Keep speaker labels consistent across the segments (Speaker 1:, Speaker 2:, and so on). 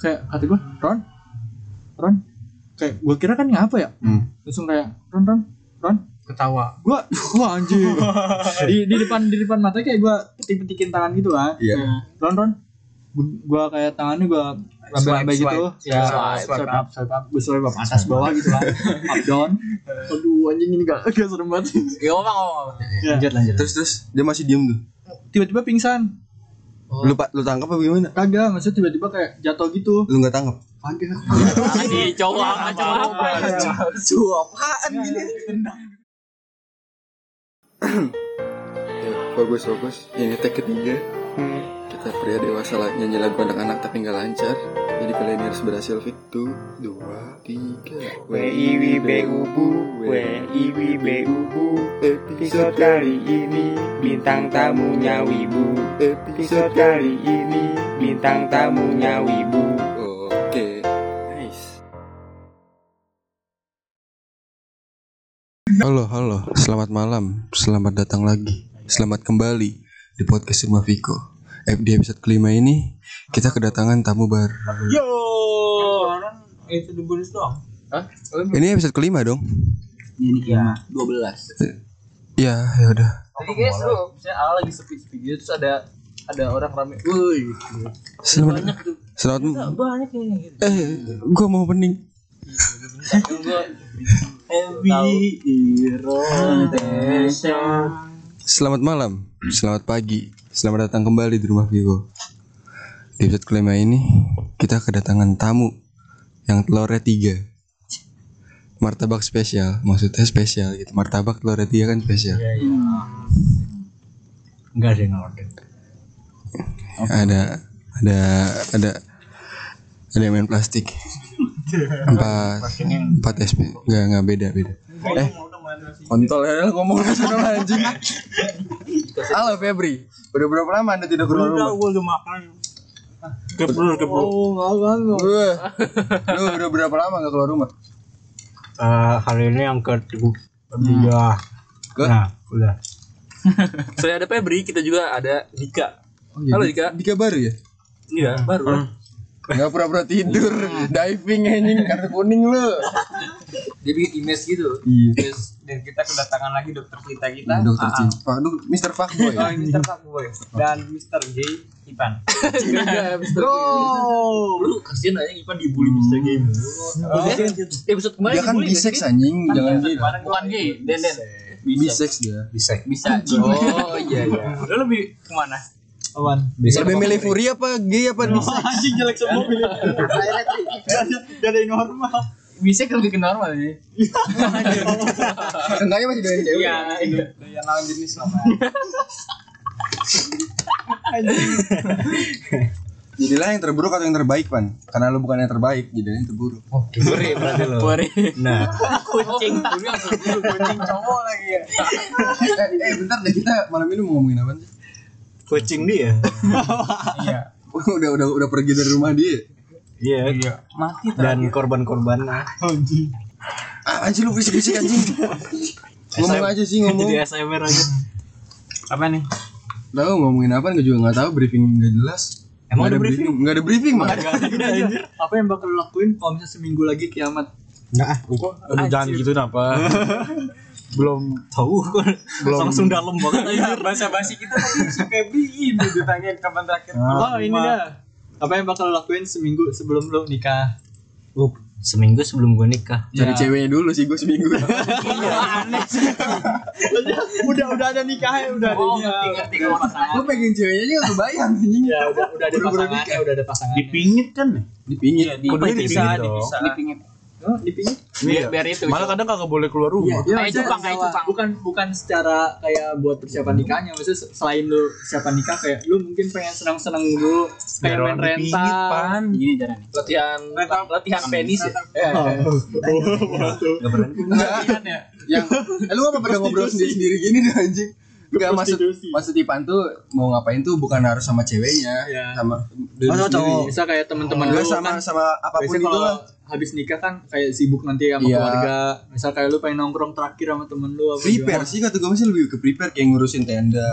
Speaker 1: kayak kata gue Ron Ron kayak gue kira kan ngapa ya
Speaker 2: Hmm.
Speaker 1: langsung kayak Ron Ron Ron
Speaker 3: ketawa
Speaker 1: gue wah anjing di, di depan di depan mata kayak gue petik petikin tangan gitu kan
Speaker 2: Iya.
Speaker 3: Ya. Hmm.
Speaker 1: Nah, Ron Ron gue kayak tangannya gue
Speaker 3: Swipe,
Speaker 1: laba-laba
Speaker 3: swipe.
Speaker 1: gitu
Speaker 3: Iya,
Speaker 1: ya
Speaker 3: swipe,
Speaker 1: swipe,
Speaker 3: swipe
Speaker 1: up swipe up gue swipe up atas bawah gitu kan up down aduh anjing ini gak gak serem banget
Speaker 3: ya ngomong ngomong
Speaker 1: Ya.
Speaker 3: lanjut lanjut
Speaker 2: Terus terus dia masih diem tuh.
Speaker 1: tiba-tiba pingsan
Speaker 3: Oh.
Speaker 2: Lu pa- lu tangkap apa gimana?
Speaker 1: kagak maksudnya tiba-tiba kayak jatuh gitu
Speaker 2: Lu nggak tangkap?
Speaker 1: kagak
Speaker 3: Lagi cowok sama cowok apa?
Speaker 2: Suapaan gini. fokus fokus. Ini take ketiga. Kita pria dewasa lah nyanyi lagu anak-anak tapi nggak lancar. Jadi kalian harus berhasil fit tuh dua tiga.
Speaker 4: W I W B U B U W I W B U B U Episode kali ini bintang tamunya Wibu Episode kali ini bintang tamunya Wibu
Speaker 2: Oke. Nice. Halo, halo. Selamat malam. Selamat datang lagi. Selamat kembali di podcast Rumah Viko. Eh, Di episode kelima ini kita kedatangan tamu baru.
Speaker 3: Yo. Itu the bonus doang.
Speaker 2: Ini episode kelima dong?
Speaker 1: ini ya
Speaker 2: Ya, ya udah.
Speaker 3: Tadi guys lu, misalnya awal lagi sepi-sepi gitu terus ada ada orang rame. Woi,
Speaker 2: Selamat. Selamat.
Speaker 3: banyak yang gitu.
Speaker 2: Eh, gua mau pening.
Speaker 1: Heavy Iron
Speaker 2: Selamat malam, selamat pagi, selamat datang kembali di rumah Vigo. Di episode kelima ini kita kedatangan tamu yang telurnya tiga. Martabak spesial, maksudnya spesial gitu. Martabak telurnya tiga kan spesial.
Speaker 3: Enggak Iya, ada yang order.
Speaker 2: Ada ada ada ada yang main plastik. Empat empat SP nggak nggak beda beda. Eh kontol ya ngomong langsung anjing. Halo Febri, udah berapa lama anda tidak keluar rumah?
Speaker 3: gue udah makan. Keblur, keblur.
Speaker 1: oh nggak kan lo
Speaker 2: Gue Lu udah berapa lama gak keluar rumah?
Speaker 4: Eh, Hari ini yang ke Iya
Speaker 2: Ke-
Speaker 4: Nah udah
Speaker 3: Selain ada Febri, kita juga ada Dika.
Speaker 2: Oh,
Speaker 3: Halo, iya, Dika.
Speaker 2: Dika baru ya?
Speaker 3: Iya, baru. lah.
Speaker 2: Gak pura-pura tidur Diving anjing Kartu kuning lu
Speaker 3: Dia bikin image gitu.
Speaker 2: Iya
Speaker 3: Terus dan kita kedatangan lagi dokter kita kita.
Speaker 2: Dokter
Speaker 3: AA.
Speaker 2: Cinta Aduh Mr. Fuckboy ya?
Speaker 3: Oh, Mr. Fuckboy dan Mr. J Ipan. Iya, Mr. J. Lu kasihan aja Ipan dibully Mr. J mulu. Eh, episode kemarin
Speaker 2: Dia kan
Speaker 3: dibully
Speaker 2: bisex anjing Jangan
Speaker 3: Episode
Speaker 2: gila
Speaker 3: kemarin gua- Bukan gay, Den Den.
Speaker 2: Bisex dia
Speaker 4: bisa
Speaker 3: Bisa. Oh iya iya. Lu lebih kemana?
Speaker 1: awan
Speaker 4: Bisa
Speaker 2: Lebih milih Fury apa gay apa bisex?
Speaker 1: anjing jelek semua pilih gak ada yang normal
Speaker 3: Bisa lebih ke normal ya.
Speaker 2: Enggaknya masih doain cewek
Speaker 3: Iya, iya.
Speaker 1: yang lawan jenis sama
Speaker 2: Jadilah yang terburuk atau yang terbaik pan Karena lu bukan yang terbaik Jadilah yang terburuk Eh,
Speaker 4: Fury berarti lo
Speaker 3: Bore.
Speaker 4: Nah
Speaker 3: Kucing. Kucing kucing cowok lagi ya.
Speaker 2: Eh, eh bentar deh kita malam ini mau ngomongin apa sih?
Speaker 4: Kucing dia
Speaker 3: Iya.
Speaker 2: udah udah udah pergi dari rumah dia
Speaker 4: Iya
Speaker 3: Mati
Speaker 4: Dan korban-korbannya
Speaker 2: Ah, anjing lu bisik-bisik anjing Ngomong aja sih ngomong
Speaker 4: Jadi SMR aja
Speaker 3: Apa nih?
Speaker 2: Tahu ngomongin apa gue juga nggak tahu briefing nggak jelas.
Speaker 4: Emang
Speaker 2: Nggak
Speaker 4: ada briefing?
Speaker 2: Nggak ada briefing mah.
Speaker 1: apa yang bakal lo lakuin kalau misalnya seminggu lagi kiamat
Speaker 4: Nah, kok aduh jangan gitu napa. Belum tahu kok. Belum.
Speaker 3: Langsung dalam banget aja bahasa basi kita tadi si Febri ini ditanya kapan terakhir.
Speaker 1: oh ini dah apa yang bakal lo lakuin seminggu sebelum lo nikah
Speaker 4: Uh, seminggu sebelum gue nikah.
Speaker 2: Cari ceweknya dulu sih gue seminggu.
Speaker 1: udah udah ada nikah ya udah ada
Speaker 3: Oh,
Speaker 1: nikah.
Speaker 3: ngerti ngerti kalau pasangan.
Speaker 2: Lu pengen ceweknya aja nggak kebayang anjing.
Speaker 3: Iya,
Speaker 1: ya udah udah ada
Speaker 2: Buru-buru
Speaker 1: pasangannya udah ada pasangannya
Speaker 4: Dipingit kan?
Speaker 2: Di pinggir.
Speaker 3: Iya, di
Speaker 4: Kudu
Speaker 3: dipingit
Speaker 4: dipisah,
Speaker 3: dong.
Speaker 4: dipisah.
Speaker 3: Dipingit.
Speaker 1: oh, dipingit
Speaker 5: Iya.
Speaker 3: Biar, biar itu.
Speaker 4: Iya. Malah kadang kagak boleh keluar rumah.
Speaker 1: Ya,
Speaker 3: Kayak
Speaker 1: maksudnya
Speaker 3: cupang, kayak
Speaker 1: sewa-
Speaker 3: cupang.
Speaker 1: Bukan bukan secara kayak buat persiapan nikahnya, maksudnya se- selain lu persiapan nikah kayak lu mungkin pengen senang-senang dulu, kayak main rental.
Speaker 3: gini jalan nih. Latihan latihan penis ya.
Speaker 2: Nggak. Yang eh, lu apa pada ngobrol sendiri-sendiri gini deh anjing. Enggak maksud
Speaker 1: Prostitusi.
Speaker 2: maksud Ipan tuh mau ngapain tuh bukan harus sama ceweknya,
Speaker 1: Iya.
Speaker 2: sama
Speaker 1: Masa cowok, bisa kayak teman-teman
Speaker 2: Nggak
Speaker 1: lu
Speaker 2: sama
Speaker 1: kan.
Speaker 2: sama apapun
Speaker 1: Biasanya
Speaker 2: itu
Speaker 1: kalau
Speaker 2: lah.
Speaker 1: habis nikah kan kayak sibuk nanti sama
Speaker 2: Iya.
Speaker 1: keluarga. Misal kayak lu pengen nongkrong terakhir sama temen lu apa
Speaker 2: prepare sih kata gue masih lebih ke prepare kayak ngurusin tenda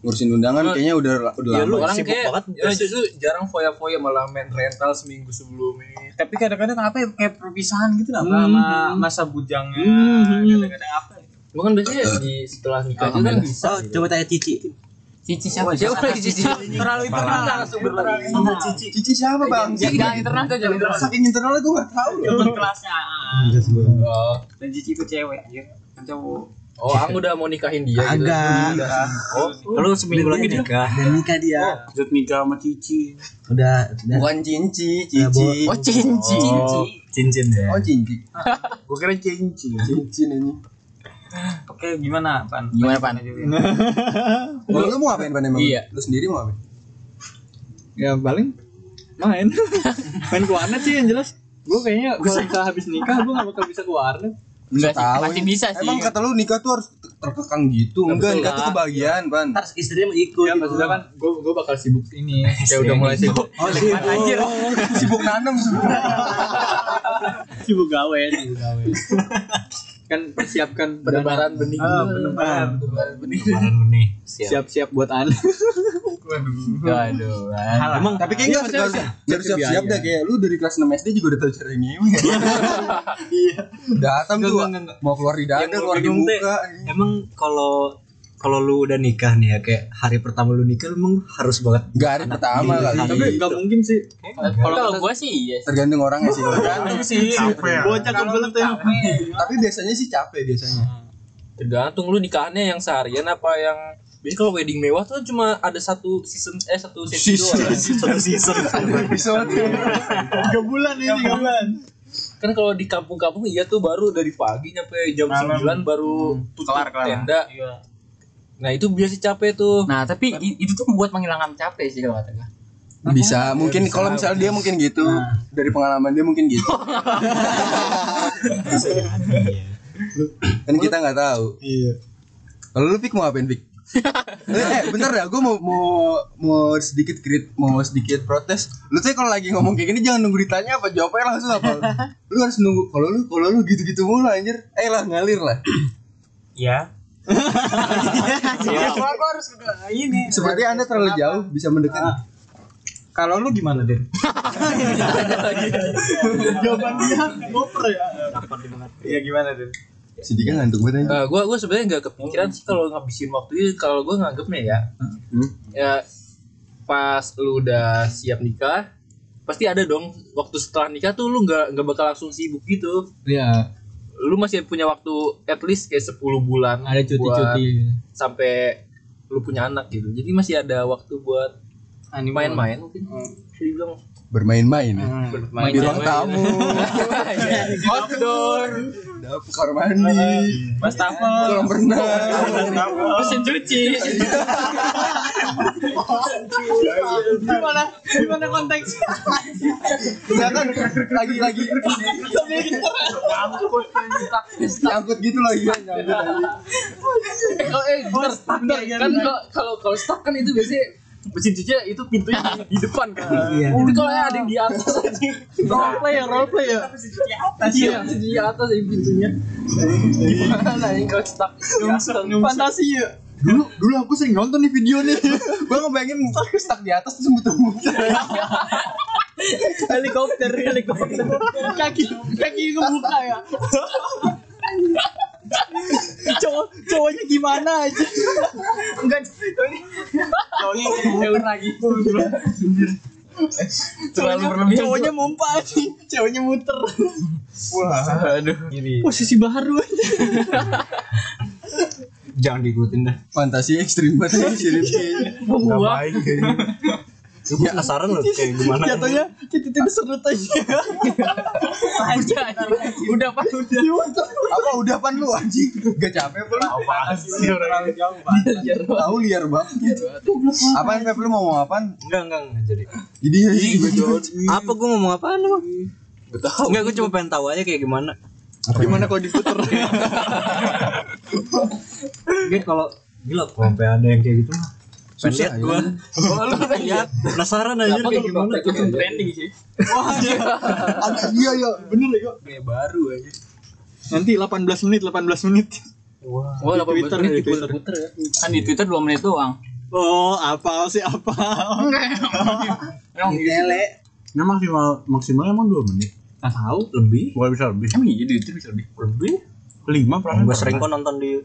Speaker 2: ngurusin undangan kayaknya udah udah
Speaker 1: Ya, lu
Speaker 2: lama
Speaker 3: orang
Speaker 1: sibuk
Speaker 3: kayak
Speaker 1: banget.
Speaker 3: ya, justru jarang foya-foya malah main rental seminggu sebelumnya tapi kadang-kadang apa ya kayak perpisahan gitu lah
Speaker 1: Hmm.
Speaker 3: sama masa bujangnya
Speaker 1: Hmm.
Speaker 3: kadang-kadang apa ya bukan biasanya di setelah nikah aja kan bisa
Speaker 6: Oh, coba tanya Cici. Cici
Speaker 3: Oh,
Speaker 6: siapa?
Speaker 3: iya,
Speaker 6: Siapa Cici?
Speaker 3: terlalu internal langsung berlari
Speaker 2: Cici Cici siapa bang?
Speaker 6: Jangan internal tuh, jangan internal.
Speaker 2: Saking internalnya gue gak tau loh
Speaker 6: kelasnya. Dan Cici itu cewek, ya. Kan cowok.
Speaker 3: oh aku udah mau nikahin dia gitu
Speaker 6: Agak.
Speaker 3: oh
Speaker 6: Lalu seminggu lagi nikah. Dan nikah dia.
Speaker 4: Maksud kan? nikah sama Cici.
Speaker 6: Udah, udah.
Speaker 2: Bukan Cinci, Cici
Speaker 6: Oh, cincin.
Speaker 3: cincin ya
Speaker 2: Oh Cinci Iya.
Speaker 4: Gue kira Cici.
Speaker 2: Cincin ini
Speaker 3: oke gimana pan
Speaker 6: Gimana, Pan?
Speaker 2: Lu, lu mau ngapain Pan emang?
Speaker 3: Iya.
Speaker 2: Lu sendiri mau ngapain?
Speaker 1: Ya paling main. main ke warnet sih yang jelas. Gue kayaknya kalau misal habis nikah gue gak bakal bisa ke warnet.
Speaker 6: Enggak sih,
Speaker 2: Tahu
Speaker 6: masih
Speaker 2: ini.
Speaker 6: bisa sih.
Speaker 2: Emang kata lu nikah tuh harus ter- Iya. terkekang gitu Enggak,
Speaker 3: betul
Speaker 2: nikah
Speaker 3: lah.
Speaker 2: tuh kebahagiaan Pan
Speaker 6: Ntar istrinya mau ikut.
Speaker 1: Ya
Speaker 3: Iya,
Speaker 1: maksudnya kan gue gue bakal sibuk ini. Kayak udah mulai sibuk.
Speaker 2: Oh sibuk Anjir Sibuk nanem
Speaker 1: sibuk gawe, sibuk gawe. kan persiapkan
Speaker 3: penebaran
Speaker 1: dana.
Speaker 3: benih
Speaker 1: Ah, penebaran.
Speaker 3: penebaran
Speaker 5: Hmm,
Speaker 3: benih
Speaker 1: siap-siap buat anak.
Speaker 3: Aduh, emang
Speaker 2: Tapi kayaknya harus, Iya, harus, harus siap-siap dah Kayak lu dari kelas 6 SD juga udah tau cara ngewe Iya Datam tuh Mau keluar di dada,
Speaker 5: Yang
Speaker 2: keluar di
Speaker 5: bingung teh,
Speaker 2: muka
Speaker 5: Emang kalau kalau lu udah nikah nih ya kayak hari pertama lu nikah lu emang harus banget
Speaker 2: Gak hari pertama kali
Speaker 1: Tapi gak mungkin sih.
Speaker 3: Eh,
Speaker 6: Kalau gua sih iya. sih.
Speaker 2: Tergantung orangnya sih Tergantung sih
Speaker 1: Bocah kebelet ya.
Speaker 2: Tapi biasanya sih capek biasanya
Speaker 3: tergantung lu nikahannya yang seharian apa yang Biasanya kalau wedding mewah tuh cuma ada satu season eh satu season doang. kan?
Speaker 5: satu
Speaker 7: ya.
Speaker 5: season.
Speaker 2: Episode
Speaker 1: Tiga bulan ini, tiga bulan.
Speaker 3: Kan kalau di kampung-kampung iya tuh baru dari pagi nyampe jam 9 baru
Speaker 7: Hmm,
Speaker 3: tutup tenda. Nah, itu biasa capek tuh.
Speaker 6: Nah, tapi i- itu tuh membuat menghilangkan capek sih kalau kata gua.
Speaker 2: Iya, bisa mungkin kalau misalnya dia mungkin gitu dari pengalaman dia mungkin gitu Bisa jadi. kan kita nggak tahu
Speaker 1: Iya.
Speaker 2: kalau lu pik mau apain pik eh bentar ya gue mau mau mau sedikit krit mau sedikit protes lu tuh kalau lagi ngomong kayak gini jangan nunggu ditanya apa jawabnya langsung apa lu harus nunggu kalau lu kalau lu gitu gitu mulu anjir eh lah ngalir lah
Speaker 5: Ya.
Speaker 2: seperti anda terlalu jauh bisa mendekat
Speaker 1: Kalau lu gimana, Den? Jawaban dia ngoper ya.
Speaker 3: Iya gimana tuh?
Speaker 2: sedikit ngantuk banget ya. anjir.
Speaker 3: Eh, gua gua sebenarnya nggak kepikiran sih kalau ngabisin waktu itu kalau gua nganggepnya ya.
Speaker 1: Hmm?
Speaker 3: Ya pas lu udah siap nikah pasti ada dong waktu setelah nikah tuh lu nggak nggak bakal langsung sibuk gitu
Speaker 1: Iya,
Speaker 3: lu masih punya waktu at least kayak 10 bulan
Speaker 1: ada cuti-cuti.
Speaker 3: buat sampai lu punya anak gitu jadi masih ada waktu buat main-main mungkin bisa dibilang
Speaker 2: bermain-main ya. di ruang tamu
Speaker 3: outdoor
Speaker 2: dapur kamar mandi
Speaker 1: Wastafel.
Speaker 2: kolam renang
Speaker 6: Mesin cuci.
Speaker 1: Gimana? Gimana konteks? Iya kan?
Speaker 2: Misalkan lagi-lagi nyangkut gitu lagi ya nyangkut aja.
Speaker 3: oh, eh bentar, bentar.
Speaker 5: ya,
Speaker 3: kan
Speaker 5: gitu.
Speaker 3: kalau- kalau kalau stuck kan itu biasanya mesin cuci itu pintunya di, di depan kan
Speaker 5: Iya.
Speaker 3: itu kalau ada yang di atas aja
Speaker 1: Role play ya, role play ya.
Speaker 3: iya mesin cuci di atas aja pintunya gimana ini kalau stuck
Speaker 1: Fantasi ya.
Speaker 2: Dulu dulu aku sering nonton nih video nih. Gua ngebayangin stuck di atas terus muter-muter.
Speaker 1: Helikopter, helikopter. Kaki, kaki kebuka ya. Cowok, cowoknya gimana aja?
Speaker 3: terlalu berlebihan
Speaker 1: Cowoknya mumpah aja, cowoknya muter.
Speaker 3: aduh
Speaker 1: Posisi baru aja.
Speaker 5: Jangan diikutin dah.
Speaker 2: Fantasi ekstrim banget sih si Rifki.
Speaker 5: Enggak baik kayaknya. Gue penasaran loh kayak gimana.
Speaker 1: Jatuhnya titik-titik serut aja.
Speaker 6: Aja. Udah pas udah.
Speaker 2: Apa udah pan lu anjing? Gak capek apa lu?
Speaker 5: Apaan sih orang ini?
Speaker 2: Tahu liar banget. Apaan Pep lu mau ngomong apaan?
Speaker 5: Enggak, enggak, enggak jadi.
Speaker 2: Jadi ya juga
Speaker 5: Apa gua ngomong apaan emang? Enggak, gua cuma pengen tahu aja kayak gimana.
Speaker 1: Gimana
Speaker 2: ya?
Speaker 1: kalau diputer?
Speaker 5: Mungkin kalau gila kalau sampai ada yang kayak gitu mah
Speaker 2: Susah
Speaker 5: lihat
Speaker 2: ya.
Speaker 5: gua.
Speaker 1: Oh, lu pengen lihat?
Speaker 5: Penasaran aja
Speaker 1: Kenapa
Speaker 5: kayak
Speaker 1: lu
Speaker 5: gimana
Speaker 1: praktek langsung trending sih? Wah, ada iya ya, bener ya. Kayak baru aja. Nanti 18 menit, 18 menit.
Speaker 3: Oh,
Speaker 1: Di
Speaker 3: 18
Speaker 1: Twitter,
Speaker 3: menit
Speaker 1: di
Speaker 5: gitu.
Speaker 1: Twitter.
Speaker 3: diputer-puter ya. Kan di Twitter 2 menit doang.
Speaker 1: Oh, apa sih apa?
Speaker 3: Emang
Speaker 1: Lele.
Speaker 7: Ini maksimal maksimal emang 2 menit.
Speaker 1: Nah, tahu.
Speaker 5: lebih.
Speaker 7: Bukan bisa lebih.
Speaker 1: Emang iya di Twitter bisa lebih.
Speaker 5: Lebih.
Speaker 7: 5 perasaan.
Speaker 5: Gua sering kok nonton di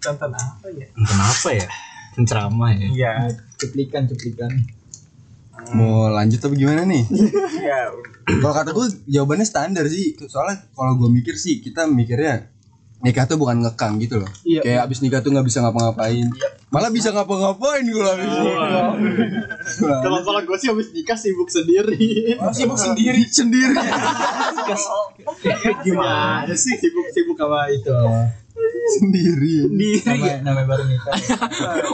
Speaker 6: Tonton apa ya?
Speaker 5: kenapa ya? Ceramah ya.
Speaker 6: Iya.
Speaker 1: Cuplikan, cuplikan.
Speaker 2: Mau lanjut tapi gimana nih?
Speaker 6: Iya.
Speaker 1: Ya,
Speaker 2: Kalau kata gue jawabannya standar sih. Soalnya kalau gue mikir sih kita mikirnya nikah tuh bukan ngekang gitu loh.
Speaker 1: Iya.
Speaker 2: Kayak abis nikah tuh nggak bisa ngapa-ngapain. Malah bisa ngapa-ngapain kalau abis nikah.
Speaker 1: Oh. Kalau kalau gue sih habis nikah sibuk sendiri.
Speaker 2: Sibuk sendiri sendiri.
Speaker 3: Iya,
Speaker 1: Gimana sih sibuk sibuk sama itu?
Speaker 2: sendiri.
Speaker 1: Namanya namanya baru nikah.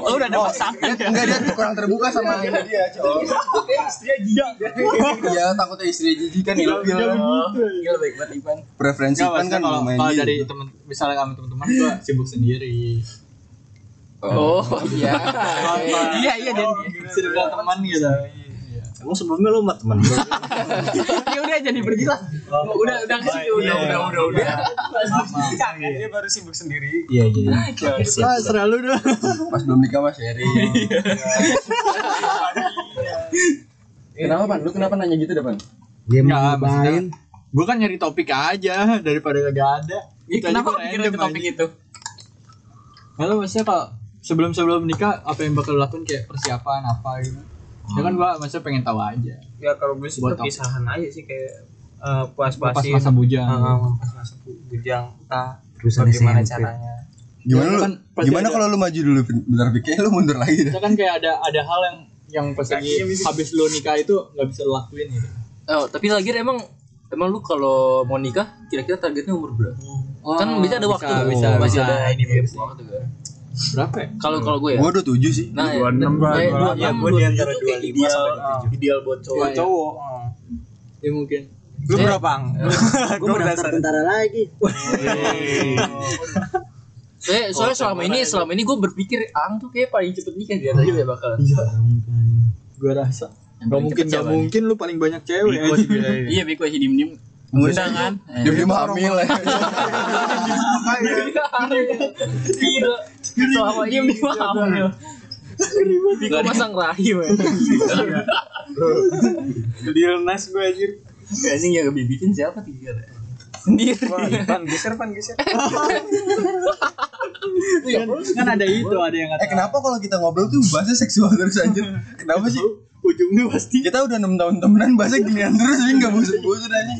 Speaker 3: Oh, udah ada pasangan.
Speaker 5: iya.
Speaker 1: Iya.
Speaker 2: Enggak dia kurang terbuka sama ini dia, cowok. Iya, takutnya istri jijik kan ilfil.
Speaker 3: Gila Oh, iya, baik banget Ivan.
Speaker 2: Preferensi
Speaker 1: Iya, Enggak
Speaker 2: kan
Speaker 1: maksudnya
Speaker 2: kan
Speaker 1: kalau
Speaker 2: main
Speaker 1: kalau
Speaker 2: game.
Speaker 1: dari temen misalnya kami teman-teman gue sibuk sendiri.
Speaker 3: Oh, iya. Iya, iya dan Iya.
Speaker 1: Circle teman gitu.
Speaker 5: Emang sebelumnya lu sama temen gua.
Speaker 3: ya udah jadi berjelas. Udah udah kasih udah udah udah udah.
Speaker 1: Iya.
Speaker 3: Iya,
Speaker 6: Dia baru sibuk sendiri.
Speaker 5: Iya iya. iya. Oke,
Speaker 1: Ah,
Speaker 5: siap.
Speaker 1: serah lu dong.
Speaker 2: Pas belum nikah mas sharing. Kenapa Eh, pan? Lu kenapa nanya gitu depan?
Speaker 5: Game
Speaker 1: Enggak, Ya, maksudnya gue kan nyari topik aja daripada kagak ada.
Speaker 3: Ih,
Speaker 1: aja
Speaker 3: Kenapa
Speaker 1: gua
Speaker 3: pikiran ke
Speaker 1: random
Speaker 3: topik
Speaker 1: aja.
Speaker 3: itu?
Speaker 1: Lalu maksudnya kalau sebelum sebelum nikah apa yang bakal lu lakuin kayak persiapan apa gitu? Ya kan gua maksudnya pengen tahu aja.
Speaker 6: Ya kalau gue sih
Speaker 1: Buat apa?
Speaker 6: perpisahan aja sih kayak eh,
Speaker 1: Pas
Speaker 6: puas-puasin.
Speaker 1: masa bujang.
Speaker 6: Heeh, pas masa bujang. Entah
Speaker 5: Lulusan
Speaker 6: bagaimana
Speaker 5: SMP.
Speaker 6: caranya.
Speaker 2: Gimana
Speaker 1: Ya,
Speaker 2: lu?
Speaker 1: kan pasti
Speaker 2: Gimana
Speaker 1: ada-
Speaker 2: kalau lu maju dulu Vin? bentar Vin? Kayaknya lu mundur lagi dah.
Speaker 1: Maksudnya kan kayak ada ada hal yang yang pas lagi
Speaker 3: iya,
Speaker 1: habis lu nikah itu nggak bisa lu lakuin gitu.
Speaker 3: Oh, tapi lagi emang emang lu kalau mau nikah kira-kira targetnya umur berapa?
Speaker 1: Oh,
Speaker 3: kan bisa ada waktu.
Speaker 1: bisa,
Speaker 3: masih
Speaker 1: bisa. Iya,
Speaker 3: ada ini
Speaker 6: bisa.
Speaker 3: waktu kan.
Speaker 1: Berapa ya?
Speaker 3: Kalau kalau gue ya.
Speaker 2: Gua udah tujuh sih.
Speaker 3: Nah,
Speaker 7: Dua
Speaker 3: gue
Speaker 7: enam, dua
Speaker 3: dua
Speaker 7: delapan.
Speaker 3: enam,
Speaker 5: Gua di antara
Speaker 3: tujuh kayak
Speaker 5: 25
Speaker 3: ideal.
Speaker 5: sampai 27.
Speaker 3: Ideal buat cowok. Iya,
Speaker 1: Buat
Speaker 3: ya.
Speaker 1: Iya, cowok. Ya mungkin.
Speaker 6: Lu berapa, Ang?
Speaker 5: Gua mau daftar tentara lagi.
Speaker 3: Eh, soalnya selama ini selama ini gue berpikir Ang tuh kayak paling cepet nikah di antara kita ya bakal.
Speaker 1: Iya, Gua rasa. Gak
Speaker 3: Yang paling
Speaker 1: mungkin,
Speaker 3: cepet
Speaker 1: gak
Speaker 3: siapa nih?
Speaker 1: mungkin lu paling banyak cewek.
Speaker 3: Iya, Beko masih diem-diem. Undang kan?
Speaker 2: Dia dia hamil ya.
Speaker 3: Iya. Selama ini gue hamil. Beko masang rahim ya.
Speaker 6: Lil Nas gue anjir.
Speaker 3: Anjing yang ngebibitin siapa tiga?
Speaker 6: Wah, Pan geser, Pan geser.
Speaker 1: kan ada itu, ada yang
Speaker 2: Eh kenapa kalau kita ngobrol tuh bahasa seksual terus aja? Kenapa sih?
Speaker 1: ujungnya pasti
Speaker 2: Kita udah enam tahun temenan bahasa ginian terus ini nggak bosan-bosan aja.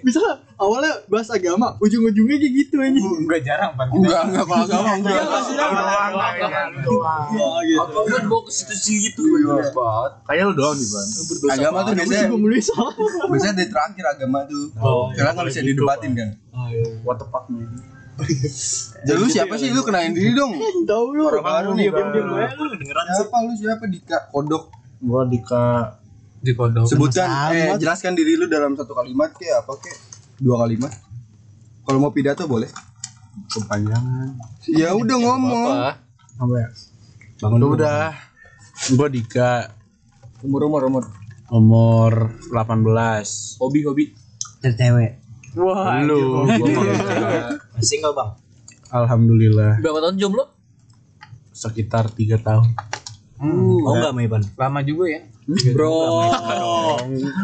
Speaker 1: bisa awalnya bahas agama ujung-ujungnya kayak gitu aja
Speaker 6: Gue jarang, Pan.
Speaker 2: Enggak enggak kalau sama enggak.
Speaker 3: Apa gue bawa ke situ-situ
Speaker 7: Kayak lu doang nih, Ban.
Speaker 5: Iya.
Speaker 2: Agama tuh biasanya
Speaker 1: gue mulai salah
Speaker 2: biasanya di terakhir agama tuh.
Speaker 1: Oh,
Speaker 2: Karena nggak bisa didebatin kan.
Speaker 7: What the fuck nih.
Speaker 2: Jadi lu siapa sih lu kenain diri dong?
Speaker 1: tahu lu
Speaker 2: Orang baru nih,
Speaker 1: diam diam
Speaker 7: Bang.
Speaker 1: aja lu
Speaker 2: Siapa lu siapa Dika kodok?
Speaker 7: Gua Dika
Speaker 6: Di kodok.
Speaker 2: Sebutkan eh jelaskan diri lu dalam satu kalimat kayak apa kayak dua kalimat. Kalau mau pidato boleh.
Speaker 7: kepanjangan.
Speaker 2: Ya udah ngomong.
Speaker 7: Apa ya? Bangun udah. Gua Dika
Speaker 2: Umur umur umur.
Speaker 7: umur 18.
Speaker 3: Hobi-hobi.
Speaker 5: Tercewek.
Speaker 1: wah
Speaker 7: Lu
Speaker 5: Single bang.
Speaker 7: alhamdulillah
Speaker 3: Berapa tahun jomblo?
Speaker 7: sekitar 3 tahun.
Speaker 5: Mau nggak sama Ivan?
Speaker 6: Lama juga ya.
Speaker 1: bro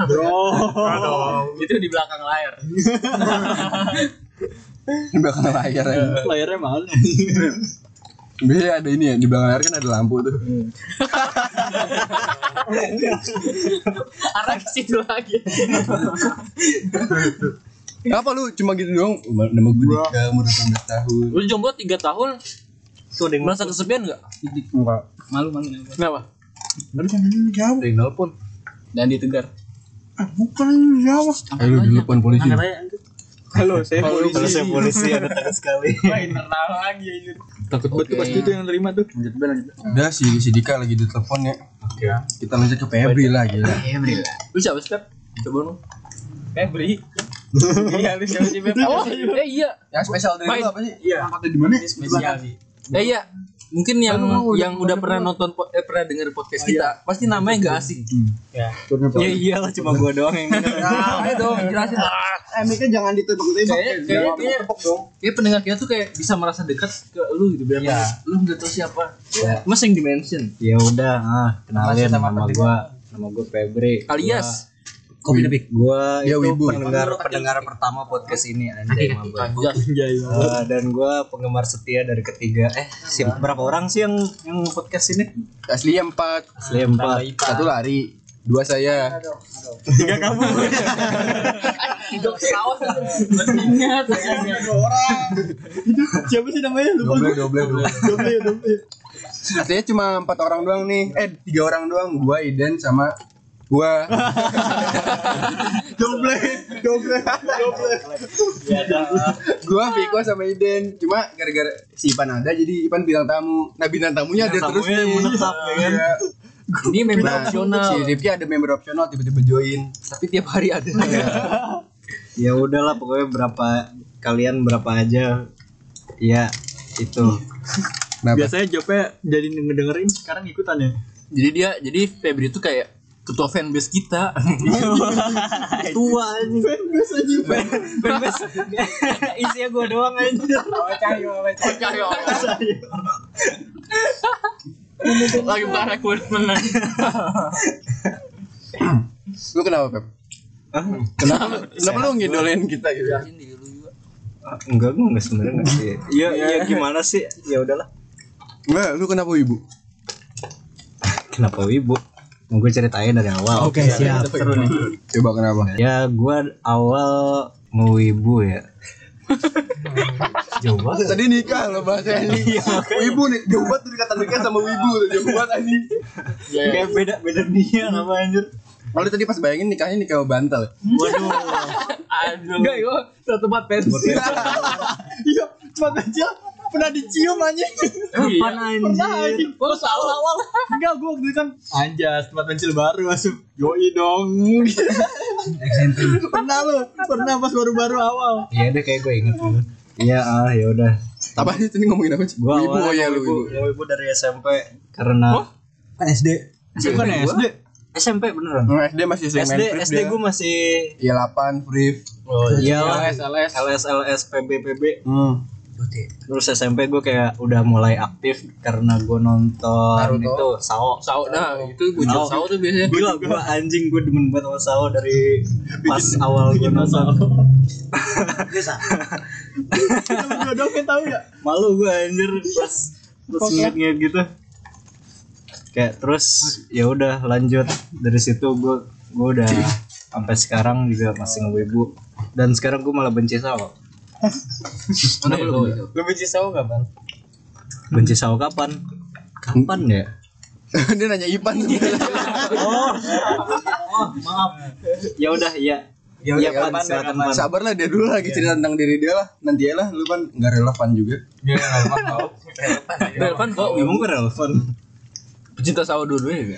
Speaker 1: bro
Speaker 3: Itu di belakang layar.
Speaker 2: Di belakang layar aja.
Speaker 1: layarnya mahal
Speaker 2: Biasanya ada ini ya di belakang layar kan ada lampu tuh.
Speaker 3: Arah ke situ lagi.
Speaker 2: Kenapa lu cuma gitu doang? Umar- Nama gue Dika umur 18 tahun.
Speaker 3: Lu jomblo 3 tahun. Tuh, merasa kesepian enggak?
Speaker 7: Enggak.
Speaker 3: Malu-malu. Kenapa?
Speaker 7: Enggak bisa nyanyi jawab.
Speaker 3: Dari nelpon dan ditegar.
Speaker 7: Ah, bukan nyanyi jawab.
Speaker 2: Eh lu di depan polisi.
Speaker 6: Halo, saya polisi.
Speaker 5: Kalau saya polisi ada tangan sekali.
Speaker 6: internal lagi anjir.
Speaker 1: takut banget tuh
Speaker 3: Iya.
Speaker 1: pasti itu yang nerima tuh
Speaker 2: Udah si si Dika lagi di telepon ya.
Speaker 7: Oke.
Speaker 2: Kita lanjut ke Febri lah gila.
Speaker 3: Lu siapa sih, Pep? Coba lu.
Speaker 6: Febri. Iya, lu siapa sih, Feb?
Speaker 3: Oh, eh iya.
Speaker 2: Yang spesial dari
Speaker 3: Main.
Speaker 2: lu apa sih?
Speaker 6: Iya.
Speaker 2: Angkatnya di mana?
Speaker 6: Spesial sih.
Speaker 3: Eh iya, mungkin yang yang udah pernah nonton po- eh, pernah denger podcast kita, pasti namanya enggak asing. Ya.
Speaker 7: Iya,
Speaker 3: Ya iyalah cuma gua doang yang denger. Ah, ayo dong jelasin. Ah,
Speaker 8: Emiknya jangan ditebak-tebak.
Speaker 3: Kayaknya kayaknya kayaknya kayak pendengar kita tuh kayak bisa merasa dekat ke lu gitu biar lu enggak tahu siapa. Mas yang dimention.
Speaker 5: ya udah ah, kenalin nama gua nama gua Febri
Speaker 3: Alias
Speaker 5: kopi lebih gua
Speaker 2: Ya,
Speaker 5: itu
Speaker 2: Wibu.
Speaker 5: pendengar pendengar pertama podcast ini anjay
Speaker 3: Alias
Speaker 5: mabah Eh, dan gua penggemar setia dari ketiga eh siapa berapa orang sih yang yang podcast ini
Speaker 2: Asli ya, empat,
Speaker 5: asli empat
Speaker 2: satu lari, dua saya.
Speaker 1: Siapa sih namanya? Lupa
Speaker 2: Doble, doble, doble. Saya cuma empat orang doang nih. Eh, tiga orang doang. Gua Iden sama gua. doble, doble, doble. gua Viko sama Iden. Cuma gara-gara si Ipan ada jadi Ipan bintang tamu. Nah, bintang tamunya ada terus nih. Iya.
Speaker 3: ini member
Speaker 2: Nah,
Speaker 3: opsional.
Speaker 2: Si Rifki ada member opsional tiba-tiba join.
Speaker 3: Tapi tiap hari ada.
Speaker 5: ya udahlah pokoknya berapa kalian berapa aja ya itu
Speaker 2: Kenapa?
Speaker 1: Biasanya jawabnya jadi ngedengerin sekarang ikutan ya.
Speaker 3: jadi dia jadi Febri itu kayak ketua fanbase kita.
Speaker 5: tua ini fanbase isinya gua doang aja
Speaker 3: Lagi parah gue menang.
Speaker 2: Lu kenapa, Pep? Kenapa? Kenapa lu ngidolin kita gitu? Ah,
Speaker 5: enggak gua enggak sebenarnya enggak sih
Speaker 2: Iya.
Speaker 5: ya ya gimana sih ya udahlah
Speaker 2: Enggak, lu kenapa ibu?
Speaker 5: kenapa wibu mau gue ceritain dari awal oke
Speaker 6: Iya,
Speaker 5: siap
Speaker 6: gitu.
Speaker 2: Coba kenapa?
Speaker 5: ya gua awal ngewibu ya jauh banget
Speaker 2: Tadi nikah lo
Speaker 5: Iya,
Speaker 2: bahasanya ini. Wibu nih, jauh banget dari kata nikah sama wibu tuh jauh banget anjing.
Speaker 5: Iya, kayak beda beda dia apa anjir
Speaker 2: Kalau tadi pas bayangin nikahnya nikah sama bantal. ya?
Speaker 5: waduh
Speaker 3: Aduh. Enggak, yo satu tempat pensi.
Speaker 8: Iya, cuma kecil pernah dicium anjing.
Speaker 6: Iya.
Speaker 5: kapan anjir
Speaker 3: Gua salah awal.
Speaker 8: Enggak, gua waktu itu kan
Speaker 1: Anjas, tempat pensil baru masuk. Yoi dong.
Speaker 8: pernah lu, pernah pas baru-baru awal.
Speaker 6: Iya.
Speaker 5: ya udah kayak gue inget dulu Iya, ah, ya udah.
Speaker 2: Apa sih tadi ngomongin apa sih?
Speaker 5: Gua
Speaker 2: Wibu
Speaker 5: awal
Speaker 2: oh ya lu
Speaker 5: ngewibu,
Speaker 2: wibu.
Speaker 5: ngewibu dari SMP karena kan SD.
Speaker 1: Bukan ya, SD.
Speaker 5: SMP beneran.
Speaker 2: Hmm, SD masih sering
Speaker 5: SD
Speaker 2: main free
Speaker 5: SD gue masih
Speaker 2: Iya 8 free.
Speaker 5: oh,
Speaker 6: Iya.
Speaker 5: iyalah
Speaker 1: LS, LS.
Speaker 5: LS LS PB PB
Speaker 2: Hmm.
Speaker 5: terus SMP gue kayak udah mulai aktif karena gue nonton itu Sao
Speaker 3: Sao nah itu bujuk
Speaker 5: Sao.
Speaker 3: sao tuh biasanya.
Speaker 5: gila gue anjing gue demen banget sama Sao dari pas awal gue nonton
Speaker 8: Jodohnya tahu ya?
Speaker 5: malu gue anjir pas pas ngeliat-ngeliat gitu kayak terus ya udah lanjut dari situ gue gue udah sampai sekarang juga masih ngewibu dan sekarang gue malah benci Sao
Speaker 3: Mana belum?
Speaker 5: benci Sao kapan kapan ya
Speaker 2: Dia nanya Ipan Iya, sebenarnya.
Speaker 5: ya udah ya ya
Speaker 2: udah,
Speaker 5: Pan,
Speaker 2: kapan,
Speaker 5: silakan, Pan.
Speaker 2: Sabarlah dia dulu lagi cerita tentang diri dia lah. Nanti ya lah lu kan enggak relevan juga.
Speaker 1: Iya,
Speaker 3: Relevan kok.
Speaker 5: Ya, emang gue relevan
Speaker 3: Pecinta sawo dulu ya.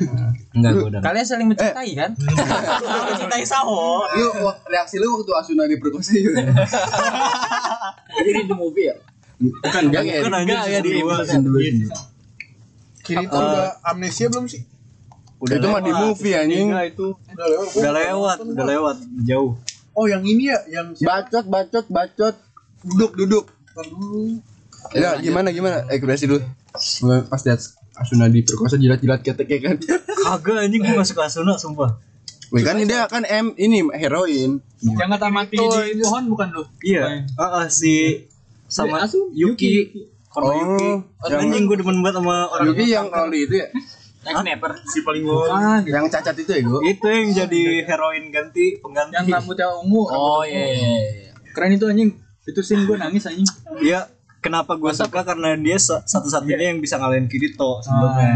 Speaker 5: enggak gue udah
Speaker 6: Kalian saling
Speaker 8: Eh.
Speaker 6: mencintai kan?
Speaker 5: mencintai Sao
Speaker 2: Lu wak- reaksi lu waktu Asuna diperkosa gitu.
Speaker 3: Jadi di movie ya.
Speaker 2: Bukan enggak ya.
Speaker 5: kan anjir
Speaker 3: Enggak, ya, di-
Speaker 5: season dua.
Speaker 7: Kiri itu udah amnesia belum sih?
Speaker 2: Udah itu mah di movie anjing.
Speaker 5: udah lewat udah lewat jauh
Speaker 7: Oh yang ini ya, yang
Speaker 2: Bacot, bacot, bacot. Duduk, duduk. Ya, gimana gimana? Ekspresi dulu. Mulai Pas lihat Asuna diperkosa jilat-jilat keteknya kan.
Speaker 5: kagak anjing gue masuk Asuna sumpah
Speaker 2: Wih, kan dia kan M ini heroin.
Speaker 1: Yang kata mati di pohon bukan lu.
Speaker 5: Iya. Ah, ah, si sama Yuki. Korma Yuki.
Speaker 2: Oh,
Speaker 5: Anjing gue demen banget sama orang
Speaker 2: Yuki yang loli itu ya.
Speaker 5: si paling bawah.
Speaker 1: Ah.
Speaker 2: Yang cacat itu ya, gua.
Speaker 5: Itu yang jadi heroin ganti
Speaker 1: Yang
Speaker 5: pengganti.
Speaker 1: rambutnya ungu.
Speaker 3: Oh iya. iya, iya.
Speaker 1: Keren itu anjing. Itu scene gue nangis anjing.
Speaker 5: Iya. Kenapa gue suka karena dia sa- satu-satunya yang bisa ngalahin
Speaker 1: iya.
Speaker 5: Kirito sebelumnya.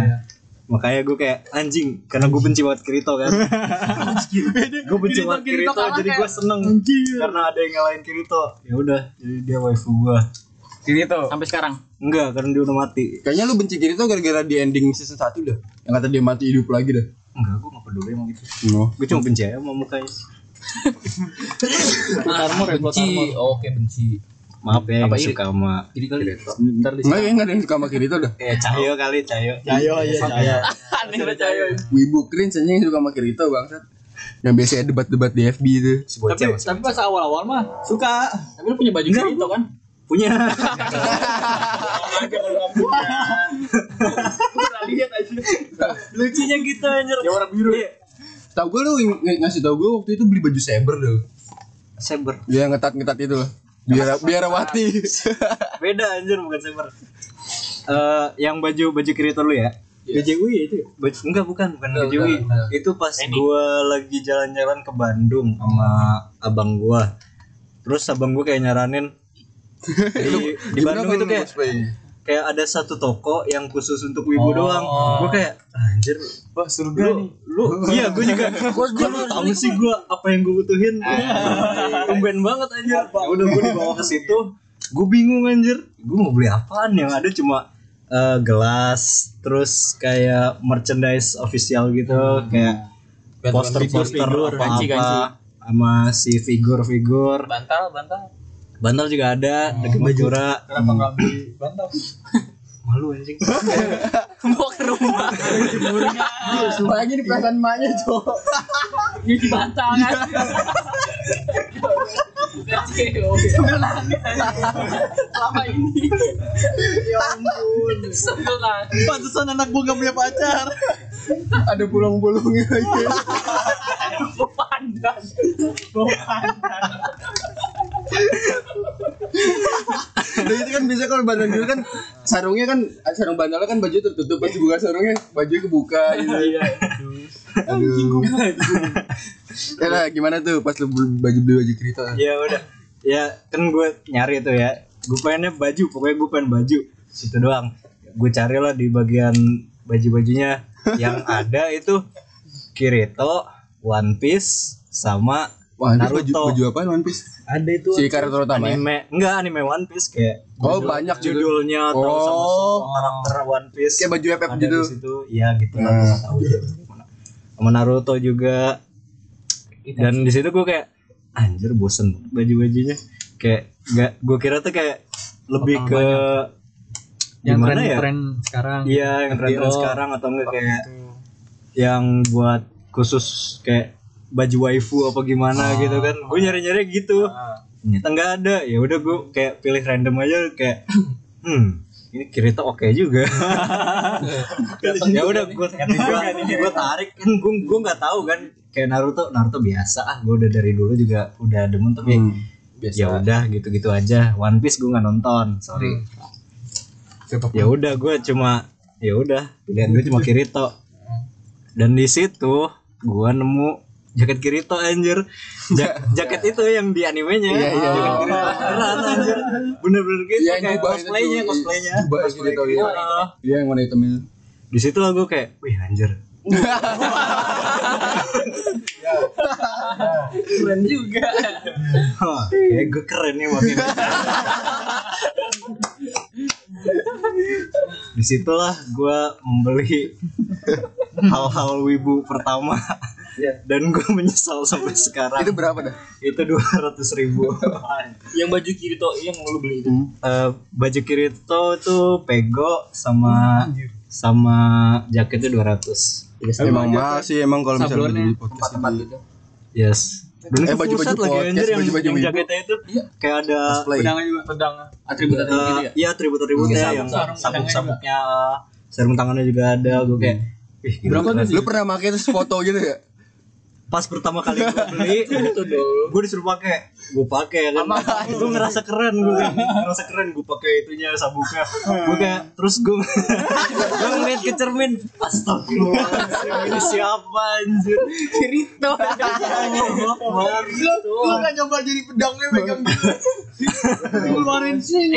Speaker 5: Makanya gue kayak anjing karena gue benci banget Kirito kan. gue benci banget Kirito, jadi gue seneng karena ada yang ngalahin Kirito. Ya udah, jadi dia waifu gue.
Speaker 3: Sampai sekarang.
Speaker 5: Enggak, karena dia udah mati.
Speaker 2: Kayaknya lu benci Kirito gara-gara di ending season 1 dah. Yang kata dia mati hidup lagi dah.
Speaker 5: Enggak, gue gak peduli emang gitu.
Speaker 2: No.
Speaker 5: Gue cuma benci aja sama mukanya.
Speaker 1: Oh,
Speaker 3: Benci. Oke benci.
Speaker 5: Maaf ya yang
Speaker 3: Apa,
Speaker 5: suka sama
Speaker 3: Jadi kali ntar di
Speaker 2: Enggak ya enggak ada yang suka sama Kirito dah.
Speaker 5: Ya Cahyo kali Cahyo
Speaker 8: Cayo
Speaker 1: Oh, iya,
Speaker 8: ya cayo.
Speaker 3: aneh lah cayo.
Speaker 2: Wibu cringe aja yang suka sama Kirito bangsat. Yang biasanya debat-debat di FB itu.
Speaker 5: Si
Speaker 1: Tapi,
Speaker 5: bocah
Speaker 1: tapi pas awal-awal mah suka.
Speaker 3: Tapi lu punya baju
Speaker 1: gitu
Speaker 3: Kirito kan?
Speaker 5: Punya Lucunya gitu anjir Ya warna biru
Speaker 2: Tahu gue lu ng- ng- ngasih tahu gue waktu itu beli baju saber dulu.
Speaker 5: Saber
Speaker 2: Dia ngetat-ngetat itu loh. Biar biarawati.
Speaker 5: Beda anjir bukan saber Eh, yang baju baju Kirito lu ya
Speaker 1: BJW itu.
Speaker 5: Baju, enggak bukan bukan Kejewi. Itu pas gua lagi jalan-jalan ke Bandung sama abang gua. Terus abang gua kayak nyaranin di, di
Speaker 2: Gimana
Speaker 5: Bandung itu
Speaker 2: kalau
Speaker 5: kayak
Speaker 2: cosplaynya?
Speaker 5: kayak ada satu toko yang khusus untuk wibu doang. Gua kayak anjir
Speaker 8: Wah surga
Speaker 5: lu lu iya gua juga gua gua lu tahu sih gua apa yang gua butuhin. Tumben banget anjir. Ya udah gua dibawa ke situ. Gua bingung anjir. Gua mau beli apaan yang ada cuma eh, gelas terus kayak merchandise official gitu kayak poster-poster apa-apa sama si figur-figur
Speaker 1: Bantal, bantal.
Speaker 5: bantal juga ada deket Majura
Speaker 8: Kenapa nggak beli bantal?
Speaker 5: malu anjing
Speaker 3: Bawa ke rumah.
Speaker 2: Apalagi di perasaan emaknya, Cok.
Speaker 3: Nyuci bantal kan. Bukan CEO. Selama ini. Ya ampun. Sebel kan.
Speaker 8: Pantesan anak gua nggak punya pacar.
Speaker 2: Ada bolong-bolongnya aja.
Speaker 3: Bawa pandan.
Speaker 2: Dan itu kan biasanya kalau bandel dulu kan sarungnya kan sarung bandelnya kan baju tertutup pas dibuka sarungnya baju kebuka gitu.
Speaker 5: Iya,
Speaker 2: Aduh. Ya lah gimana tuh pas lu beli- baju beli baju kereta?
Speaker 5: ya udah ya kan gue nyari tuh ya gue pengennya baju pokoknya gue pengen baju situ doang gue carilah di bagian baju bajunya yang ada itu Kirito One Piece sama
Speaker 2: Wah, ini baju
Speaker 5: Naruto
Speaker 2: baju apa One Piece?
Speaker 5: ada itu
Speaker 2: Si karakter utama ya?
Speaker 5: anime enggak anime One Piece kayak
Speaker 2: Oh, banyak juga.
Speaker 5: judulnya atau sama
Speaker 2: Oh.
Speaker 5: semua karakter One Piece
Speaker 2: Kayak baju FF
Speaker 5: ada
Speaker 2: gitu.
Speaker 5: di situ ya gitu lah gue nggak tahu deh. sama Naruto juga dan di situ gue kayak anjir bosen banget baju-bajunya kayak nggak gue kira tuh kayak lebih ke
Speaker 1: Yang
Speaker 5: gimana
Speaker 1: tren
Speaker 5: ya
Speaker 1: tren sekarang.
Speaker 5: iya yang tren
Speaker 1: FBO.
Speaker 5: sekarang atau enggak kayak yang buat khusus kayak baju waifu apa gimana gitu kan gue nyari-nyari gitu ternyata nggak ada ya udah gue kayak pilih random aja kayak hmm ini Kirito oke juga ya udah gue gue tarik kan gue gue nggak tahu kan kayak Naruto Naruto biasa ah gue udah dari dulu juga udah demen tapi ya udah gitu-gitu aja One Piece gue nggak nonton sorry ya udah gue cuma ya udah pilihan gue cuma Kirito dan di situ gue nemu jaket Kirito anjir Ja- jaket itu yang di animenya jaket Kirito beneran anjir bener-bener gitu
Speaker 2: Iya, yang
Speaker 5: kayak
Speaker 2: jubah itu,
Speaker 5: cosplaynya
Speaker 2: cuy.
Speaker 5: cosplaynya
Speaker 2: Jubah Kirito, iya.
Speaker 5: Heeh.
Speaker 2: Iya yang warna hitam itu.
Speaker 5: di situ lah gue kayak wih anjir
Speaker 3: Keren juga.
Speaker 5: Hah, kayak gue keren nih makin disitulah gue membeli hal-hal wibu pertama dan gue menyesal sampai sekarang
Speaker 2: Itu berapa dah?
Speaker 5: itu dua ratus ribu
Speaker 3: Yang baju Kirito yang lu beli itu.
Speaker 5: Eh, baju kirito tuh pego sama sama jaketnya 200
Speaker 2: Emang mahal sih emang kalau misalnya baju di podcast ini.
Speaker 3: gitu.
Speaker 5: yes dan
Speaker 2: Eh,
Speaker 5: itu
Speaker 2: baju-baju
Speaker 5: full set lagi
Speaker 2: podcast,
Speaker 5: anjir yang,
Speaker 2: baju-baju
Speaker 5: yang
Speaker 2: wibu. Iya.
Speaker 5: jaketnya itu kayak ada
Speaker 2: Play.
Speaker 5: Eh,
Speaker 2: gitu ya.
Speaker 5: Iya atribut-atributnya yang sabuk-sabuknya, sarung tangannya juga ada. Gue kayak, ih gila.
Speaker 2: Lu pernah pakai terus foto gitu ya?
Speaker 5: Pas pertama kali gue beli, itu gue disuruh pakai, gue pakai kan. Gue ngerasa keren, gue kayak, ngerasa keren gue pakai itunya sabuknya. Gue kayak, terus gue gue ngeliat ke cermin, astagfirullahaladzim ini siapa anjir?
Speaker 3: Kirito.
Speaker 8: Lu nggak coba jadi pedangnya megang gitu.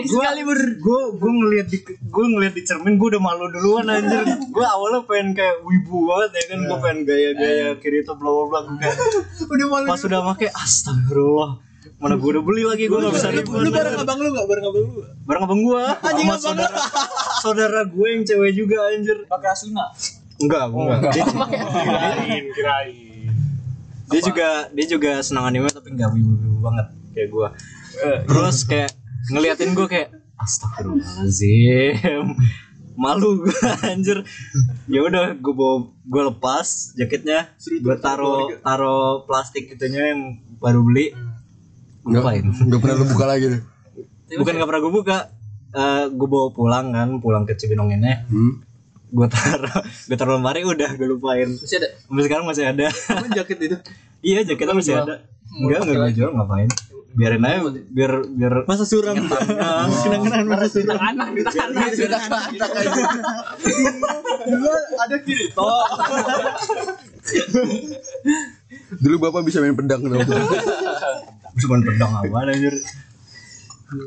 Speaker 5: Excalibur. Gue gue ngelihat di gue ngelihat di cermin gue udah malu duluan anjir. Gue awalnya pengen kayak wibu banget ya kan gue pengen gaya-gaya kiri itu bla bla bla gue kayak
Speaker 8: Udah malu.
Speaker 5: pas udah pakai astagfirullah. Mana gue udah beli lagi gue gak bisa ribut.
Speaker 8: Lu bareng abang lu nggak bareng abang lu?
Speaker 5: Barang abang gue. Anjing saudara. Saudara gue yang cewek juga anjir.
Speaker 1: Pakai Asuna.
Speaker 5: Enggak, gue Oh, enggak. Dia, dia juga dia juga senang anime tapi enggak wibu-wibu banget kayak gue. Eh, Terus kayak ngeliatin gue kayak astagfirullahaladzim malu gue anjir ya udah gue bawa gue lepas jaketnya gue taro
Speaker 3: ya?
Speaker 5: taro plastik itunya yang baru beli
Speaker 2: Nggak-
Speaker 5: ngapain
Speaker 2: nggak pernah lu buka lagi tuh.
Speaker 5: bukan nggak pernah gue buka Eh gue bawa pulang kan pulang ke Cibinonginnya
Speaker 2: Hmm.
Speaker 5: gue taruh gue taruh lemari udah gue lupain
Speaker 3: Masih ada
Speaker 5: sampai sekarang masih ada
Speaker 3: apa jaket itu?
Speaker 5: iya jaketnya masih
Speaker 3: jual.
Speaker 5: ada enggak enggak gue jual ngapain biarin aja biar biar
Speaker 1: Masa suram Kenang-kenangan masa suram
Speaker 3: Anak di tangan.
Speaker 1: Dulu ada kiri
Speaker 2: Dulu bapak bisa main pedang dong.
Speaker 5: cuma pedang apa anjir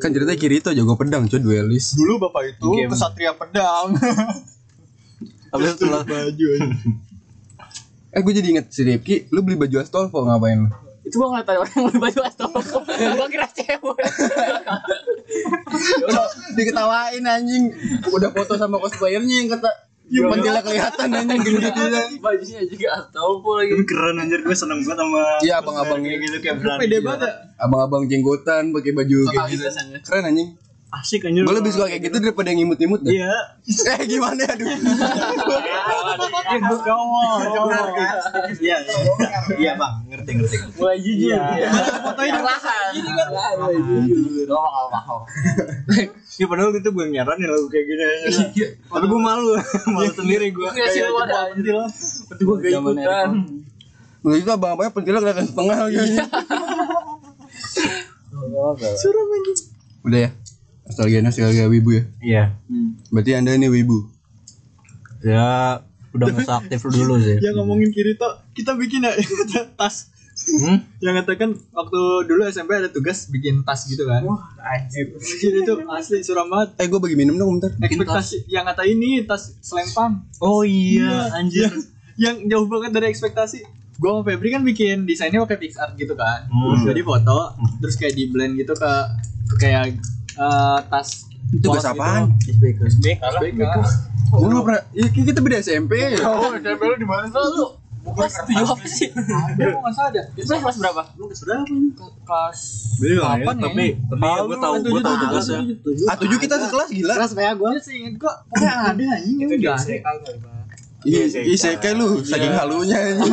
Speaker 2: kan ceritanya Kirito jago pedang cuy duelis.
Speaker 1: Dulu bapak itu
Speaker 5: Game.
Speaker 1: kesatria pedang
Speaker 5: habis itu lah
Speaker 2: Eh gue jadi inget si Ripki, lu beli baju Astolfo ngapain?
Speaker 3: Itu gua ngeliat ada orang beli baju astolfo. Gua kira cewek.
Speaker 2: Diketawain anjing. Udah foto sama cosplayernya yang kata
Speaker 1: Iya,
Speaker 2: yang pentilnya kelihatan anjing gitu.
Speaker 3: Bajunya juga astolfo lagi.
Speaker 5: tapi keren anjir gue seneng banget sama
Speaker 2: Iya, abang-abang
Speaker 5: kayak
Speaker 2: ini.
Speaker 5: gitu kayak berani
Speaker 1: Pede
Speaker 5: gitu.
Speaker 1: banget ya?
Speaker 2: Abang-abang jenggotan pakai baju kayak gitu. Keren anjing.
Speaker 5: asik anjir
Speaker 2: Gue lebih suka kayak gitu daripada yang imut-imut dah.
Speaker 5: iya
Speaker 2: Eh gimana aduh.
Speaker 1: Cowok Cowok
Speaker 5: iya iya bang ngerti ngerti
Speaker 3: Gua jujur.
Speaker 1: Fotoin
Speaker 3: Yang lahan. Jujur. Oh, apa
Speaker 5: ya padahal itu gue yang nyaranin lagu kayak gini tapi gue malu malu sendiri gue
Speaker 3: Iya sih gua ada. Itu gua gak ikutan.
Speaker 2: Lu itu abang-abangnya pentilnya kelihatan setengah gitu. lagi
Speaker 1: Iya.
Speaker 2: anjing.
Speaker 1: Suram anjing
Speaker 2: Udah ya. Nostalgia nostalgia wibu ya.
Speaker 5: iya
Speaker 2: Berarti Anda ini wibu.
Speaker 5: ya udah nggak usah aktif dulu sih
Speaker 1: yang ngomongin Kirito kita bikin ya tas
Speaker 5: Hmm?
Speaker 1: yang katakan waktu dulu SMP ada tugas bikin tas gitu kan wah anjir itu asli suram banget
Speaker 2: Eh gue bagi minum dong bentar.
Speaker 1: ekspektasi yang kata ini tas selempang
Speaker 5: oh iya anjir
Speaker 1: yang jauh banget dari ekspektasi gue sama Febri kan bikin desainnya pakai PixArt gitu kan
Speaker 5: Hmm.
Speaker 1: jadi foto terus kayak di blend gitu ke ke kayak eh, tas
Speaker 2: Tugas
Speaker 1: polos
Speaker 2: apaan?
Speaker 1: gitu. SBK SBK Oh.
Speaker 2: Gue nggak pernah. Iya kita beda SMP. ya.
Speaker 3: Oh, SMP lu di mana sih lu? Kelas tiga apa sih?
Speaker 1: ada kok nggak salah ada
Speaker 3: Itu kelas berapa?
Speaker 1: Lu sudah
Speaker 3: Kelas
Speaker 5: Kapan ya? Tapi tapi ya gue tahu ya. gue tahu tugasnya.
Speaker 2: A Ah, tujuh kita sekelas gila.
Speaker 1: kelas ya, kayak gue sih inget kok pokoknya ada anjing yang udah
Speaker 2: Ih, Isekai lu saking halunya anjing.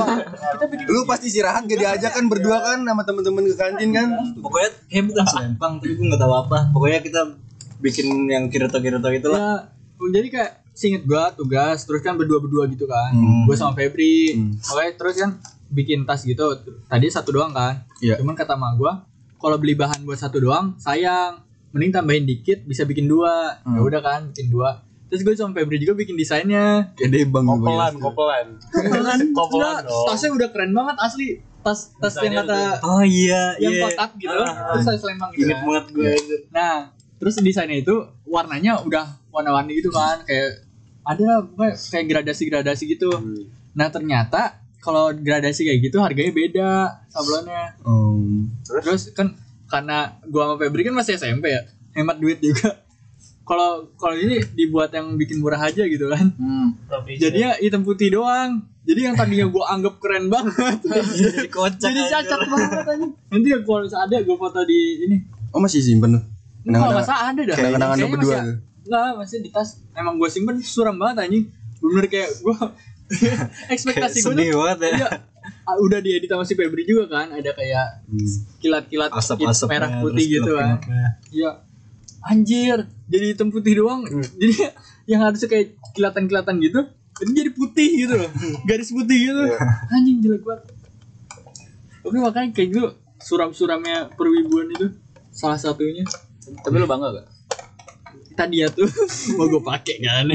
Speaker 2: Lu pasti istirahat gak diajak kan berdua kan sama temen-temen ke kantin kan.
Speaker 5: Pokoknya kayak bukan selempang tapi gue nggak tahu apa. Pokoknya kita bikin yang kirito kirito itulah.
Speaker 1: ya jadi kayak singet gua tugas terus kan berdua berdua gitu kan gue sama Febri oke terus kan bikin tas gitu tadi satu doang kan
Speaker 2: Iya.
Speaker 1: cuman kata mak gue kalau beli bahan buat satu doang sayang mending tambahin dikit bisa bikin dua ya udah kan bikin dua terus gue sama Febri juga bikin desainnya
Speaker 2: Gede bang lu
Speaker 9: Kopelan,
Speaker 2: bang.
Speaker 9: kopelan. Kopelan
Speaker 1: Udah,
Speaker 9: dong.
Speaker 1: tasnya udah keren banget asli tas tas yang kata
Speaker 5: Oh iya,
Speaker 1: yang
Speaker 5: iya.
Speaker 1: kotak gitu
Speaker 5: Ah.
Speaker 1: terus saya selempang gitu
Speaker 5: Ingat
Speaker 1: kan.
Speaker 5: banget gue.
Speaker 1: Nah, terus desainnya itu warnanya udah warna-warni gitu kan, kayak ada apa ya, kayak gradasi-gradasi gitu. Nah, ternyata kalau gradasi kayak gitu harganya beda sablonnya.
Speaker 2: Hmm.
Speaker 1: Terus kan karena gua sama Febri kan masih SMP ya, hemat duit juga. Kalau kalau ini dibuat yang bikin murah aja gitu kan. Jadinya hitam putih doang. Jadi yang tadinya gua anggap keren banget.
Speaker 5: Iya, Jadi kocak.
Speaker 1: jadi cacat banget aja. Nanti kalau ada gua foto di ini.
Speaker 2: Oh masih simpen lu.
Speaker 1: Kalau
Speaker 2: Kenang-kenangan-
Speaker 1: nggak salah ada dah.
Speaker 2: Kenang-kenangan lu
Speaker 1: Kayaknya
Speaker 2: berdua
Speaker 1: masih-
Speaker 2: tuh.
Speaker 1: Enggak, masih di tas. Emang gue simpen suram banget anjing. Bener kayak gue
Speaker 5: Kayak
Speaker 1: ekspektasi gue tuh
Speaker 5: sedih banget ya.
Speaker 1: iya, ah, udah diedit sama si Febri juga kan, ada kayak kilat-kilat
Speaker 5: Asap-asap
Speaker 1: merah putih gitu kan. Iya. Anjir, jadi hitam putih doang. Jadi yang harusnya kayak kilatan-kilatan gitu, ini jadi putih gitu loh. Garis putih gitu. Anjing jelek banget. Oke, makanya kayak gitu suram-suramnya perwibuan itu salah satunya
Speaker 3: Tapi lu bangga gak?
Speaker 1: tadi ya tuh mau gue pakai kan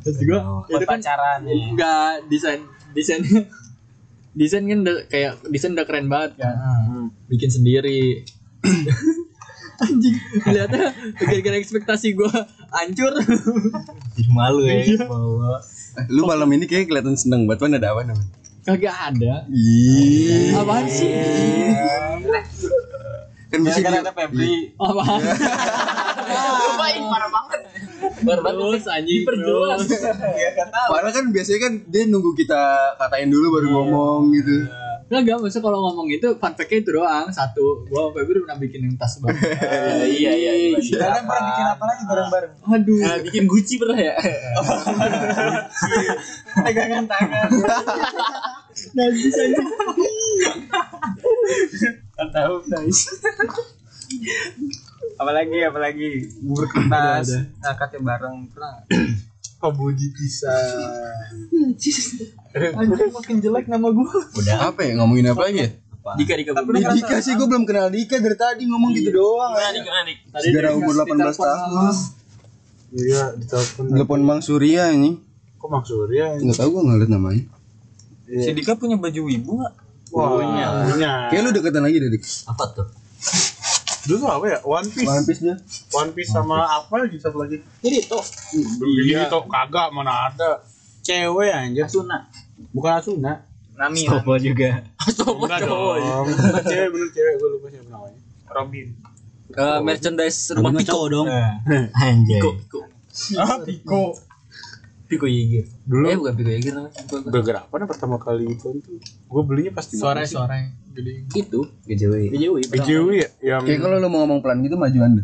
Speaker 1: terus gue ya udah kan
Speaker 10: pacaran
Speaker 1: enggak desain desainnya desain kan udah, kayak desain udah keren banget kan bikin sendiri anjing kelihatannya gara-gara ekspektasi gue hancur
Speaker 5: Jadi malu ya. Bawa.
Speaker 2: Eh, Lu malam ini kayak kelihatan seneng banget mana ada apa namanya?
Speaker 1: kagak ada
Speaker 2: Ih.
Speaker 1: apaan sih
Speaker 2: Kan bisa di
Speaker 1: Oh, apaan
Speaker 3: Cobain parah banget. Parah banget.
Speaker 1: terus anjing
Speaker 3: Perjelas.
Speaker 2: Padahal kan biasanya kan dia nunggu kita katain dulu baru ngomong gitu.
Speaker 1: Enggak, maksudnya kalau ngomong itu fun fact-nya itu doang. Satu, gua waktu itu pernah bikin yang tas banget.
Speaker 3: iya iya. iya.
Speaker 11: Kalian pernah bikin apa lagi bareng-bareng?
Speaker 1: Aduh.
Speaker 3: Eh, bikin Gucci pernah ya?
Speaker 11: Pegangan tangan.
Speaker 6: apalagi apalagi bubur
Speaker 11: Pas
Speaker 6: kertas
Speaker 11: ngangkatnya bareng pernah. nggak?
Speaker 1: Oh,
Speaker 7: Pabuji pisah.
Speaker 11: Anjir makin jelek nama gua.
Speaker 2: Apa ya ngomongin apa lagi ya?
Speaker 3: Dika Dika.
Speaker 11: Tapi lu
Speaker 2: Ih,
Speaker 11: ngerasa-
Speaker 2: Dika sih gue belum kenal Dika dari tadi ngomong gitu doang.
Speaker 3: Nah, Dika Anik.
Speaker 2: Segera umur 18 tahun.
Speaker 7: Iya, ditelepon.
Speaker 2: Telepon Mang Surya ini.
Speaker 7: Kok maksudnya?
Speaker 2: Enggak tahu gue ngeliat namanya.
Speaker 11: Si Dika punya baju wibu nggak?
Speaker 7: Punya. Punya.
Speaker 2: Kayak lu deketan lagi dari
Speaker 3: Apa tuh?
Speaker 7: Dulu tuh apa ya? One Piece.
Speaker 2: One Piece dia.
Speaker 7: One Piece sama apa lagi satu lagi? Ini Iya. Itu kagak mana ada. Cewek anjir.
Speaker 6: Asuna
Speaker 7: Bukan Asuna. iya.
Speaker 11: Nami.
Speaker 5: Topo juga.
Speaker 7: Enggak dong. cewek bener cewek gue lupa siapa namanya.
Speaker 11: Robin.
Speaker 3: Eh, merchandise rumah Eh, Piko dong.
Speaker 5: Anjay.
Speaker 3: Piko Piko.
Speaker 11: Ah, Piko.
Speaker 3: Piko Yeager.
Speaker 7: Dulu
Speaker 3: Eh bukan Piko Yeager namanya. Lupa gua.
Speaker 7: gara-gara apa nah, pertama kali itu tuh gue belinya pasti
Speaker 1: Suaranya suaranya gede.
Speaker 3: Itu GJW. GJW.
Speaker 7: BJW ya yang
Speaker 2: Kayak kalau lu mau ngomong pelan gitu maju anda.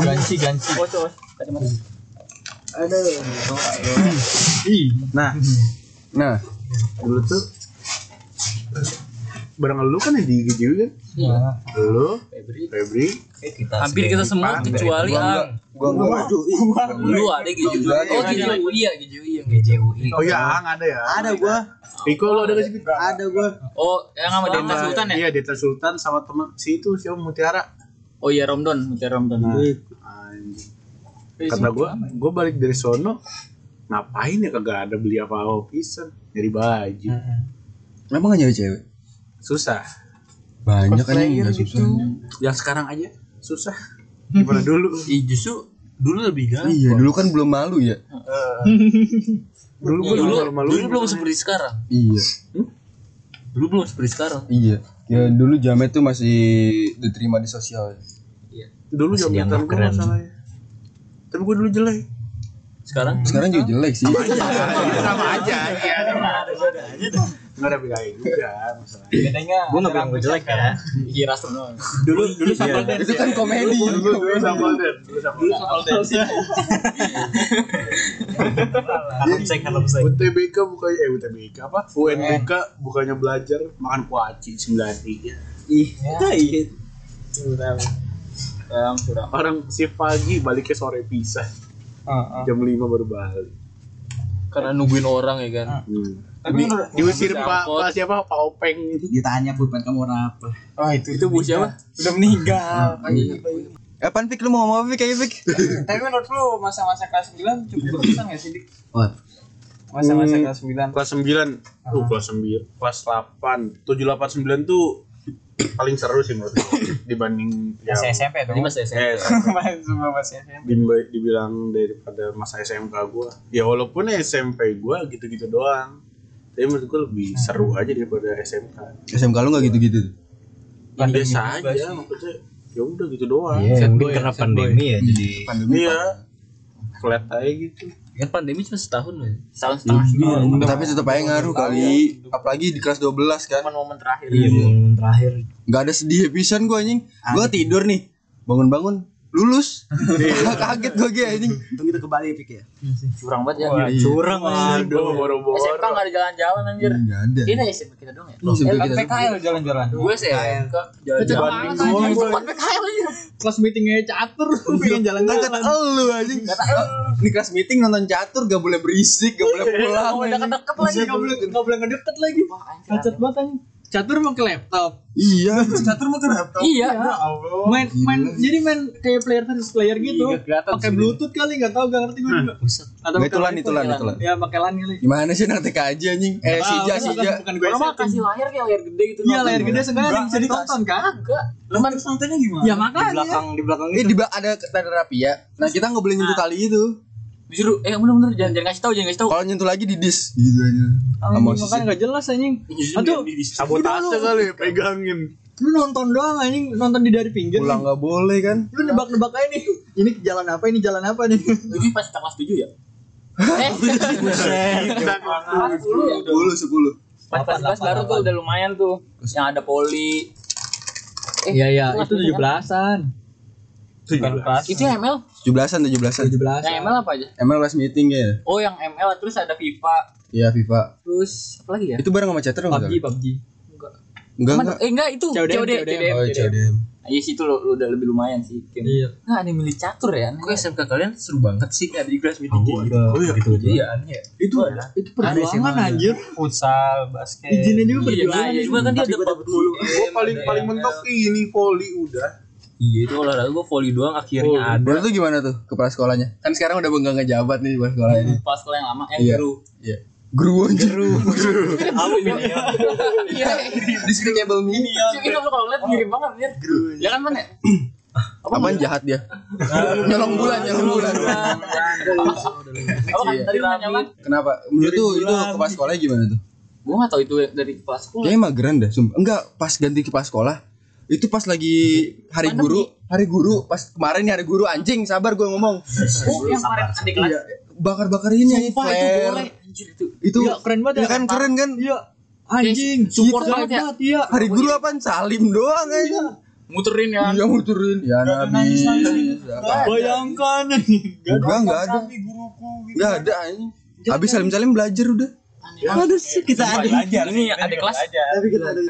Speaker 1: Ganci ganci.
Speaker 2: Nah,
Speaker 7: dulu tuh bareng lu kan yang di BJW kan iya lu Febri
Speaker 3: Hampir kita semua kecuali Ang.
Speaker 2: gua enggak maju.
Speaker 3: Lu ada GJW. Oh GJW iya GJW yang GJW.
Speaker 7: oh iya Ang ada ya
Speaker 11: Ada gua.
Speaker 7: Piko lu ada gak sih Piko?
Speaker 11: Ada gua.
Speaker 3: Oh yang sama Denta Sultan ya?
Speaker 7: iya Deta Sultan sama teman si itu siapa Mutiara
Speaker 3: Oh iya Romdon. Bicara Romdon.
Speaker 7: nah, anjing kata gue gue balik dari sono ngapain ya kagak ada beli apa-apa pisan dari baju
Speaker 2: Emang gak nyari cewek?
Speaker 7: susah
Speaker 2: Banyak kan yang nggak susah.
Speaker 7: yang sekarang aja susah gimana dulu
Speaker 3: Ih justru dulu lebih gampang.
Speaker 2: Iya, dulu kan belum malu ya.
Speaker 7: Iya, dulu gitu. gue
Speaker 3: Iya, Dulu,
Speaker 7: malu
Speaker 3: dulu belum seperti sekarang.
Speaker 2: Iya,
Speaker 3: Dulu belum seperti sekarang.
Speaker 2: iya. Ya dulu jamet tuh masih diterima di sosial.
Speaker 7: dulu
Speaker 3: Masih
Speaker 7: jabatan
Speaker 3: dianggap
Speaker 7: gue
Speaker 3: keren.
Speaker 7: masalahnya tapi gue dulu jelek
Speaker 3: Sekarang
Speaker 2: Sekarang juga jelek sih.
Speaker 7: sama aja iya nggak ada bedanya juga masalahnya
Speaker 11: Bedanya.
Speaker 5: Gue gak bilang gue jelek ya.
Speaker 3: Iya Rastro doang.
Speaker 5: Dulu
Speaker 7: Iya,
Speaker 5: dulu sama
Speaker 2: Itu kan komedi.
Speaker 7: dulu sama Den dulu sama Iya.
Speaker 5: Harum sek, harum sek.
Speaker 7: UTBK bukannya eh UTBK apa UNBK bukannya belajar makan kuaci sembilan tiga
Speaker 11: Ya. Kurang kurang.
Speaker 7: orang si pagi baliknya sore pisah jam lima baru balik
Speaker 3: Karena nungguin orang ya kan.
Speaker 11: Tapi
Speaker 7: Hmm. Di-
Speaker 11: menurut-
Speaker 7: diusir
Speaker 3: Bisa
Speaker 7: pak
Speaker 3: angkot.
Speaker 7: pak siapa pak openg
Speaker 6: ditanya pulpen kamu orang apa
Speaker 11: Oh itu.
Speaker 3: Itu bu siapa?
Speaker 11: Udah meninggal.
Speaker 2: Ah,
Speaker 11: gitu,
Speaker 2: Eh, Panfik lu mau ngomong apa Fik? Ayo Fik.
Speaker 11: Tapi menurut lu masa-masa kelas 9 cukup berkesan gak sih, Dik?
Speaker 2: Wah.
Speaker 11: Masa-masa
Speaker 7: Hmm.
Speaker 11: kelas 9.
Speaker 7: kelas sembilan uh kelas sembilan kelas delapan tujuh delapan sembilan tuh paling seru sih menurut Ya, gue dibanding yang
Speaker 11: Masa SMP
Speaker 3: Iya. Ini
Speaker 11: dong.
Speaker 3: masih SMP.
Speaker 7: Eh,
Speaker 11: Main semua masa SMP.
Speaker 7: dimba- dibilang daripada masa SMK gua ya walaupun SMP gua gitu-gitu doang tapi menurut gua lebih seru aja daripada SMK
Speaker 2: SMK lu gak gitu-gitu tuh?
Speaker 7: ya, biasa aja maksudnya ya udah gitu doang
Speaker 5: Mungkin karena pandemi ya jadi.
Speaker 7: iya flat aja gitu
Speaker 3: Kan pandemi cuma setahun ya. Setahun setengah.
Speaker 2: Tapi tetap aja ngaruh kali. ya. Apalagi di kelas 12 kan.
Speaker 3: Momen-momen terakhir.
Speaker 5: Iya, momen terakhir.
Speaker 2: Gak ada sedih pisan gua anjing. Gua tidur nih. Bangun-bangun lulus. Kaget gua gue anjing.
Speaker 6: untung kita ke Bali Pik ya
Speaker 3: Curang banget ya. Eh,
Speaker 5: Curang lah.
Speaker 7: aduh boro-boro
Speaker 3: SMK nggak ada jalan-jalan anjir.
Speaker 2: Enggak Iya, ada.
Speaker 3: Ini SMP kita doang ya.
Speaker 2: Ini
Speaker 11: Eh,
Speaker 2: sampai
Speaker 11: kan
Speaker 2: kita
Speaker 11: PKL jalan-jalan.
Speaker 3: Gue sih SMK jalan-jalan.
Speaker 7: Dibanding
Speaker 3: Anjing,
Speaker 7: gua.
Speaker 3: bukan PKL aja.
Speaker 1: Kelas meetingnya catur. Pengen jalan
Speaker 2: kan kata elu anjing. Ah, Ini kelas meeting nonton catur gak boleh berisik, gak boleh pulang.
Speaker 3: Udah
Speaker 2: anjing.
Speaker 3: kedeket lagi.
Speaker 1: Gak boleh nggak boleh ngedeket lagi. Kacet banget anjing. Catur mau ke laptop.
Speaker 2: Iya.
Speaker 3: Iya.
Speaker 5: Oh,
Speaker 1: main main jadi main kayak player versus player gitu pakai bluetooth kali nggak tahu nggak ngerti
Speaker 5: Hmm.
Speaker 1: gue juga atau
Speaker 2: Nggak,
Speaker 1: pakai
Speaker 2: itulan,
Speaker 1: wifi.
Speaker 2: itulan, itulan. Eh,
Speaker 1: ya pakai lan kali
Speaker 2: Gimana sih anak TK aja anjing? Eh,
Speaker 1: Ah,
Speaker 2: sija,
Speaker 1: bukan,
Speaker 2: sija.
Speaker 1: bukan gue
Speaker 3: Orang mah kasih layar kayak layar gede gitu.
Speaker 1: iya layar gede sekarang ada yang bisa ditonton kan
Speaker 3: Enggak.
Speaker 11: Cuman santai gimana?
Speaker 1: ya
Speaker 5: Iya, Di
Speaker 1: makanya
Speaker 5: belakang di belakang
Speaker 2: Ini di ba- ada tanda rapi ya. Nah, kita nggak boleh nyentuh tali itu.
Speaker 3: Disuruh eh bener-bener jangan jangan kasih tahu, jangan kasih tahu.
Speaker 2: Kalau nyentuh lagi di dis gitu aja. Sama
Speaker 1: Anjing,
Speaker 2: sisi.
Speaker 1: makanya nggak jelas anjing
Speaker 5: Iya,
Speaker 1: aduh
Speaker 7: sabotase kali ya, pegangin
Speaker 1: lu nonton doang anjing nonton di dari pinggir
Speaker 2: Pulang nggak boleh kan?
Speaker 1: lu nebak-nebak aja nih ini jalan apa ini jalan apa nih
Speaker 3: Jadi pas kita kelas 7 ya. Eh,
Speaker 7: kita Iya. Gitu.
Speaker 3: kelas 10 ya.
Speaker 2: Sepuluh, sepuluh.
Speaker 3: Pas pas pas baru tuh udah lumayan tuh. Yang ada poli.
Speaker 2: Eh,
Speaker 3: Eh,
Speaker 1: Iya iya
Speaker 3: kelas
Speaker 1: itu
Speaker 3: tujuh kan?
Speaker 1: tujuh belasan.
Speaker 3: Itu yang ML?
Speaker 2: 17-an 17-an.
Speaker 1: Tujuh
Speaker 3: Yang
Speaker 1: belasan.
Speaker 3: ML apa aja?
Speaker 2: Emang last meeting ya?
Speaker 3: Oh, yang ML terus ada FIFA,
Speaker 2: Iya FIFA.
Speaker 3: terus apa lagi ya?
Speaker 2: Itu bareng sama Chatter enggak?
Speaker 1: PUBG PUBG.
Speaker 2: Enggak
Speaker 3: Mana?
Speaker 2: enggak.
Speaker 3: Eh enggak itu
Speaker 1: CODM,
Speaker 3: COD
Speaker 1: CODM.
Speaker 2: Oh, CDM.
Speaker 3: Iya sih itu lo, lo udah lebih lumayan sih. Kim.
Speaker 1: Iya.
Speaker 3: Nah, ada yang milih catur ya. Kok SMK kalian seru banget sih ada di kelas meeting kayak gitu.
Speaker 7: Oh iya.
Speaker 3: Gitu aja ya aneh ya. Itu ada.
Speaker 1: Itu perjuangan anjir.
Speaker 5: iya. futsal basket
Speaker 1: Izinnya juga
Speaker 3: Iya lah,
Speaker 1: perjuangan.
Speaker 3: ya juga kan dia ada bab dulu.
Speaker 7: Gue paling paling mentok ini volley udah.
Speaker 3: Iya itu olahraga gue volley doang akhirnya ada.
Speaker 2: Menurut lu gimana tuh kepala sekolahnya? Kan sekarang udah enggak ngejabat nih kepala sekolah ini.
Speaker 3: Pas sekolah yang lama eh
Speaker 2: Iya.
Speaker 3: guru.
Speaker 2: Iya. Gru anjir. Gru.
Speaker 3: Iya.
Speaker 2: Despicable me.
Speaker 3: Itu lo kalau lihat mirip banget ya. Ya kan mana?
Speaker 2: Apaan jahat dia? Nyolong bulan, nyolong bulan.
Speaker 3: Apa kan tadi nanya kan?
Speaker 2: Kenapa? Menurut tuh itu kepala sekolahnya gimana tuh?
Speaker 3: Gue nggak tahu itu dari kepala sekolah.
Speaker 2: Kayaknya mageran dah, sumpah. Enggak, pas ganti kepala sekolah itu pas lagi hari guru, hari guru, pas kemarin nih hari guru anjing, sabar gue ngomong.
Speaker 3: Oh, yang kemarin adik kelas.
Speaker 2: Bakar-bakar Iya, ini anjing,
Speaker 3: Sumpah itu
Speaker 2: flare.
Speaker 3: boleh. Anjir itu.
Speaker 2: Itu
Speaker 1: Iya, keren banget
Speaker 2: ya
Speaker 1: ya.
Speaker 2: kan keren kan? Iya.
Speaker 1: Anjing,
Speaker 3: Support banget ya.
Speaker 1: banget iya.
Speaker 2: Hari guru apaan? Salim doang aja.
Speaker 3: Muterin ya.
Speaker 2: Iya muterin. Ya Nabi.
Speaker 1: Bayangkan.
Speaker 2: Enggak, enggak ada. Enggak ada anjing. Habis salim-salim belajar udah. Ada sih kita ada.
Speaker 5: belajar
Speaker 3: Ini adik kelas.
Speaker 2: Tapi kita ada.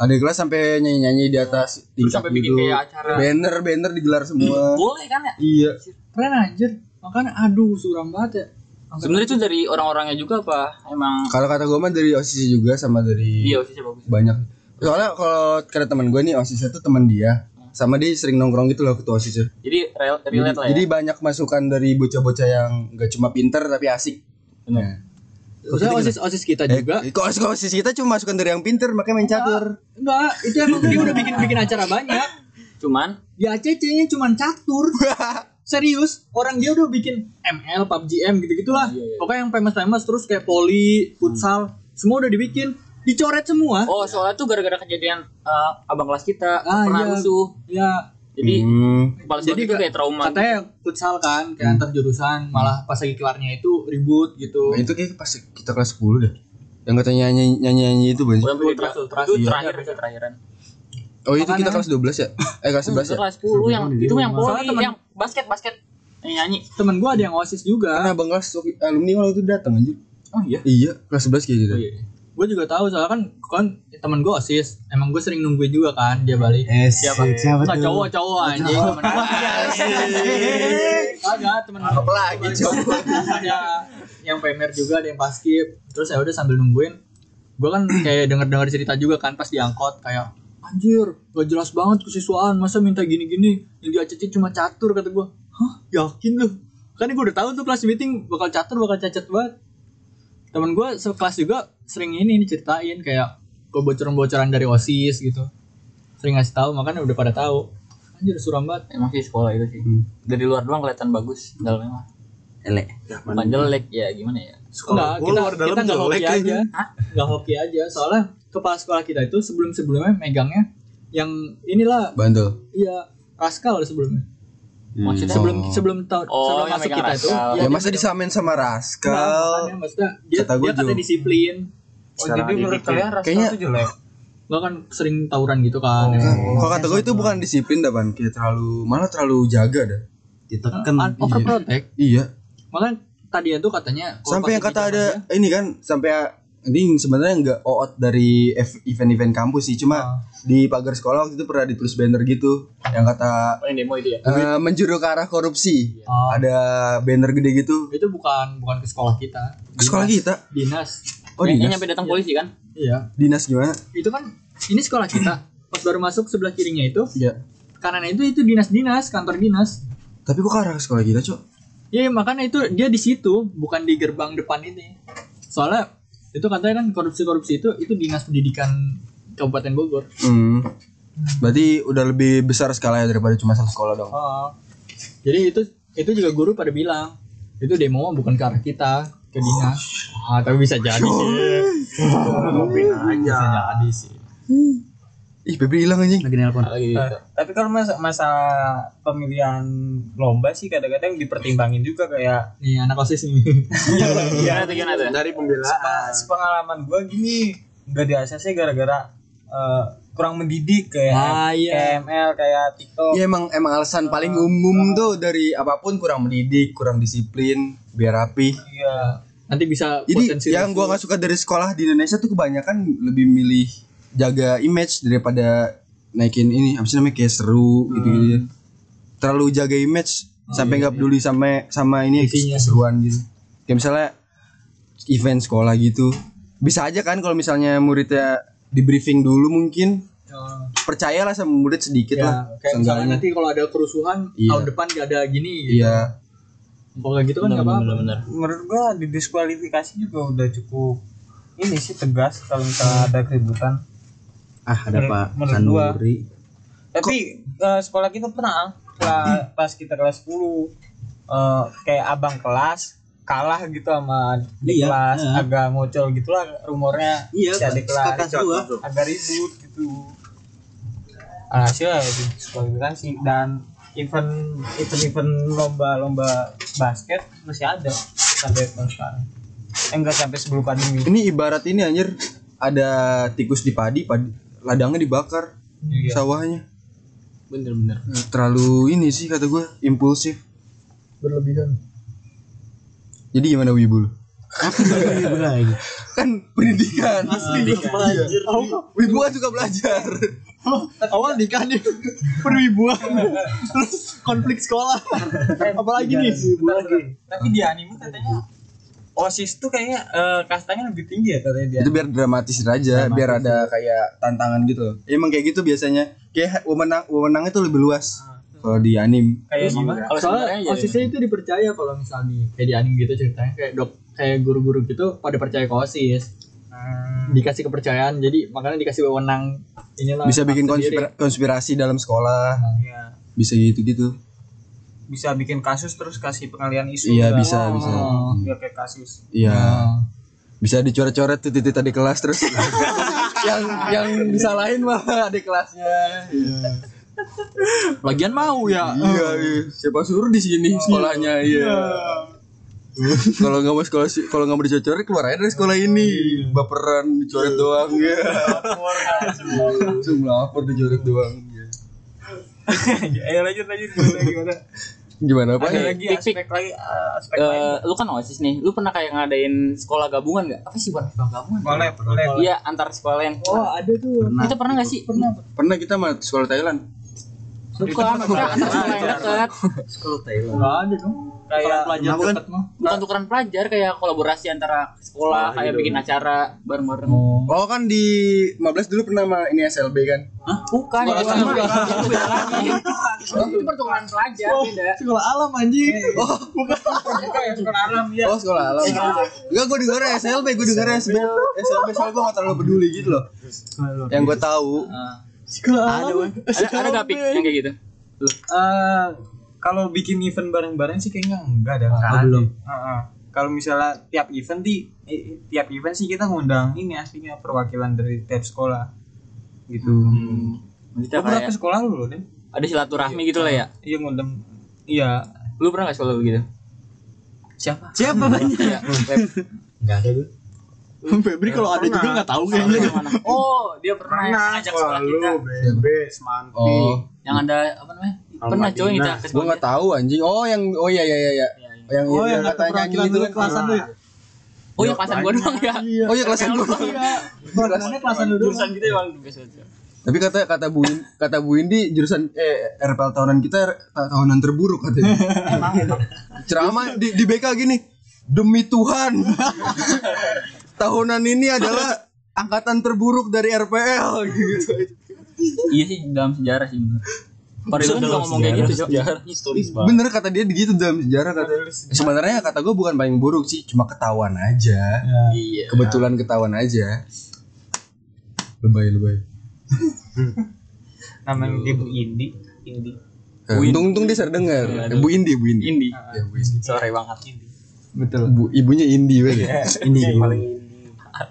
Speaker 2: Ada kelas sampai nyanyi-nyanyi di atas tingkat
Speaker 3: sampai
Speaker 2: gitu.
Speaker 3: bikin kayak acara.
Speaker 2: Banner-banner digelar semua.
Speaker 3: Boleh kan ya?
Speaker 2: Iya.
Speaker 1: Keren anjir. Makanya aduh suram banget ya.
Speaker 3: Sebenarnya itu dari orang-orangnya juga apa? Emang
Speaker 2: Kalau kata gue mah dari OSIS juga sama dari
Speaker 3: dia sih bagus.
Speaker 2: banyak. Soalnya kalau kata teman gue nih OSIS itu teman dia. Sama dia sering nongkrong gitu loh ketua OSIS.
Speaker 3: Jadi rel- relate lah ya.
Speaker 2: Jadi banyak masukan dari bocah-bocah yang gak cuma pinter tapi asik. Nah.
Speaker 1: Terus osis osis kita
Speaker 2: Eh,
Speaker 1: juga.
Speaker 2: kok kok OSIS kita cuma masukan dari yang pinter makanya main catur.
Speaker 1: Enggak, itu emang dia udah bikin bikin acara banyak.
Speaker 3: Cuman
Speaker 1: Di ACC-nya cuman catur. Serius, orang dia udah bikin ML, PUBG M gitu-gitulah. Pokoknya yang famous-famous terus kayak poli, futsal, semua udah dibikin. Dicoret semua.
Speaker 3: Oh, soalnya tuh gara-gara kejadian eh, abang kelas kita
Speaker 1: Ah,
Speaker 3: pernah
Speaker 1: iya.
Speaker 3: rusuh.
Speaker 1: Ya,
Speaker 3: Jadi
Speaker 2: Hmm.
Speaker 3: kepala
Speaker 1: Jadi gitu.
Speaker 3: sekolah itu
Speaker 1: gak-
Speaker 3: kayak trauma.
Speaker 1: katanya futsal kan kayak antar jurusan, malah pas lagi kelarnya itu ribut gitu.
Speaker 2: Nah, itu kayak pas kita kelas 10 deh. Yang katanya nyanyi nyanyi, nyanyi itu Bang.
Speaker 3: Udah mulai
Speaker 1: Ultras,
Speaker 3: itu
Speaker 1: ultras, iya.
Speaker 3: terakhir itu terakhiran.
Speaker 2: Oh, itu kita
Speaker 1: makanya-
Speaker 2: kelas 12 ya? Eh kelas 11
Speaker 3: Itu
Speaker 2: ya?
Speaker 3: kelas 10 yang itu yang poli,
Speaker 1: Soalnya temen-
Speaker 3: yang basket basket yang nyanyi.
Speaker 1: Temen gua ada yang osis juga.
Speaker 2: Karena abang kelas waktu- alumni waktu itu datang anjir.
Speaker 3: Oh iya.
Speaker 2: Iya, kelas 11 kayak
Speaker 1: Oh,
Speaker 2: gitu.
Speaker 1: Gue iya. juga tahu soalnya kan kan temen gue osis, emang gue sering nungguin juga kan dia balik.
Speaker 2: Eh,
Speaker 5: Yes.
Speaker 1: Siapa?
Speaker 5: Siapa
Speaker 1: Enggak
Speaker 5: tuh?
Speaker 1: cowok cowok anjing. Temen gua. Kagak temen gue.
Speaker 2: Lagi coba.
Speaker 1: ada yang PMR juga ada yang paskib terus ya udah sambil nungguin gue kan kayak denger dengar cerita juga kan pas diangkot kayak anjir gak jelas banget kesiswaan masa minta gini gini yang di ACC cuma catur kata gue hah yakin lu kan gue udah tahu tuh kelas meeting bakal catur bakal cacat banget temen gue sekelas juga sering ini nih ceritain kayak kebocoran bocoran dari osis gitu sering ngasih tahu makanya udah pada tahu anjir suram banget
Speaker 3: Emang sih sekolah itu sih. Dari luar doang kelihatan bagus, dalamnya mah. Jelek. Bukan jelek ya gimana ya?
Speaker 1: Enggak,
Speaker 7: Sekolah gua
Speaker 1: kita,
Speaker 7: luar dalam
Speaker 1: kita nggak hoki
Speaker 7: jelek
Speaker 1: aja.
Speaker 7: aja.
Speaker 3: Hah?
Speaker 1: Nggak hoki aja. Soalnya kepala sekolah kita itu sebelum-sebelumnya megangnya yang inilah
Speaker 2: Bandel.
Speaker 1: iya raskal sebelumnya.
Speaker 3: Maksudnya
Speaker 1: Sebelum
Speaker 2: Oh.
Speaker 1: sebelum tahun
Speaker 3: Oh,
Speaker 1: sebelum
Speaker 3: yang
Speaker 1: masuk
Speaker 3: megang
Speaker 1: kita itu iya,
Speaker 3: Raskal.
Speaker 2: Ya,
Speaker 1: dia
Speaker 2: masa
Speaker 1: megang-
Speaker 2: disamain sama
Speaker 1: Nah,
Speaker 2: Raskal?
Speaker 3: Iya,
Speaker 1: makanya maksudnya dia
Speaker 2: Kata gua
Speaker 1: dia kata
Speaker 2: juga.
Speaker 1: disiplin.
Speaker 3: Oh, jadi menurut kalian rasa
Speaker 2: Kayaknya-
Speaker 3: itu jelek.
Speaker 1: Gua kan sering tawuran gitu kan. ya.
Speaker 2: Kalau kata gue itu bukan disiplin dah, Ban. Kayak terlalu malah terlalu jaga dah.
Speaker 5: Ditekan.
Speaker 1: Un- Overprotect.
Speaker 2: Iya.
Speaker 1: Makanya tadi itu katanya kalau
Speaker 2: Sampai
Speaker 1: pas
Speaker 2: yang kata
Speaker 1: di
Speaker 3: gitu
Speaker 2: ada
Speaker 1: zaman
Speaker 2: ini kan sampai ini sebenarnya nggak oot dari ev- event-event kampus sih,
Speaker 3: Ah.
Speaker 2: cuma di pagar sekolah waktu itu pernah ditulis banner gitu yang kata
Speaker 3: Oh, yang demo itu ya.
Speaker 2: eh,
Speaker 3: Iya. Ah.
Speaker 2: menjuru ke arah korupsi.
Speaker 1: Oh.
Speaker 2: Ada banner gede gitu.
Speaker 1: dia, itu bukan bukan ke sekolah kita.
Speaker 2: Ke sekolah kita.
Speaker 1: Dinas.
Speaker 2: Oh,
Speaker 3: yang, yang
Speaker 2: dinas.
Speaker 3: nyampe datang polisi kan?
Speaker 1: Iya.
Speaker 2: Dinas gimana?
Speaker 1: Itu kan ini sekolah kita. Pas baru masuk sebelah kirinya itu
Speaker 2: Iya.
Speaker 1: kanannya itu itu dinas-dinas, kantor dinas.
Speaker 2: Tapi kok ke arah sekolah kita, Cok?
Speaker 1: Iya makanya itu dia di situ bukan di gerbang depan ini. Soalnya itu katanya kan korupsi-korupsi itu itu dinas pendidikan Kabupaten Bogor.
Speaker 2: Hmm. Berarti udah lebih besar skalanya daripada cuma satu sekolah dong.
Speaker 1: Oh. Jadi itu itu juga guru pada bilang itu demo mah bukan ke arah kita ke dinas. Ah, tapi bisa jadi sih.
Speaker 2: Ih, Febri hilang anjing.
Speaker 1: Lagi nelpon.
Speaker 5: Eh, Tapi kalau masa masalah pemilihan lomba sih kadang-kadang dipertimbangin juga kayak
Speaker 1: Nih anak osis nih.
Speaker 3: Gimana tuh gimana tuh?
Speaker 7: Dari pembelaan.
Speaker 5: sepengalaman gue gini nggak di ACC ya gara-gara eh, kurang mendidik kayak
Speaker 1: Ah, iya.
Speaker 5: ML kayak TikTok.
Speaker 2: Ya emang emang alasan paling umum tuh dari apapun kurang mendidik, kurang disiplin, biar rapi.
Speaker 5: Iya.
Speaker 1: Nanti bisa
Speaker 2: Jadi yang gua nggak suka dari sekolah di Indonesia tuh kebanyakan lebih milih jaga image daripada naikin ini apa sih namanya kayak seru
Speaker 1: Hmm.
Speaker 2: gitu, gitu. Terlalu jaga image
Speaker 1: Oh,
Speaker 2: sampai
Speaker 1: iya,
Speaker 2: nggak peduli sama sama ini keseruan gitu. Kayak misalnya event sekolah gitu. Bisa aja kan kalau misalnya muridnya di briefing dulu mungkin percayalah sama murid sedikit
Speaker 6: Iya,
Speaker 2: lah
Speaker 1: ya, Oh. kayak misalnya
Speaker 2: seenggaknya.
Speaker 1: nanti kalau ada kerusuhan
Speaker 2: Iya.
Speaker 1: tahun depan gak ada gini gitu.
Speaker 2: Iya.
Speaker 1: Kalau kayak gitu kan nggak apa-apa.
Speaker 5: Menurut gua di diskualifikasi juga udah cukup ini sih tegas kalau misalnya ada keributan.
Speaker 2: Ah, ada
Speaker 5: Menurut-
Speaker 2: Pak
Speaker 5: menurut gua.
Speaker 2: Sanuri.
Speaker 5: Tapi eh, sekolah kita pernah lah, pas kita kelas 10 eh, kayak abang kelas kalah gitu sama adik
Speaker 6: Iya,
Speaker 5: kelas
Speaker 6: iya.
Speaker 5: agak muncul gitulah rumornya
Speaker 6: Iya,
Speaker 5: si adik kelas
Speaker 6: kakak gua.
Speaker 5: agak ribut gitu ya, hasilnya di diskualifikasi dan event event event lomba-lomba basket masih ada sampai tahun sekarang Eh, enggak sampai sebelum pandemi
Speaker 2: Ini ibarat ini anjir ada tikus di padi, padi ladangnya dibakar
Speaker 1: Iya.
Speaker 2: sawahnya.
Speaker 3: Bener-bener.
Speaker 2: Terlalu ini sih kata gua impulsif.
Speaker 1: Berlebihan.
Speaker 2: Jadi gimana Wibu lu?
Speaker 6: Iya, bener lagi.
Speaker 2: Kan pendidikan. pendidikan. Iya. Wibu kan suka belajar.
Speaker 1: Awal nikah nih perwibuan. Terus konflik sekolah.
Speaker 5: Eh,
Speaker 1: Apalagi nih.
Speaker 5: tapi di anime katanya osis tuh kayaknya eh, kastanya lebih tinggi ya katanya di
Speaker 2: Itu biar dramatis aja, biar ada kayak tantangan gitu. loh. Emang kayak gitu biasanya. Kayak wewenang wewenangnya tuh lebih luas. Kalau di anim.
Speaker 5: kayak gimana? Kalau ya.
Speaker 1: Soalnya OSIS itu dipercaya kalau misalnya kayak di anime gitu ceritanya kayak dok kayak guru-guru gitu pada percaya ke OSIS.
Speaker 5: Hmm.
Speaker 1: Dikasih kepercayaan jadi makanya dikasih wewenang inilah
Speaker 2: Bisa bikin
Speaker 1: Kan sendiri.
Speaker 2: konspira- konspirasi dalam sekolah. Bisa gitu-gitu.
Speaker 5: Iya. bisa bikin kasus terus kasih pengalian isu.
Speaker 2: Iya,
Speaker 5: juga.
Speaker 2: bisa, bisa.
Speaker 1: Ah.
Speaker 5: Biar kayak kasus.
Speaker 2: Iya.
Speaker 5: Ah.
Speaker 2: Bisa dicoret-coret tuh titik tadi kelas terus. yang yang disalahin mah adik kelasnya.
Speaker 1: Lagian mau ya.
Speaker 2: Iya,
Speaker 5: Oh.
Speaker 2: iya. siapa suruh di sini sekolahnya? Iya.
Speaker 5: Iya.
Speaker 2: kalau nggak mau sekolah si- kalau nggak mau dicoret keluar aja dari sekolah ini.
Speaker 5: Iya.
Speaker 2: Baperan dicoret doang ya.
Speaker 5: kan,
Speaker 2: Langsung lapor dicoret doang. Iya.
Speaker 5: Ayo lanjut lanjut gimana gimana.
Speaker 2: Gimana Pak?
Speaker 5: Ada lagi
Speaker 3: Pik, pik.
Speaker 5: Iya, aspek lagi eh, aspek lain.
Speaker 3: Eh, lu kan osis nih, lu pernah kayak ngadain sekolah gabungan gak? Apa sih bukan sekolah gabungan?
Speaker 5: Collab, collab.
Speaker 3: Iya antar sekolah yang
Speaker 1: Oh, ada tuh.
Speaker 3: Kita pernah gak sih? Pernah
Speaker 2: Pernah kita mah sekolah Thailand.
Speaker 3: Bukan, bukan antar sekolah yang dekat
Speaker 1: Enggak ada dong.
Speaker 5: Kayak
Speaker 1: Kalau pelajar
Speaker 5: kenapa kan?
Speaker 1: dekat mah.
Speaker 3: Bukan tukeran pelajar, kayak kolaborasi antara
Speaker 5: Oh,
Speaker 3: sekolah
Speaker 5: iya.
Speaker 3: Kayak bikin acara bareng-bareng
Speaker 2: Oh kan di 15 dulu pernah sama ini SLB kan?
Speaker 3: Bukan, itu sama Itu beda lagi Itu pertukaran pelajar,
Speaker 5: Oh.
Speaker 3: beda
Speaker 1: Sekolah alam
Speaker 5: Eh,
Speaker 1: anjing. Oh,
Speaker 5: iya.
Speaker 2: Oh sekolah alam. Enggak gue dengar SLB, gue dengar SLB. SLB soalnya gue gak terlalu peduli gitu loh. Yang gue tahu
Speaker 5: Ah.
Speaker 1: sekolah
Speaker 3: Ada,
Speaker 1: alam.
Speaker 3: ada, ada gak pik yang kayak gitu?
Speaker 5: Eh, kalau bikin event bareng-bareng sih kayaknya enggak ada. Enggak
Speaker 1: belum.
Speaker 5: Heeh. Kalau misalnya tiap event di eh, eh, tiap event sih kita ngundang ini aslinya perwakilan dari tiap sekolah gitu.
Speaker 3: Kita
Speaker 5: Lu pernah
Speaker 3: kayak
Speaker 1: ya?
Speaker 5: ke sekolah lu deh?
Speaker 3: ada silaturahmi gitu lah ya
Speaker 5: Iya ngundang. Iya.
Speaker 3: Lu pernah gitu? gak sekolah begitu?
Speaker 5: Siapa?
Speaker 3: Siapa banyak?
Speaker 5: Iya,
Speaker 1: Febri kalau ada juga nggak tahu kayaknya.
Speaker 3: Oh, dia pernah, ngajak sekolah
Speaker 7: lu,
Speaker 3: kita
Speaker 7: BB, Semanti.
Speaker 2: Oh,
Speaker 3: yang ada apa namanya pernah
Speaker 7: Almadinah.
Speaker 3: coy kita ke
Speaker 2: gue nggak tahu anjing. Oh yang oh iya iya iya. iya. Yang oh, yang kata nyanyi itu kan.
Speaker 1: kelasan tuh ya.
Speaker 3: oh ya pasan gua doang ya
Speaker 2: Oh iya kelasan gue.
Speaker 1: Kelasannya kelasan dulu.
Speaker 3: jurusan kita emang bebas ya, aja
Speaker 2: Tapi kata kata Bu In- kata Bu Indi jurusan eh RPL tahunan kita er- ta- tahunan terburuk katanya. Ceramah di, di BK gini. Demi Tuhan. tahunan ini adalah angkatan terburuk dari RPL gitu.
Speaker 3: iya sih dalam sejarah sih bener Parizon juga ngomong kayak gitu sejarah historis
Speaker 2: Bener kata dia gitu dalam sejarah kata. Sebenarnya kata gue bukan paling buruk sih, cuma ketahuan aja.
Speaker 5: Ya.
Speaker 3: iya
Speaker 2: Kebetulan ketahuan aja. Lebay lebay.
Speaker 5: Namanya dia Bu Indi. Indi. Iya,
Speaker 2: Untung-untung Eh, dia sering dengar. Eh, Bu Indi, Bu Indi.
Speaker 3: Indi
Speaker 2: Ya, Bu Indi.
Speaker 3: sore banget Indi
Speaker 2: Betul. Bu, ibunya Indi banget.
Speaker 5: Iya,
Speaker 2: ya. Indi.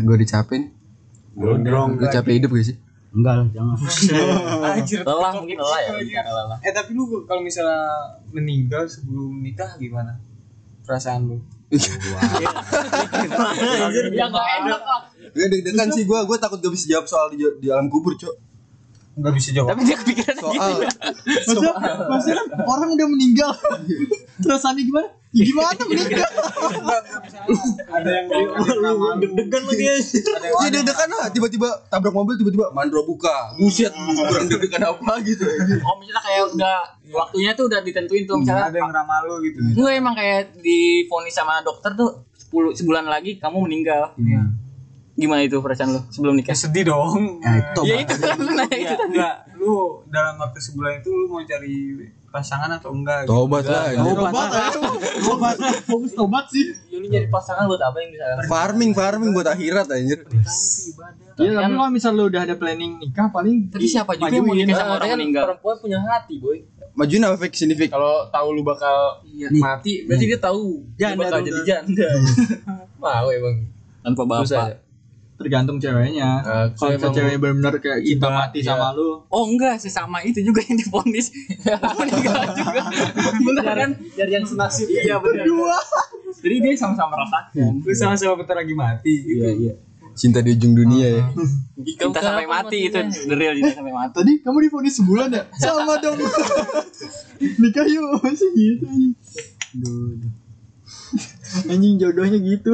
Speaker 2: Gue Iya. dicapin.
Speaker 7: Gondrong.
Speaker 2: Gue capek hidup gak sih?
Speaker 6: Enggak lah, jangan.
Speaker 5: Anjir.
Speaker 3: lelah mungkin lelah ya bicara lelah
Speaker 5: Eh tapi lu kalau misalnya meninggal sebelum nikah gimana?
Speaker 11: perasaan lu?
Speaker 8: Ya nggak enak lah.
Speaker 2: Gue deg-degan sih gue, gue takut gak bisa jawab soal di, di alam kubur cok Gitu.
Speaker 5: Gak bisa jawab.
Speaker 8: Tapi dia kepikiran
Speaker 2: Soal
Speaker 8: Maksudnya, maksudnya kan orang udah meninggal. Perasaannya gimana? Ya gimana meninggal?
Speaker 5: Deg-degan lagi
Speaker 2: Iya deg-degan lah, tiba-tiba tabrak mobil tiba-tiba mandro buka Buset, kurang deg-degan apa gitu
Speaker 8: Oh misalnya kayak udah waktunya tuh udah ditentuin tuh misalnya.
Speaker 6: ada yang ramal lu gitu
Speaker 8: Gue emang kayak difonis sama dokter tuh 10 sebulan lagi kamu meninggal.
Speaker 1: Iya.
Speaker 8: Gimana itu perasaan lo sebelum nikah?
Speaker 6: ya sedih dong
Speaker 8: Ya itu kan
Speaker 3: Nah,
Speaker 8: nanya itu
Speaker 6: Iya,
Speaker 8: tadi.
Speaker 6: enggak lu dalam waktu sebulan itu lu mau cari pasangan atau enggak gitu.
Speaker 2: Tobat lah gitu.
Speaker 1: Fokus eh. tobat sih.
Speaker 8: Ya, Lu jadi pasangan buat apa yang bisa? kan?
Speaker 2: Farming, farming buat akhirat anjir
Speaker 1: Iya, tapi kalau misal lu udah ada planning nikah paling
Speaker 8: Tapi siapa juga yang mau nikah sama orang meninggal?
Speaker 3: Perempuan punya hati, boy.
Speaker 2: Majuin apa Fik? Sini Fik
Speaker 3: Kalau tahu lu bakal Iya, mati, berarti dia tahu dia
Speaker 5: Janda
Speaker 3: bakal
Speaker 5: dong,
Speaker 3: jadi
Speaker 5: dong.
Speaker 3: janda. Mau emang.
Speaker 5: Tanpa
Speaker 3: Susah
Speaker 5: bapak.
Speaker 3: ya.
Speaker 1: tergantung ceweknya.
Speaker 3: Eh,
Speaker 1: Kalau
Speaker 3: emang-
Speaker 1: misal ceweknya benar-benar kayak cinta mati
Speaker 3: iya.
Speaker 1: sama lu,
Speaker 8: Oh enggak, sesama itu juga yang difonis meninggal juga. Bener kan?
Speaker 5: Dari yang senasib.
Speaker 8: Iya benar. Jadi dia sama-sama merasakan.
Speaker 6: lu sama-sama bentar lagi mati gitu.
Speaker 2: Cinta di ujung dunia ya
Speaker 8: Kita sampai mati itu the real kita sampai mati.
Speaker 1: tadi kamu difonis sebulan ya? Sama dong. Nikah yuk, masih gitu anjing. Anjing jodohnya gitu.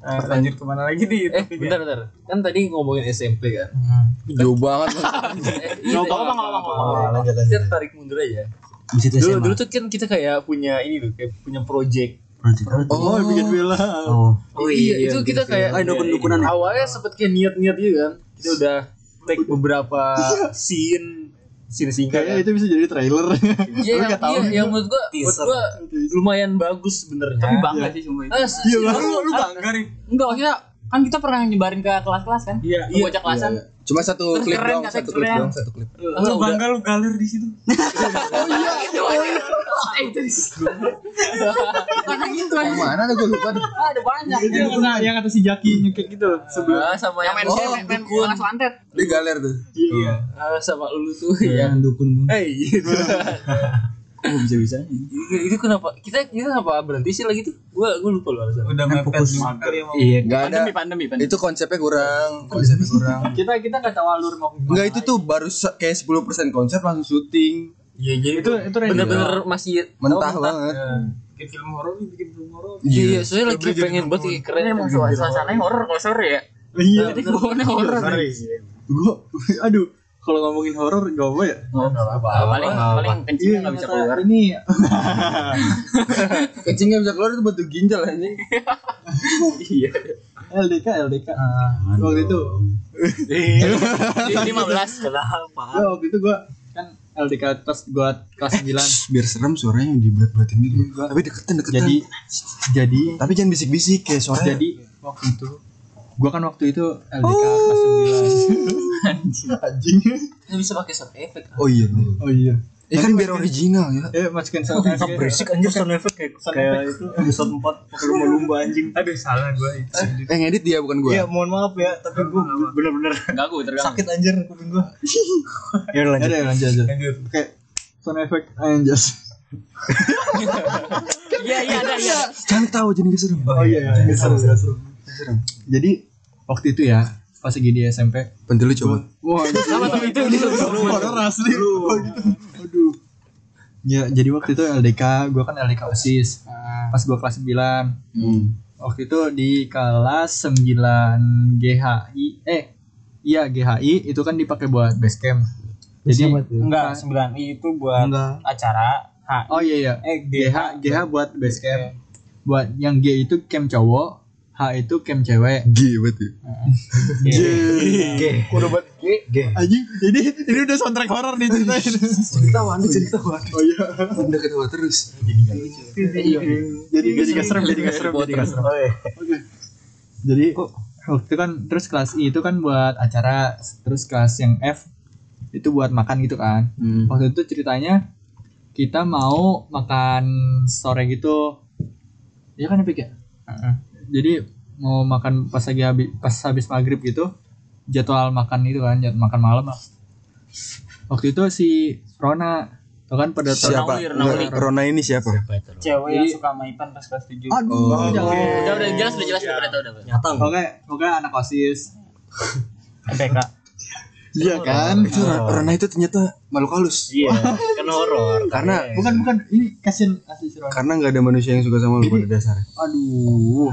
Speaker 6: Eh, lanjut kemana lagi di
Speaker 3: Eh, bentar bentar. Kan tadi ngomongin SMP kan.
Speaker 2: Jauh banget
Speaker 3: Ngomong ngomong ngomong. ngomong. Kita tarik mundur aja. Dulu dulu tuh kan kita kayak punya ini tuh kayak punya project.
Speaker 2: Oh, bikin film
Speaker 3: Oh iya, itu kita kayak
Speaker 5: Ah, dukun- dukunan ya?
Speaker 3: Awalnya sempet kayak niat-niat gitu kan. Kita udah take beberapa
Speaker 5: Iya,
Speaker 3: scene scene singkat.
Speaker 1: Kayaknya
Speaker 3: kan.
Speaker 5: ya,
Speaker 1: itu bisa jadi trailer.
Speaker 3: Iya, yang, iya, yang menurut gua, menurut gua lumayan bagus sebenarnya.
Speaker 8: Tapi bangga sih semua itu.
Speaker 3: Ah,
Speaker 1: Iya,
Speaker 3: iya,
Speaker 1: lu lu
Speaker 6: bangga nih
Speaker 8: Enggak, kita kan kita pernah nyebarin ke kelas-kelas kan?
Speaker 6: Iya,
Speaker 8: Ke bocah kelasan.
Speaker 2: Cuma satu
Speaker 8: Terus
Speaker 2: klip
Speaker 8: keren,
Speaker 2: doang,
Speaker 8: katanya
Speaker 2: satu klip
Speaker 8: keren.
Speaker 2: doang, satu klip
Speaker 6: lu bangga lu galer di situ
Speaker 8: Eh, itu Karena gitu
Speaker 2: Yang
Speaker 8: aja.
Speaker 2: mana tuh gue lupa deh.
Speaker 8: Ah, Ada banyak.
Speaker 1: Yang kena yang kata si Jaki nyekit gitu loh.
Speaker 3: Ah, sama yang,
Speaker 8: Yang main
Speaker 2: Oh,
Speaker 8: main main bola santet.
Speaker 2: Dia galer tuh
Speaker 3: ah, sama lu tuh iya. yang
Speaker 1: Iya. dukun.
Speaker 3: Hey, gitu.
Speaker 1: bisa-bisanya.
Speaker 3: itu, itu kenapa kita kita kenapa berhenti sih lagi tuh? Gua gua lupa loh alasannya.
Speaker 1: Eh,
Speaker 6: udah mepet mager
Speaker 5: Iya.
Speaker 6: ya mau
Speaker 1: Iya.
Speaker 2: Gak ada
Speaker 8: Pandemi, pandemi, pandemi.
Speaker 2: Itu konsepnya kurang Konsepnya kurang
Speaker 1: Kita kita nggak tahu alur mau kemana.
Speaker 2: Enggak itu tuh baru se- kayak 10% konsep langsung syuting
Speaker 3: Iya, jadi
Speaker 1: itu itu random.
Speaker 3: bener-bener masih
Speaker 2: Mentah banget
Speaker 6: bikin film horor nih bikin film horor
Speaker 3: Iya, iya, soalnya lagi pengen buat kayak keren.
Speaker 8: Ini emang suasananya horor kalau sore ya.
Speaker 1: Iya.
Speaker 8: Jadi kebawaannya horor.
Speaker 7: Sorry sih.
Speaker 1: Gua aduh, kalau ngomongin horor gak apa ya? Iya,
Speaker 8: Paling paling kencingnya nggak bisa
Speaker 1: kata
Speaker 8: keluar.
Speaker 1: Ini ya.
Speaker 2: Kencingnya bisa keluar itu bentuk ginjal anjing
Speaker 1: LDK LDK. waktu itu
Speaker 8: Jadi 15
Speaker 1: Gua waktu itu gua kan LDK pas gua kelas 9
Speaker 2: Iya. Biar serem suaranya diberat-beratin gitu Tapi deketan deketan
Speaker 1: jadi jadi
Speaker 2: Tapi jangan bisik-bisik kayak suara
Speaker 1: jadi waktu itu gua kan waktu itu LDK kelas 9 anjing
Speaker 8: Ini bisa pakai sound effect.
Speaker 2: Oh iya
Speaker 1: oh iya
Speaker 2: Ya kan biar original ya
Speaker 1: eh masukin sound effect.
Speaker 5: anjir sound effect kayak kayak itu episode 4 pakai lumba-lumba anjing.
Speaker 1: ya.
Speaker 6: aduh salah gua itu
Speaker 2: Eh ngedit dia bukan
Speaker 5: Iya,
Speaker 2: gua
Speaker 5: mohon maaf ya, tapi gue bener-bener
Speaker 8: Ganggu, terganggu.
Speaker 5: sakit anjir kuping gue. Ya
Speaker 1: Ya
Speaker 5: udah lanjut.
Speaker 1: udah lanjut aja
Speaker 6: lanjut
Speaker 1: kayak sound effect anjas
Speaker 8: Iya, iya, ada iya.
Speaker 2: Jangan tahu jadi gak serem
Speaker 1: oh iya iya seru seru jadi waktu itu ya pas lagi di SMP
Speaker 2: Pentil lu coba
Speaker 1: Wah,
Speaker 8: Kenapa tuh itu? Itu
Speaker 1: horor asli. Wah, gitu. Aduh. Ya, jadi waktu itu LDK, gua kan LDK OSIS. Pas gua kelas 9. Hmm. Waktu itu di kelas 9 GHI eh iya GHI itu kan dipakai buat base camp. Jadi
Speaker 6: enggak 9 i itu buat
Speaker 1: Enggak.
Speaker 6: acara H
Speaker 1: Oh iya iya.
Speaker 6: eh
Speaker 1: GH GH buat base camp. Buat yang G itu camp cowok, H itu camp cewek.
Speaker 2: G berarti
Speaker 1: Anjing, ini ini udah soundtrack horor nih ceritain.
Speaker 2: Ketawa, anda jadi ketawa Oh iya Anda ketawa terus
Speaker 1: Iya. jadi jadi gak serem, jadi gak serem, jadi gak serem. Jadi waktu itu kan terus kelas I itu kan buat acara, terus kelas yang F itu buat makan gitu kan.
Speaker 2: Hmm.
Speaker 1: Waktu itu ceritanya kita mau makan sore gitu. Iya kan Epic ya? Jadi mau makan pas lagi habis pas habis maghrib gitu jadwal makan itu kan jadwal makan malam lah. waktu itu si Rona Tuh kan pada
Speaker 2: Siapa?
Speaker 3: Nauli, Nauli.
Speaker 2: Rona ini siapa?
Speaker 6: Cewek yang suka sama Ipan pas kelas 7
Speaker 1: Aduh,
Speaker 2: Oh,
Speaker 1: jangan.
Speaker 3: Udah udah jelas udah jelas udah pada tahu udah.
Speaker 5: nyata nggak
Speaker 1: Oke, oke anak OSIS.
Speaker 6: MPK
Speaker 1: Iya kan?
Speaker 2: Itu Ra- Rona itu ternyata makhluk halus.
Speaker 5: iya kan horor
Speaker 2: Karena
Speaker 1: Bukan bukan ini kasihan asli si Rona.
Speaker 2: karena nggak ada manusia yang suka sama lu pada dasarnya.
Speaker 1: Aduh.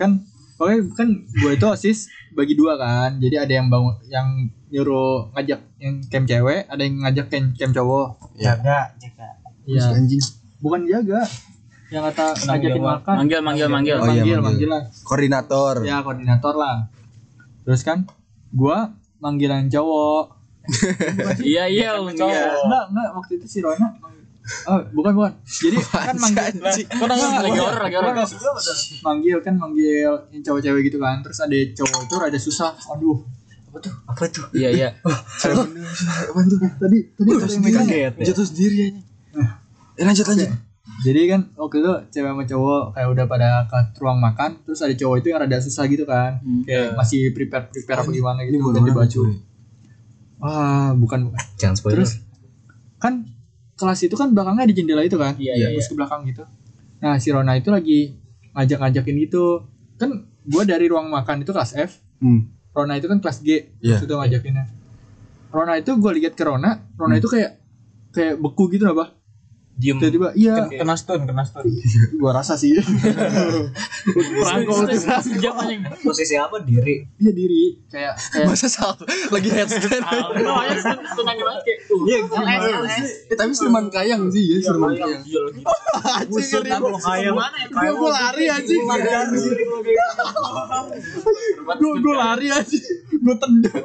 Speaker 1: Kan Oke kan gue itu osis bagi dua kan jadi ada yang bangun yang nyuruh ngajak yang camp cewek ada yang ngajak camp, camp cowok
Speaker 6: Jaga Jaga
Speaker 1: iya
Speaker 2: Anjing.
Speaker 1: bukan jaga yang kata ngajakin makan
Speaker 3: Manggil manggil manggil.
Speaker 2: Oh, iya,
Speaker 1: manggil,
Speaker 2: manggil.
Speaker 1: manggil lah
Speaker 2: Koordinator.
Speaker 1: ya koordinator lah terus kan gua manggilan cowok
Speaker 3: Iya iya iya.
Speaker 1: enggak enggak waktu itu si Rona oh bukan bukan jadi kan manggil
Speaker 3: Kok nanya lagi horor lagi horor.
Speaker 1: manggil kan manggil yang cowok-cewek gitu kan terus ada cowok itu rada susah aduh
Speaker 3: Iya iya.
Speaker 1: tadi tadi ada yang megang.
Speaker 2: Jatuh sendiri aja. ya. Eh, lanjut lanjut.
Speaker 1: jadi kan waktu itu cewek sama cowok kayak udah pada ke ruang makan terus ada cowok itu yang rada susah gitu kan
Speaker 3: Hmm.
Speaker 1: kayak masih prepare prepare apa gimana gitu ganti baju wah bukan bukan
Speaker 5: jangan spoiler
Speaker 1: kan kelas itu kan belakangnya ada jendela itu kan
Speaker 3: Iya, iya,
Speaker 1: terus ke belakang gitu nah si Rona itu lagi ngajak-ngajakin gitu kan gue dari ruang makan itu kelas F
Speaker 2: Hmm.
Speaker 1: Rona itu kan kelas G
Speaker 2: Iya.
Speaker 1: itu ngajakinnya Rona itu gue lihat ke Rona
Speaker 3: Hmm.
Speaker 1: Rona itu kayak kayak beku gitu loh bah
Speaker 3: Diem.
Speaker 1: tiba-tiba iya
Speaker 11: Kan Kena stun, kena stun.
Speaker 1: gue rasa sih
Speaker 3: Perangko itu sejam anjing.
Speaker 5: posisi apa diri
Speaker 1: dia Iya, diri kayak kayak
Speaker 2: Masa sal lagi headstand.
Speaker 3: Namanya senang banget kayak. uh,
Speaker 2: Iya, gitu. Eh, tapi Sulman Kayang sih ya, Sulman Kayang.
Speaker 5: busuk kan lo kaya
Speaker 1: gue lari aja gue lari aja gue tendang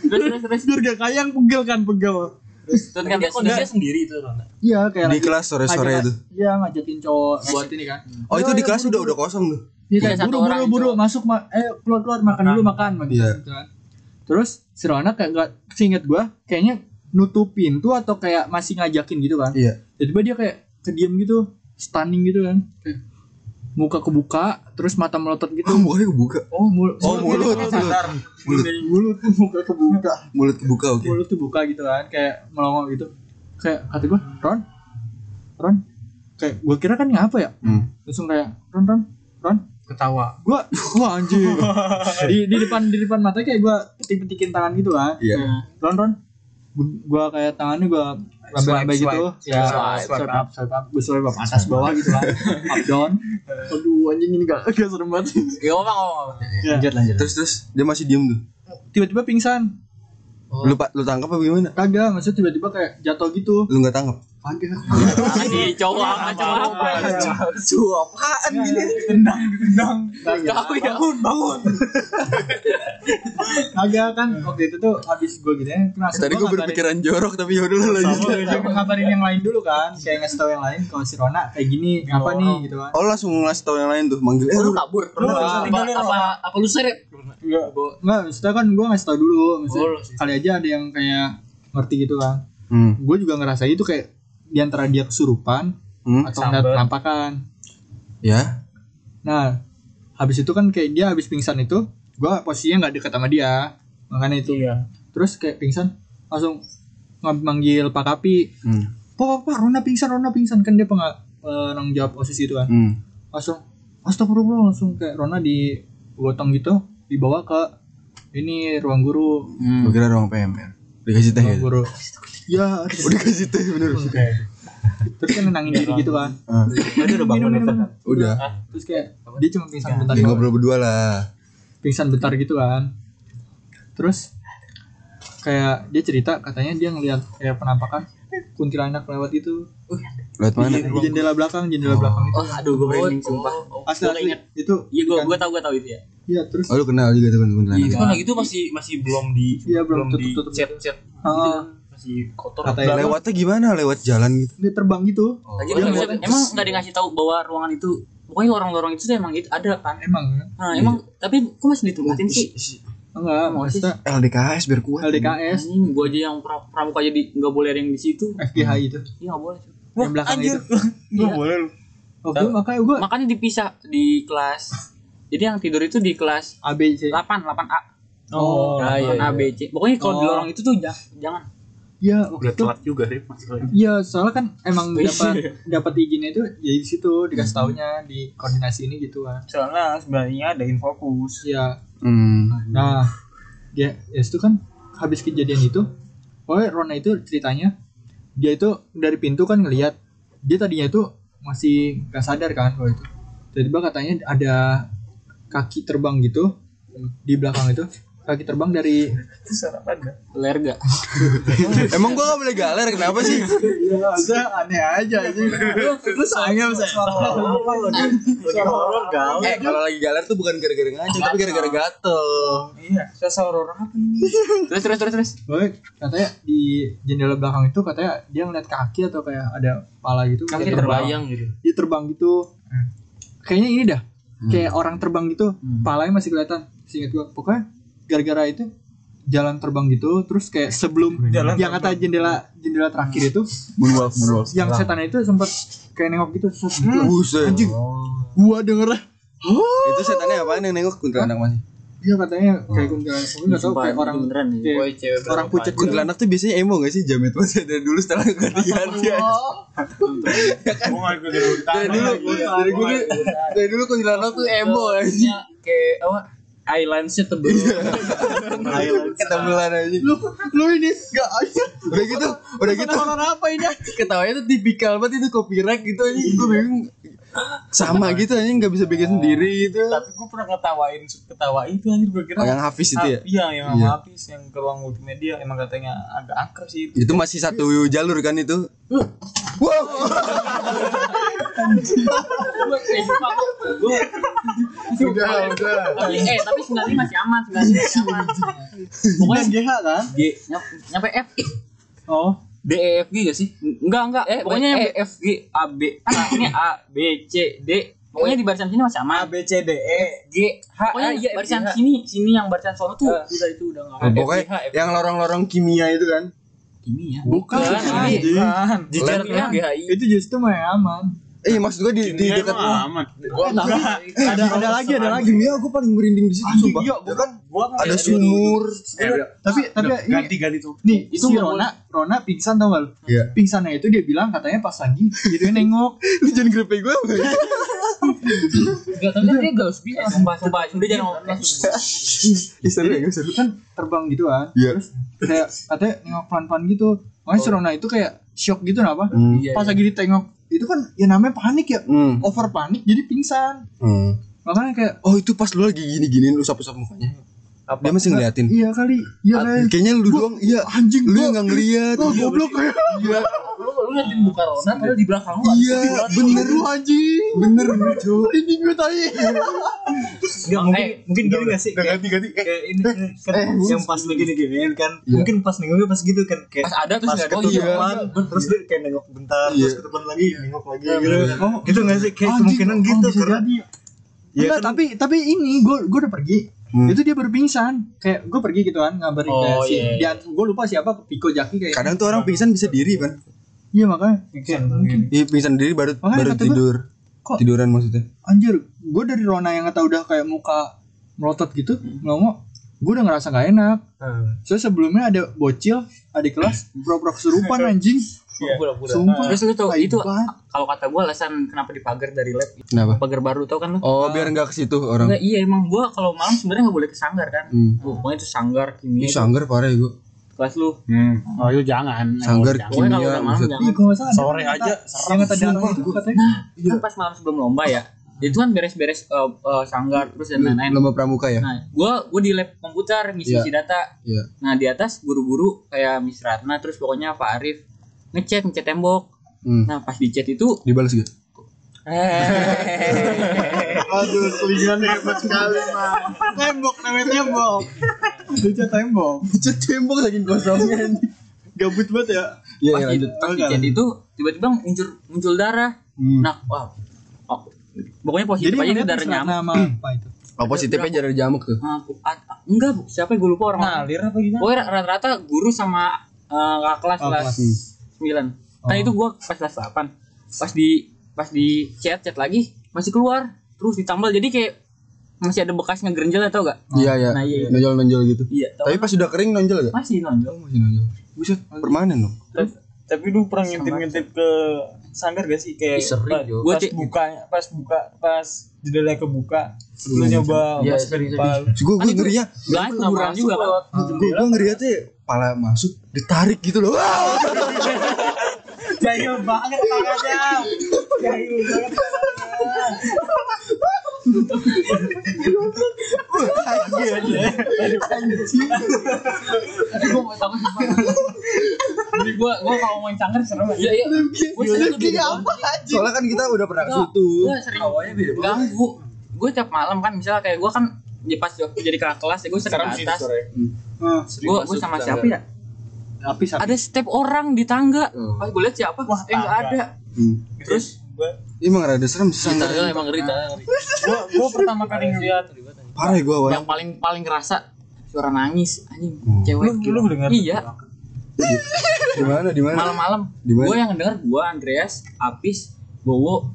Speaker 3: Terus terus terus.
Speaker 1: biar gak kayang pegel kan pegel
Speaker 3: Terus kan dia kondisinya sendiri itu Rona.
Speaker 1: Iya kayak lagi-
Speaker 2: Di kelas sore-sore
Speaker 1: ngajak-
Speaker 2: itu.
Speaker 1: Iya ngajakin cowok buat ini kan.
Speaker 2: Oh, itu
Speaker 1: Ayo,
Speaker 2: di
Speaker 1: ayo,
Speaker 2: kelas
Speaker 1: buru,
Speaker 2: udah
Speaker 1: buru.
Speaker 2: udah kosong tuh.
Speaker 1: Iya kayak
Speaker 3: Iya, satu
Speaker 1: buru
Speaker 3: orang
Speaker 1: buru
Speaker 3: itu.
Speaker 1: buru masuk ma eh keluar keluar makan dulu makan makan
Speaker 2: Iya.
Speaker 1: gitu kan. Terus si Rona kayak gak seinget gua kayaknya nutupin tuh atau kayak masih ngajakin gitu kan.
Speaker 2: Iya.
Speaker 1: Tiba-tiba dia kayak kediam gitu, stunning gitu kan. Kayak Muka kebuka, terus mata melotot gitu.
Speaker 2: Oh, mukanya kebuka.
Speaker 1: Oh, mul
Speaker 2: Oh, mulut, mulut.
Speaker 1: mulut tuh muka kebuka.
Speaker 2: Mulut kebuka, oke.
Speaker 1: mulut tuh buka gitu kan kayak melongo gitu kayak kata gue Ron Ron kayak gue kira kan ngapa ya
Speaker 2: Hmm.
Speaker 1: langsung kayak Ron Ron Ron
Speaker 3: Ketawa.
Speaker 1: gue wah anjing di, di depan di depan mata kayak gue petik petikin tangan gitu kan
Speaker 2: Iya.
Speaker 1: Ron Ron gue kayak tangannya gue lambai-lambai
Speaker 11: Swipe,
Speaker 1: gitu ya
Speaker 11: Swipe,
Speaker 1: swipe up swipe up gue swipe up atas bawah gitu kan up down aduh anjing ini gak gak serem banget
Speaker 3: Gak apa apa.
Speaker 5: lanjut lanjut
Speaker 2: Terus terus dia masih diem tuh.
Speaker 1: tiba-tiba pingsan
Speaker 2: Lu pa- lu tangkap apa gimana?
Speaker 1: kagak maksudnya tiba-tiba kayak jatuh gitu
Speaker 2: Lu nggak tangkap?
Speaker 1: kagak
Speaker 3: Lagi cowok apa Iya, cowok apa. Kau ya.
Speaker 1: Agak kan waktu itu tuh habis gue gitu ya
Speaker 2: Eh, Tadi gue berpikiran jorok tapi yaudah lu lanjut.
Speaker 1: ngabarin yang lain dulu kan kayak ngasih tau yang lain kalau si Rona kayak gini apa nih gitu kan
Speaker 2: Oh lu langsung ngasih tau yang lain tuh manggil eh lu
Speaker 3: Lu kabur.
Speaker 1: Lu bisa
Speaker 3: Apa
Speaker 1: tinggalin,
Speaker 3: apa apa lu seret?
Speaker 1: nggak maksudnya kan gue ngasih tau dulu maksudnya
Speaker 3: Oh, lu sih.
Speaker 1: kali aja ada yang kayak ngerti gitu kan
Speaker 2: Hmm.
Speaker 1: gue juga ngerasa itu kayak di antara dia kesurupan
Speaker 2: Hmm.
Speaker 1: atau ngeliat penampakan
Speaker 2: Ya.
Speaker 1: nah habis itu kan kayak dia habis pingsan itu gue posisinya nggak deket sama dia makanya itu
Speaker 7: Iya.
Speaker 1: terus kayak pingsan langsung ng- manggil Pak Kapi
Speaker 2: Hmm.
Speaker 1: Pak, Pak, Pak, Rona pingsan, Rona pingsan kan dia penga, penanggung jawab osis itu kan.
Speaker 2: Hmm.
Speaker 1: Langsung, astagfirullah langsung kayak Rona digotong gitu, dibawa ke ini ruang guru,
Speaker 2: Gua kira ruang PMR. Dikasih teh.
Speaker 1: ruang
Speaker 5: Iya.
Speaker 2: gitu.
Speaker 1: guru. Ya, terus,
Speaker 2: Udah kasih teh bener.
Speaker 1: terus kan nenangin diri gitu kan.
Speaker 2: Ah,
Speaker 5: tadi udah Iya. bangun
Speaker 1: Minum,
Speaker 5: itu
Speaker 1: minum,
Speaker 5: kan
Speaker 1: minum.
Speaker 2: Udah.
Speaker 1: Terus kayak dia cuma pingsan bentar,
Speaker 2: Ya,
Speaker 1: doang.
Speaker 2: ngobrol berdua lah.
Speaker 1: pingsan bentar gitu kan. Terus kayak dia cerita katanya dia ngelihat kayak penampakan kuntilanak lewat itu
Speaker 2: Lewat mana?
Speaker 1: di jendela belakang jendela belakang itu
Speaker 3: Oh aduh gue merinding sumpah.
Speaker 1: asli, asli itu
Speaker 3: Iya gue gue tau gue tau itu ya.
Speaker 1: iya terus
Speaker 2: Oh lu kenal juga tuh kuntilanak.
Speaker 3: Itu kan lagi itu masih masih belum di
Speaker 1: Iya, belum
Speaker 3: di
Speaker 1: tutup-tutup.
Speaker 3: chat chat.
Speaker 1: Ah.
Speaker 3: Masih kotor. Oh.
Speaker 1: katanya
Speaker 2: Lewatnya gimana? Lewat jalan gitu.
Speaker 1: dia terbang gitu
Speaker 3: Lagi dia nggak bisa- emang nggak ada yang ngasih tahu bahwa ruangan itu pokoknya lorong-lorong itu tuh emang itu ada kan.
Speaker 1: emang ya?
Speaker 3: Nah emang tapi kok masih ditempatin sih?
Speaker 1: enggak
Speaker 3: Emang
Speaker 1: maksudnya
Speaker 2: LDKS biar kuat.
Speaker 1: LDKS
Speaker 3: Anjing gue aja yang pra- pramuka jadi nggak boleh ada yang di situ.
Speaker 1: FGHI itu
Speaker 3: Iya nggak boleh.
Speaker 1: gitu. yang belakang itu
Speaker 3: Iya.
Speaker 1: oke makanya gue
Speaker 3: Makanya dipisah di kelas. Jadi yang tidur itu di kelas
Speaker 1: A B C
Speaker 3: 8, 8A.
Speaker 1: oh
Speaker 3: Nah, iya, A, B, C. Pokoknya kalau di
Speaker 1: Oh.
Speaker 3: lorong itu tuh jangan, jangan.
Speaker 1: Iya, waktu
Speaker 7: Udah
Speaker 1: itu
Speaker 7: telat juga sih masalahnya.
Speaker 1: Iya, soalnya kan emang
Speaker 6: Iya.
Speaker 1: dapat dapat izinnya itu ya di situ dikasih taunya di koordinasi ini gitu kan.
Speaker 6: Hmm. soalnya sebenarnya ada infokus
Speaker 1: Iya.
Speaker 2: Hmm.
Speaker 1: Nah, ya, ya itu kan habis kejadian itu, oleh Rona itu ceritanya dia itu dari pintu kan ngelihat dia tadinya itu masih gak sadar kan kalau itu. Tiba-tiba katanya ada kaki terbang gitu di belakang itu kaki terbang dari
Speaker 3: Lerga.
Speaker 2: Emang gua gak boleh galer kenapa sih?
Speaker 6: Iya,
Speaker 1: terus saya
Speaker 2: eh kalau lagi galer tuh bukan gara-gara ngaco tapi gara-gara gatel.
Speaker 3: Terus terus terus terus.
Speaker 1: Baik, katanya di jendela belakang itu katanya dia ngeliat kaki atau kayak ada kepala gitu.
Speaker 3: Kaki
Speaker 1: Dia
Speaker 3: terbayang gitu.
Speaker 1: Dia terbang gitu. Kayaknya ini dah. Kayak orang terbang gitu, kepalanya masih kelihatan. Seingat gua, pokoknya gara-gara itu jalan terbang gitu terus kayak sebelum yang kata jendela jendela terakhir itu
Speaker 2: Moonwalk, moonwalk.
Speaker 1: yang setan itu sempat kayak nengok gitu set, gitu.
Speaker 2: Buset.
Speaker 1: anjing gua denger lah
Speaker 2: Itu setannya apaan yang nengok kuntilanak masih?
Speaker 1: iya katanya kayak kuntilanak mungkin nggak tahu
Speaker 5: Sumpah,
Speaker 1: kayak
Speaker 5: ini
Speaker 1: orang
Speaker 5: beneran nih.
Speaker 1: kayak
Speaker 3: Boy cewek
Speaker 1: orang pucat gitu.
Speaker 2: Kuntilanak tuh biasanya emo gak sih? Jamet banget dari dulu setelah ganti-ganti aja.
Speaker 7: Gua nggak ikut dari
Speaker 2: Dari dulu, dari dulu, dari dulu kuntilanak tuh emo
Speaker 8: Oh,
Speaker 2: aja.
Speaker 3: kayak apa? Eyelinesnya tebel.
Speaker 2: Ketemulan aja.
Speaker 1: lu lu ini gak aja
Speaker 2: Udah gitu, udah gitu.
Speaker 1: nonton apa ini
Speaker 2: Ketawanya tuh tipikal banget itu copyright gitu aja. Gue bingung. Sama gitu aja nggak bisa bikin sendiri gitu.
Speaker 11: tapi gue pernah ketawain ketawa itu anjir gue kira
Speaker 2: Oh, yang Hafiz itu ya?
Speaker 11: iya yang sama
Speaker 2: Iya.
Speaker 11: Hafiz yang ke ruang multimedia emang katanya agak angker sih itu
Speaker 2: Itu masih satu jalur kan itu? Wow.
Speaker 8: gitu,
Speaker 7: Udah, udah.
Speaker 8: tapi eh tapi sebenarnya masih aman sebenarnya masih aman
Speaker 1: pokoknya GH kan
Speaker 3: G
Speaker 8: Nyam- nyampe F
Speaker 1: oh
Speaker 3: D E F G gak sih?
Speaker 8: enggak enggak
Speaker 3: Eh pokoknya
Speaker 5: E
Speaker 3: yang F G
Speaker 8: A B ah, ini A B C D pokoknya di barisan sini masih aman
Speaker 11: B C D E
Speaker 3: G H
Speaker 8: pokoknya
Speaker 3: A iya, Eh. I F G
Speaker 5: ya,
Speaker 8: barisan
Speaker 5: E
Speaker 3: H.
Speaker 8: sini sini yang barisan sono tuh udah itu udah enggak
Speaker 2: Oh, Pokoknya
Speaker 11: eh,
Speaker 2: yang lorong-lorong kimia itu kan.
Speaker 3: ya.
Speaker 8: kimia
Speaker 2: Bukan.
Speaker 3: Bukan. Jejer
Speaker 2: Lem-
Speaker 3: G H I.
Speaker 1: itu justru mah yang aman
Speaker 2: Eh maksud gue di, di
Speaker 7: Ini
Speaker 2: dekat
Speaker 7: mah aman.
Speaker 2: Eh,
Speaker 1: ada ada lagi ada lagi
Speaker 2: kimia gue paling merinding di situ sumpah.
Speaker 1: iya
Speaker 2: Ya kan
Speaker 11: gua
Speaker 2: ada sumur.
Speaker 11: iya,
Speaker 7: Eh, udah.
Speaker 1: tapi
Speaker 2: Nah,
Speaker 1: tapi
Speaker 7: Udah,
Speaker 1: ini
Speaker 7: ganti ganti tuh.
Speaker 1: nih
Speaker 8: Itu
Speaker 1: si
Speaker 8: nggak
Speaker 1: Rona Rona pingsan tau gak lu
Speaker 2: Iya.
Speaker 1: pingsannya itu dia bilang katanya pas lagi gitu nengok
Speaker 11: iya.
Speaker 2: Lu jangan grepe gue.
Speaker 8: enggak tapi dia gaus bisa sumpah sumpah udah jangan ngomong
Speaker 3: gitu.
Speaker 8: langsung
Speaker 2: Ih seru ya seru.
Speaker 1: kan terbang gitu kan
Speaker 2: Iya.
Speaker 1: kayak katanya nengok pelan pelan gitu makanya si Rona itu kayak shock gitu kenapa
Speaker 2: Oh. Hmm.
Speaker 3: Iya,
Speaker 1: pas lagi ditengok itu kan ya namanya panik ya
Speaker 2: Hmm.
Speaker 1: over panik jadi pingsan
Speaker 2: Hmm.
Speaker 1: makanya kayak
Speaker 2: Oh itu pas lu lagi gini-giniin lu sapu-sapu mukanya. Dia masih ngeliatin. Ah,
Speaker 1: iya kali iya kayak
Speaker 2: Kayaknya lu doang iya
Speaker 1: anjing
Speaker 2: lu
Speaker 1: gua
Speaker 2: yang nggak ngeliat.
Speaker 1: gua goblok kayak
Speaker 2: Iya.
Speaker 3: Lu lu ngeliatin muka Rona padahal di belakang lu.
Speaker 2: Iya, bener
Speaker 1: Lu anjing
Speaker 2: bener Cuk.
Speaker 1: ini gue tadi
Speaker 5: Enggak mungkin mungkin gini gak sih?
Speaker 7: Udah
Speaker 5: Kayak,
Speaker 7: ganti ganti. Eh,
Speaker 5: kayak ini kan yang pas lagi gini giniin kan. Mungkin pas nengoknya pas gitu kan kayak
Speaker 3: Pas ada terus
Speaker 5: pas
Speaker 3: nggak ada. Oh iya.
Speaker 5: ketutupan terus dia kayak nengok bentar
Speaker 2: Iya.
Speaker 5: terus ketutupan lagi nengok lagi gitu.
Speaker 1: Oh,
Speaker 5: Gitu gak sih? Kayak
Speaker 1: Anjing,
Speaker 5: kemungkinan
Speaker 1: oh,
Speaker 5: gitu
Speaker 1: bisa
Speaker 5: karena
Speaker 1: jadi.
Speaker 5: Iya
Speaker 1: Enggak,
Speaker 5: kan?
Speaker 1: tapi tapi ini gue gue udah pergi.
Speaker 2: Hmm.
Speaker 1: Itu dia baru pingsan. Kayak gue pergi gitu kan ngabarin
Speaker 3: Oh,
Speaker 1: kayak si
Speaker 3: iya, iya.
Speaker 1: dia gue lupa siapa Piko Jaki kayak.
Speaker 2: Kadang tuh orang pingsan bisa diri kan.
Speaker 1: Iya makanya kayak mungkin
Speaker 2: Iya pingsan diri baru
Speaker 1: Makanya
Speaker 2: baru
Speaker 1: kata gua,
Speaker 2: tidur.
Speaker 1: kok-
Speaker 2: Tiduran maksudnya.
Speaker 1: anjir gue dari Rona yang kata udah kayak muka melotot gitu ngomong gue udah ngerasa gak enak. Soalnya sebelumnya ada bocil adik kelas pura-pura kesurupan anjing.
Speaker 3: Pura-pura.
Speaker 1: Sumpah.
Speaker 3: Terus lu tau
Speaker 1: Tai
Speaker 2: Iya.
Speaker 3: itu
Speaker 1: banget.
Speaker 3: kalau kata gua alasan kenapa dipagar dari lab
Speaker 2: Kenapa?
Speaker 3: pagar baru tau kan lu?
Speaker 2: Oh biar nggak ke situ orang.
Speaker 3: Enggak iya emang gua kalau malam sebenarnya nggak boleh ke sanggar kan.
Speaker 2: Hmm.
Speaker 3: Oh, Pokoknya itu sanggar
Speaker 2: Ih,
Speaker 3: kimia
Speaker 2: sanggar parah ya gue.
Speaker 1: Nah,
Speaker 3: kelas lu.
Speaker 7: Oh, itu jangan.
Speaker 2: Sanggar
Speaker 3: Pokoknya kalau
Speaker 2: kimia
Speaker 3: udah malam
Speaker 2: buset.
Speaker 1: Ih,
Speaker 3: jangan.
Speaker 1: gue gak salah. ada
Speaker 7: Sore
Speaker 1: yang kata-
Speaker 7: aja,
Speaker 1: Yang kata darah itu katanya.
Speaker 3: Kan pas malam sebelum lomba ya. Itu kan beres-beres eh, eh, sanggar terus dan lain-lain.
Speaker 2: lomba pramuka ya.
Speaker 3: Nah, gua gua di lab komputer ngisi
Speaker 2: Iya.
Speaker 3: isi data.
Speaker 2: Iya.
Speaker 3: Nah, di atas guru-guru kayak Miss Ratna terus pokoknya Pak Arif ngecek ngecek tembok.
Speaker 2: Hmm.
Speaker 3: Nah, pas dicet itu
Speaker 2: Dibalas gitu.
Speaker 7: Aduh, selingan hebat sekali, Mas.
Speaker 1: Tembok namanya tembok. Dia tembok.
Speaker 2: Cet tembok lagi kosongnya.
Speaker 1: Gabut banget ya.
Speaker 2: Iya,
Speaker 3: pas,
Speaker 2: iya,
Speaker 3: di,
Speaker 2: lanjut.
Speaker 3: pas dicet itu tiba-tiba muncul muncul darah.
Speaker 2: Hmm.
Speaker 3: Nah, wow. Oh, pokoknya
Speaker 1: Jadi
Speaker 3: positif aja itu
Speaker 1: ngeliat
Speaker 3: darah
Speaker 1: terserah Nah.
Speaker 3: nyamuk.
Speaker 1: nama apa itu?
Speaker 2: Oh, positifnya jarang jamuk tuh.
Speaker 3: Ah, bu- ah, ah, enggak, bu. siapa gue lupa
Speaker 1: Nah.
Speaker 3: orang.
Speaker 11: ngalir apa gimana
Speaker 3: Pokoknya rata-rata guru sama eh, kakak kelas
Speaker 1: Oh,
Speaker 3: kelas
Speaker 1: kelas.
Speaker 3: 9. Nah, itu gua pas kelas 8. Pas di pas di chat chat lagi masih keluar, terus ditambal jadi kayak masih ada bekas ngegerenjel atau enggak?
Speaker 2: Iya, iya.
Speaker 3: Nah, iya, iya.
Speaker 2: Nonjol-nonjol gitu.
Speaker 3: Iya, tau
Speaker 2: Tapi pas sudah kering nonjol gak?
Speaker 3: masih nonjol.
Speaker 2: Masih nonjol. Buset, permanen dong.
Speaker 11: Tapi lu pernah ngintip-ngintip ke sanggar gak sih kayak
Speaker 3: Ih, sering,
Speaker 11: pas, pas
Speaker 3: Jo.
Speaker 1: Gua cek-
Speaker 11: bukanya pas buka pas jendelanya kebuka lu nyoba
Speaker 3: Iya,
Speaker 11: masuk ke
Speaker 3: sering,
Speaker 11: depan
Speaker 2: Terus Gua gua ngeri ya.
Speaker 3: Lain taburan juga kan.
Speaker 2: Gua gua ngeri aja pala masuk ditarik gitu loh. Wah!
Speaker 11: jahil banget tangannya jahil banget
Speaker 8: gue mau tahu Jadi gue gue kalau main sanggar serem ya.
Speaker 3: Iya, iya. Gue sering tuh beda banget.
Speaker 2: Soalnya kan kita udah pernah ke situ.
Speaker 8: Gue sering
Speaker 3: Ganggu. Gue tiap malam kan misalnya kayak gue kan ya pas waktu jadi kakak kelas ya gue sering ke atas. Gue gue sama siapa ya?
Speaker 5: Tapi satu
Speaker 3: Ada step orang di tangga. Pas gue lihat siapa? eh nggak ada.
Speaker 2: Hmm.
Speaker 3: Terus
Speaker 2: Ini emang rada serem sih.
Speaker 3: tangga emang ngeri tangga ngeri.
Speaker 11: gua gua pertama kali ngeliat
Speaker 2: Parah ya gua awalnya.
Speaker 3: Yang paling paling ngerasa suara nangis anjing
Speaker 2: Hmm.
Speaker 3: cewek.
Speaker 11: lu dengar
Speaker 3: Iya,
Speaker 2: Di mana di mana?
Speaker 3: malam-malam
Speaker 2: Di mana?
Speaker 3: gue yang denger gue Andreas Apis Bowo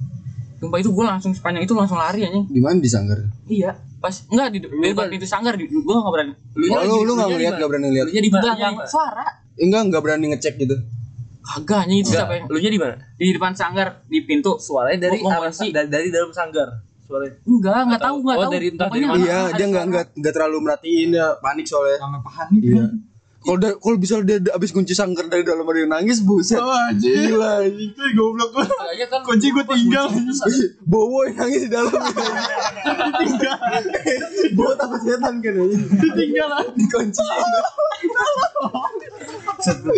Speaker 3: Sumpah itu gue langsung sepanjang itu langsung lari anjing
Speaker 2: Di mana di sanggar?
Speaker 3: Iya Pas Enggak di di depan pintu sanggar Gue gak berani Lu
Speaker 2: Oh, lu lu enggak ngeliat, enggak berani ngeliat.
Speaker 3: Lu nya di belakang Suara
Speaker 2: Eh, Enggak, enggak berani ngecek gitu.
Speaker 3: Kagak anjing itu siapa yang Lu nya di mana? Di depan sanggar Di pintu
Speaker 6: Suaranya dari
Speaker 3: Ngomong
Speaker 6: arah-
Speaker 3: sih.
Speaker 6: dari, dari dalam sanggar. Suaranya.
Speaker 3: Enggak enggak tahu
Speaker 6: tahu.
Speaker 3: enggak
Speaker 6: Oh,
Speaker 3: tahu
Speaker 6: dari entah dari
Speaker 3: Pokoknya
Speaker 6: mana.
Speaker 3: ada-
Speaker 2: Iya,
Speaker 3: ada
Speaker 2: dia enggak
Speaker 3: suara.
Speaker 2: enggak enggak terlalu merhatiin dia panik soalnya.
Speaker 1: sama kan? panik
Speaker 2: Iya. Kalau da- kalau bisa dia da- abis kunci sangkar dari dalam ada yang nangis buset. Gila
Speaker 1: Eh,
Speaker 2: anjing.
Speaker 7: goblok gua.
Speaker 8: Iya,
Speaker 3: Kayaknya kan
Speaker 7: Kunci gua tinggal.
Speaker 2: Bowo yang nangis di dalam. Bowo takut setan kan anjing. Ditinggal dikunci.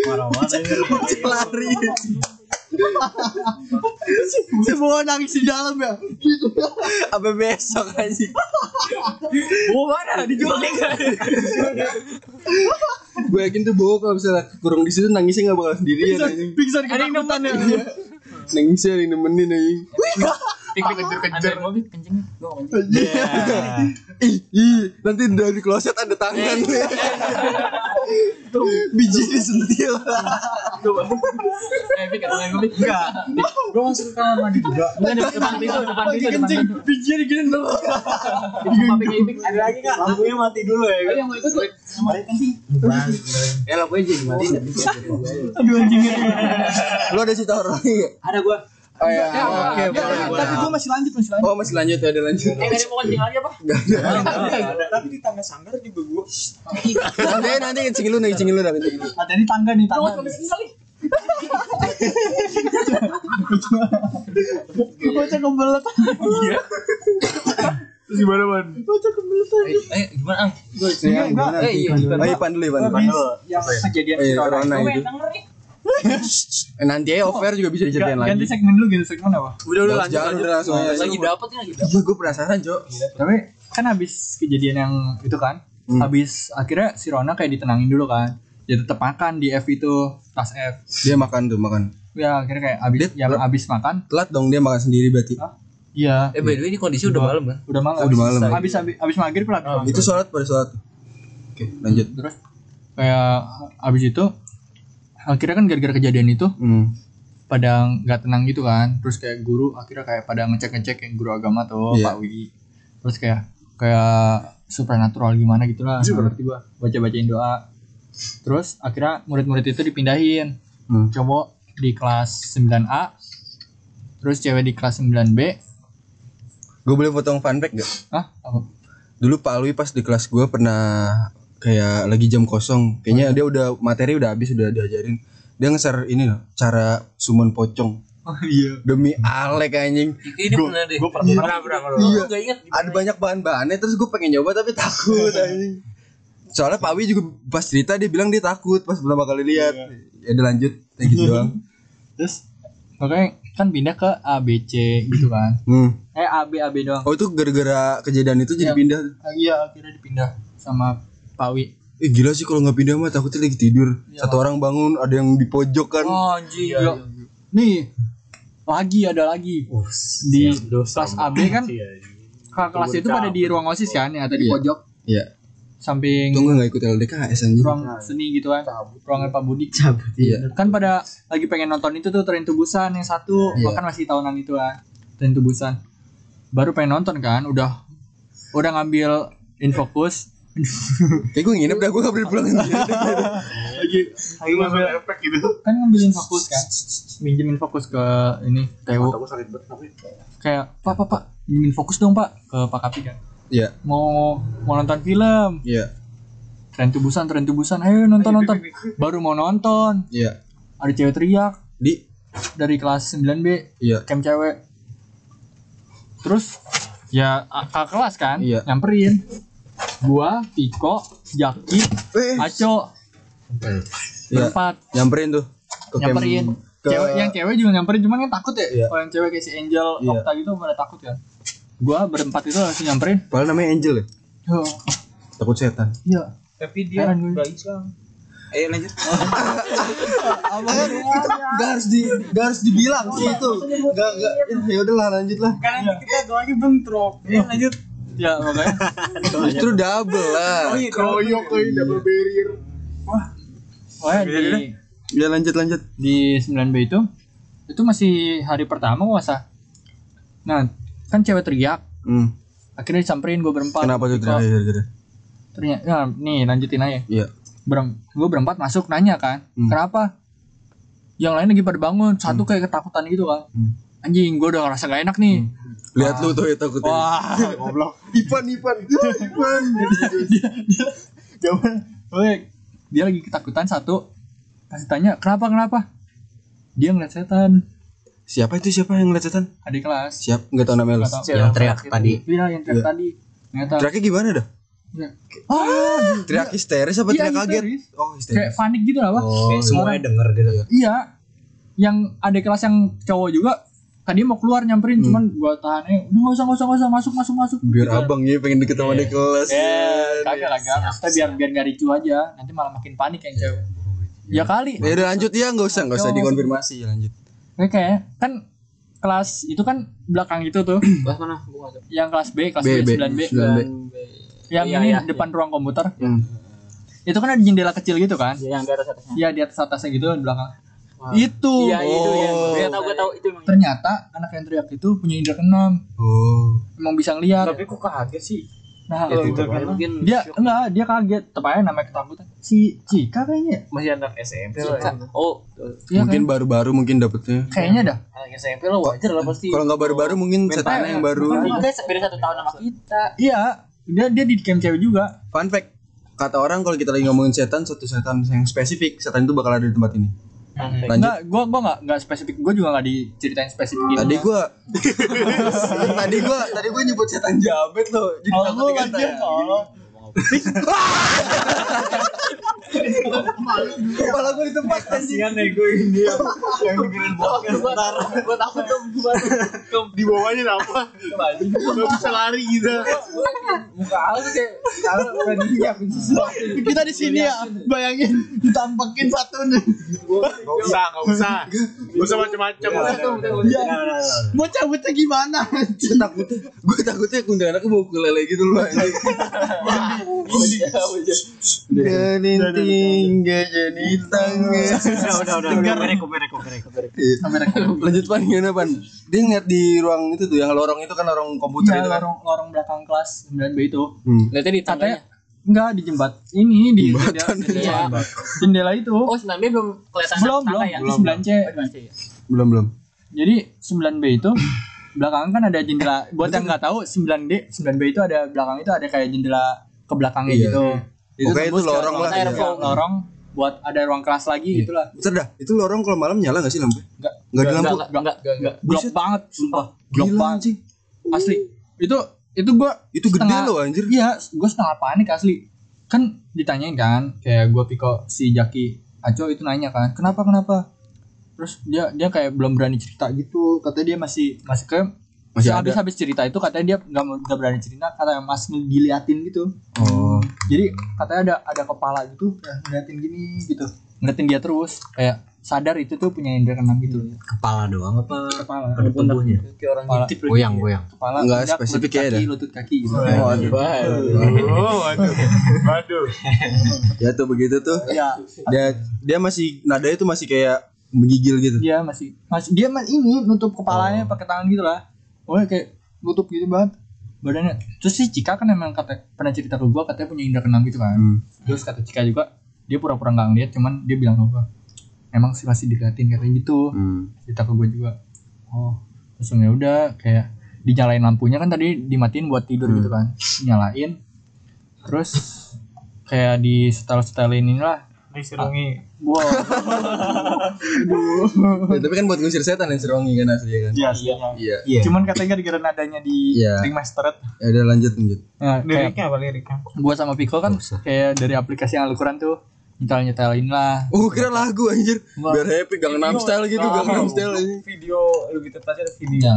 Speaker 5: parah banget.
Speaker 2: lari. si Bowo nangis di dalam ya. Apa besok anjing.
Speaker 3: Bowo mana? Dijual nih
Speaker 2: Gue yakin tuh Bowo kalau misalnya kurung di situ nangisnya enggak bakal sendirian anjing.
Speaker 7: Pingsan ketakutan ya.
Speaker 2: Nangisnya ya, ada yang nemenin anjing.
Speaker 3: Kejar-kejar mobil kenceng Gue mau kencing
Speaker 1: Iya.
Speaker 2: ih, ih, nanti dari kloset ada
Speaker 1: Iya.
Speaker 2: tangan nih. Tuh, biji disentil.
Speaker 3: Eh Pik ada
Speaker 2: Iya,
Speaker 3: yang mobil Enggak
Speaker 11: gua masuk ke kamar mandi juga
Speaker 3: Enggak di depan pintu Depan pintu Depan pintu
Speaker 7: Bijinya digini dulu.
Speaker 3: Depan
Speaker 2: Iya,
Speaker 3: pintu
Speaker 6: Ada lagi
Speaker 5: Iya,
Speaker 6: kan? Lampunya mati dulu ya.
Speaker 5: kan?
Speaker 8: yang mau ikut
Speaker 3: Eh,
Speaker 8: gue.
Speaker 6: Ya lampunya jadi mati.
Speaker 2: Lu ada cerita horor enggak?
Speaker 6: Ada gua.
Speaker 2: Oh iya. Oke,
Speaker 1: Ya,
Speaker 2: boleh, boleh.
Speaker 1: tapi gue masih lanjut masih lanjut
Speaker 2: Oh, masih lanjut ya, ada lanjut.
Speaker 3: Eh tadi mau kencing lagi apa?
Speaker 11: tapi di tangga sanggar juga gua
Speaker 2: Nanti nanti kencing lu, nanti kencing lu, nanti kencing lu.
Speaker 1: ada di tangga nih tangga
Speaker 8: Gue nulis kali.
Speaker 1: bocah kebelet
Speaker 7: Terus gimana, Man?
Speaker 3: Eh gimana Ang?
Speaker 2: Iya, gimana?
Speaker 3: Eh iya
Speaker 2: Oh, Ipan dulu, Ipan. Ipan dulu.
Speaker 1: yang kejadian
Speaker 2: Eh,
Speaker 1: corona.
Speaker 2: corona
Speaker 8: Gue
Speaker 2: itu.
Speaker 8: yang denger nih.
Speaker 2: Eh, Nanti ya off air juga bisa diceritain
Speaker 1: Ganti- ganti
Speaker 2: lagi.
Speaker 1: segmen dulu ganti segmen apa
Speaker 3: Udah udah lanjut
Speaker 2: Jangan,
Speaker 3: lanjut
Speaker 2: udah langsung aja.
Speaker 3: Lagi dapet nih lagi dapet
Speaker 2: Iya, gue penasaran, Cok.
Speaker 1: tapi kan habis kejadian yang itu kan
Speaker 2: Hmm.
Speaker 1: habis akhirnya si Rona kayak ditenangin dulu kan ya tetap makan di F itu tas F
Speaker 2: Dia makan tuh, makan.
Speaker 1: ya akhirnya kayak habis ya
Speaker 2: Dia-
Speaker 1: habis makan
Speaker 2: Telat dong dia makan sendiri berarti.
Speaker 1: iya
Speaker 3: Eh by the way ini kondisi udah malam kan?
Speaker 1: udah malam
Speaker 2: Oh, udah malam. Ah.
Speaker 1: habis habis habis maghrib lah gitu. habis maghrib.
Speaker 2: Itu sholat pada sholat. Oke, lanjut.
Speaker 1: terus kayak habis itu akhirnya kan gara-gara kejadian itu
Speaker 2: Hmm.
Speaker 1: pada nggak tenang gitu kan terus kayak guru akhirnya kayak pada ngecek-ngecek yang guru agama tuh
Speaker 2: Iya.
Speaker 1: Pak Wi terus kayak kayak supranatural gimana gitu lah nggak ngerti gua baca-bacain doa terus akhirnya murid-murid itu dipindahin
Speaker 2: Hmm.
Speaker 1: cowok di kelas 9A terus cewek di kelas 9B
Speaker 2: Gue boleh potong fun fact gak?
Speaker 1: ah apa?
Speaker 2: dulu Pak Alwi pas di kelas gue pernah kayak lagi jam kosong kayaknya dia udah materi udah habis udah diajarin dia ngeser ini loh cara sumun pocong
Speaker 1: oh iya
Speaker 2: demi alek anjing
Speaker 3: Ini pernah deh. Gue pernah pernah pernah.
Speaker 2: Iya.
Speaker 3: Gak inget.
Speaker 2: ada banyak bahan-bahannya terus gue pengen nyoba tapi takut anjing soalnya Pak Alwi juga pas cerita dia bilang dia takut pas pertama kali lihat
Speaker 1: Iya.
Speaker 2: ya udah lanjut kayak gitu doang
Speaker 1: terus makanya kan pindah ke ABC gitu kan
Speaker 2: hmm.
Speaker 1: eh AB AB doang
Speaker 2: oh itu gara-gara kejadian itu
Speaker 1: Iya.
Speaker 2: jadi pindah
Speaker 1: Ah, iya akhirnya dipindah sama Pak Wi
Speaker 2: eh gila sih kalau nggak pindah mah takutnya lagi tidur satu orang bangun ada yang di pojok kan
Speaker 1: Iya. Oh anjing. Gila. Nih lagi ada lagi di kelas AB kan kakak kelas itu pada di ruang osis kan ya atau di
Speaker 2: Iya.
Speaker 1: pojok
Speaker 2: Iya.
Speaker 1: samping
Speaker 2: tunggu nggak ikut LDKS anjing
Speaker 1: ruang seni gitu kan ruangnya Pak Budi
Speaker 2: iya
Speaker 1: kan pada lagi pengen nonton itu tuh tren tubusan yang satu
Speaker 2: Iya.
Speaker 1: bahkan masih tahunan itu kan tren tubusan baru pengen nonton kan udah udah ngambil infokus
Speaker 2: Kayak gue nginep dah, gue gak boleh pulang
Speaker 7: Ayo langsung efek gitu.
Speaker 1: kan ngambilin fokus kan minjemin fokus ke ini Teo
Speaker 7: Aku sakit banget tapi.
Speaker 1: kayak pak pak pak minjemin fokus dong pak ke Pak Kapi kan
Speaker 2: Iya.
Speaker 1: mau mau nonton film
Speaker 2: Iya.
Speaker 1: tren tubusan tren tubusan ayo nonton nonton baru mau nonton
Speaker 2: Iya.
Speaker 1: ada cewek teriak
Speaker 2: Di
Speaker 1: dari kelas 9B
Speaker 2: Iya.
Speaker 1: camp cewek terus ya a- kakak kelas kan
Speaker 2: Iya.
Speaker 1: nyamperin gua Piko Jaki
Speaker 2: Eh.
Speaker 1: Aco
Speaker 2: Iya.
Speaker 1: berempat
Speaker 2: Nyamperin tuh. Ke camp-
Speaker 1: nyamperin
Speaker 2: ke-
Speaker 1: cewek yang cewek juga nyamperin cuman kan takut ya
Speaker 2: Iya.
Speaker 1: kalau yang cewek kayak si Angel
Speaker 2: Iya.
Speaker 1: Okta gitu pada takut kan gua berempat itu langsung nyamperin
Speaker 2: Padahal namanya Angel ya.
Speaker 1: Yo,
Speaker 2: Takut setan.
Speaker 1: Oh, iya
Speaker 11: Tapi dia
Speaker 1: Heran gue.
Speaker 11: udah Islam. Ayo lanjut.
Speaker 2: Abang kita gak harus di gak harus dibilang sih itu. Gak gak ya udahlah lanjut lah.
Speaker 11: Kan nanti kita doanya bentrok. Ayo lanjut.
Speaker 1: ya makanya
Speaker 2: Justru double lah.
Speaker 7: Koyok euy double barrier.
Speaker 1: makanya di
Speaker 2: Ya lanjut lanjut.
Speaker 1: di 9B itu itu masih hari pertama puasa nah kan cewek teriak
Speaker 2: Hmm.
Speaker 1: akhirnya disamperin gue berempat
Speaker 2: Kenapa tuh
Speaker 1: Piko,
Speaker 2: terakhir terakhir?
Speaker 1: ternyata nah, nih lanjutin aja
Speaker 2: Iya.
Speaker 1: berem gue berempat masuk nanya kan
Speaker 2: Hmm.
Speaker 1: kenapa yang lain lagi pada bangun satu kayak ketakutan gitu kan
Speaker 2: Hmm.
Speaker 1: anjing gue udah ngerasa gak enak nih
Speaker 2: Lihat lu tuh ya takutnya.
Speaker 1: wah
Speaker 2: goblok. Ipan Ipan. Ipan.
Speaker 1: jawaban woi dia lagi ketakutan satu kasih tanya kenapa kenapa dia ngeliat setan
Speaker 2: Siapa itu siapa yang ngeliat setan?
Speaker 1: adik kelas
Speaker 2: Siap, enggak tahu namanya lu.
Speaker 1: Nggak tahu.
Speaker 5: yang teriak tadi
Speaker 1: iya yang teriak
Speaker 2: Iya.
Speaker 1: tadi ternyata
Speaker 2: Teriaknya gimana dah?
Speaker 1: Iya.
Speaker 2: Teriak histeris apa
Speaker 1: Iya,
Speaker 2: teriak kaget?
Speaker 1: histeris.
Speaker 2: Oh,
Speaker 1: kayak
Speaker 2: histeris.
Speaker 1: panik gitu lah Pak.
Speaker 2: Oh,
Speaker 5: semuanya denger gitu ya
Speaker 1: iya yang adik kelas yang cowok juga tadi mau keluar nyamperin
Speaker 2: Hmm.
Speaker 1: cuman gua tahan eh udah nggak usah nggak usah nggak usah masuk masuk masuk
Speaker 2: biar abang ya pengen deket sama di kelas.
Speaker 1: Eh, kagak lah gak. Maksudnya biar biar nggak ricu aja. Nanti malah makin panik
Speaker 5: Iya.
Speaker 1: yang cewek. Ya kali.
Speaker 2: Ya udah lanjut ya nggak usah nggak usah
Speaker 1: Ayo.
Speaker 2: dikonfirmasi iya, lanjut.
Speaker 1: Oke, kan kelas itu kan belakang itu tuh.
Speaker 6: Kelas mana? Gua nggak tahu.
Speaker 1: Yang kelas B, kelas
Speaker 2: B,
Speaker 1: B,
Speaker 2: B,
Speaker 1: 9B.
Speaker 2: 9B.
Speaker 1: Yang
Speaker 6: Iya,
Speaker 1: ini
Speaker 6: iya,
Speaker 1: depan ruang komputer.
Speaker 2: Hmm.
Speaker 1: Itu kan ada jendela kecil gitu kan.
Speaker 6: Iya, yang di atas atasnya.
Speaker 1: Iya, di atas atasnya gitu di belakang. Itu.
Speaker 6: Iya,
Speaker 3: gitu,
Speaker 6: itu ya.
Speaker 2: Oh.
Speaker 6: Gua tahu, gua tahu itu emang.
Speaker 1: Ternyata anak yang teriak itu punya indra keenam.
Speaker 2: Oh.
Speaker 1: Emang bisa ngeliat.
Speaker 11: Tapi kok kaget sih?
Speaker 1: Nah,
Speaker 11: Itu
Speaker 6: Ya,
Speaker 11: kan
Speaker 6: Mungkin
Speaker 1: dia enggak, dia kaget. Tepatnya namanya ketakutan. Si Cika kayaknya.
Speaker 11: masih anak SMP lah. ya.
Speaker 6: oh,
Speaker 1: Iya
Speaker 2: mungkin
Speaker 1: kan?
Speaker 2: baru-baru mungkin dapetnya.
Speaker 1: kayaknya dah.
Speaker 6: anak SMP lo wajar lah pasti.
Speaker 2: Kalau nggak baru-baru mungkin setan yang baru.
Speaker 6: Kita beda satu tahun sama kita.
Speaker 1: Iya, dia dia di camp cewek juga.
Speaker 2: Fun fact, kata orang kalau kita lagi ngomongin setan, satu setan yang spesifik, setan itu bakal ada di tempat ini. Lanjut.
Speaker 1: Enggak, gua gua enggak enggak spesifik. Gua juga enggak diceritain spesifik gitu.
Speaker 2: Tadi gua tadi gua tadi gua nyebut setan jabet loh. Jadi
Speaker 1: Oh,
Speaker 2: takut
Speaker 1: lu
Speaker 2: dikata.
Speaker 1: lagi tolong.
Speaker 2: Kepala gua di tempat anjing.
Speaker 6: Gua takut dong gua.
Speaker 7: Di bawahnya apa? Gak bisa lari gitu.
Speaker 6: Muka aku kayak
Speaker 1: Kita di sini ya, bayangin ditampakin satu nih.
Speaker 7: Gak usah, gak usah. Gak usah macam-macam.
Speaker 6: Iya.
Speaker 1: Mau cabutnya gimana?
Speaker 2: Gua takutnya, gua takutnya kuntilanaknya bawa kulele gitu loh anjing. Dan tinggal jadi tangan.
Speaker 5: udah udah udah udah mereka mereka mereka
Speaker 2: Iya. Lanjut pan gimana pan? Dia ngeliat di ruang itu tuh yang lorong itu kan lorong
Speaker 1: Iya,
Speaker 2: komputer itu kan.
Speaker 1: lorong lorong belakang kelas 9B itu.
Speaker 2: Hmm.
Speaker 6: Lihatnya di
Speaker 1: Katanya enggak di jembat. Ini di jendela, jendela, jendela itu.
Speaker 6: Iya. Oh, 9 belum kelihatan
Speaker 1: belum,
Speaker 6: sama
Speaker 1: belum,
Speaker 6: ya.
Speaker 3: Oh,
Speaker 1: itu 9C.
Speaker 2: Belum belum.
Speaker 1: Jadi 9B itu belakang kan ada jendela. Buat yang nggak tahu 9D, 9B itu ada belakang itu ada kayak jendela ke belakangnya
Speaker 2: Iya.
Speaker 1: gitu.
Speaker 2: Pokoknya itu
Speaker 1: tembus ke
Speaker 2: lorong lah.
Speaker 1: air
Speaker 2: Iya.
Speaker 1: flow, lorong buat ada ruang kelas lagi gitu lah.
Speaker 2: Bentar dah, itu lorong kalau malam nyala gak sih lampu?
Speaker 1: Enggak.
Speaker 2: Enggak ada lampu.
Speaker 6: Enggak, enggak, enggak, enggak.
Speaker 1: Blok
Speaker 2: Buset.
Speaker 1: banget, sumpah. Blok
Speaker 2: Gila
Speaker 1: banget
Speaker 2: anjing.
Speaker 1: asli. Itu itu gua
Speaker 2: Itu gede
Speaker 1: setengah-
Speaker 2: loh anjir.
Speaker 1: Iya, gua setengah panik asli. Kan ditanyain kan kayak gua Piko si Jaki Aco itu nanya kan, "Kenapa kenapa?" Terus dia dia kayak belum berani cerita gitu. Katanya dia masih masih ke
Speaker 2: Masih ada.
Speaker 1: habis habis cerita itu katanya dia nggak mau- nggak berani cerita katanya mas diliatin gitu
Speaker 2: Oh.
Speaker 1: jadi katanya ada ada kepala gitu nah, ngeliatin gini gitu ngeliatin dia terus kayak sadar itu tuh punya indra keenam gitu loh
Speaker 5: kepala doang apa
Speaker 1: kepala
Speaker 5: pada tubuhnya
Speaker 6: Kayak orang
Speaker 1: Kepala.
Speaker 6: ngintip lagi.
Speaker 5: goyang goyang
Speaker 1: kepala
Speaker 2: Nggak
Speaker 1: pundak,
Speaker 2: spesifik
Speaker 1: lutut
Speaker 2: ya,
Speaker 1: kaki,
Speaker 2: dah.
Speaker 1: lutut kaki gitu
Speaker 2: Waduh.
Speaker 7: Oh, waduh. Waduh.
Speaker 2: Ya tuh begitu tuh.
Speaker 1: ya
Speaker 2: Dia dia masih nadanya tuh masih kayak menggigil gitu.
Speaker 1: dia Iya, masih masih dia mas ini nutup kepalanya pakai tangan gitu lah oh kayak nutup gitu banget badannya terus si Cika kan emang kata pernah cerita ke gua katanya punya indra keenam gitu kan
Speaker 2: Hmm.
Speaker 1: terus kata Cika juga dia pura-pura nggak ngeliat cuman dia bilang sama gue emang sih pasti diliatin katanya gitu
Speaker 11: Hmm.
Speaker 1: cerita ke gue juga oh langsung ya udah kayak dinyalain lampunya kan tadi dimatiin buat tidur gitu
Speaker 11: Hmm.
Speaker 1: kan nyalain terus kayak di setel setelin inilah Ah,
Speaker 11: Diserungi.
Speaker 1: wow
Speaker 2: Ya, tapi kan buat ngusir setan yang serongi kan aslinya kan.
Speaker 11: Iya, iya.
Speaker 2: Iya.
Speaker 11: Cuman katanya gara-gara nadanya di
Speaker 2: Iya.
Speaker 11: remastered.
Speaker 2: Ya udah lanjut lanjut.
Speaker 1: nah, kayak
Speaker 11: Liriknya apa liriknya?
Speaker 1: gue sama Piko kan kayak dari aplikasi yang Al-Quran tuh nyetel nyetelin lah
Speaker 2: Oh kira lagu anjir. Biar happy Gangnam Style gitu, Gangnam Style anjir.
Speaker 11: Video lebih tepatnya ada video.
Speaker 2: Iya.
Speaker 1: ya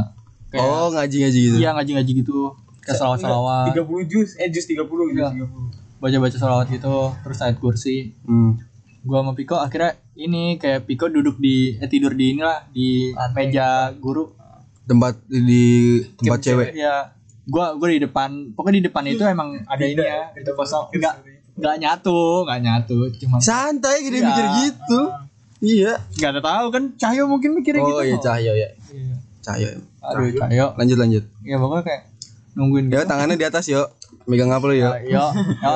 Speaker 1: kayak
Speaker 2: Oh ngaji-ngaji gitu.
Speaker 1: iya ngaji-ngaji gitu kayak salawat-salawat
Speaker 11: 30 juz, eh juz 30 gitu.
Speaker 1: Iya. baca-baca salawat gitu terus ayat kursi
Speaker 2: Hmm.
Speaker 1: gua sama Piko akhirnya ini kayak Piko duduk di eh, tidur di inilah di meja guru
Speaker 2: Tempat di tempat cewek.
Speaker 1: ya gua gua di depan pokoknya di depan itu emang ada ini ya itu kosong nggak nggak nyatu nggak nyatu cuma
Speaker 2: Santai gede
Speaker 1: Iya.
Speaker 2: mikir gitu. Iya.
Speaker 1: nggak ada tahu kan Cahyo mungkin mikirnya
Speaker 2: Oh
Speaker 1: gitu
Speaker 2: iya Cahyo ya. Cahyo. ya.
Speaker 1: aduh Cahyo
Speaker 2: Lanjut lanjut.
Speaker 1: ya pokoknya kayak nungguin
Speaker 2: Ya tangannya di atas yo. Megang apa lu yo?
Speaker 1: yo yo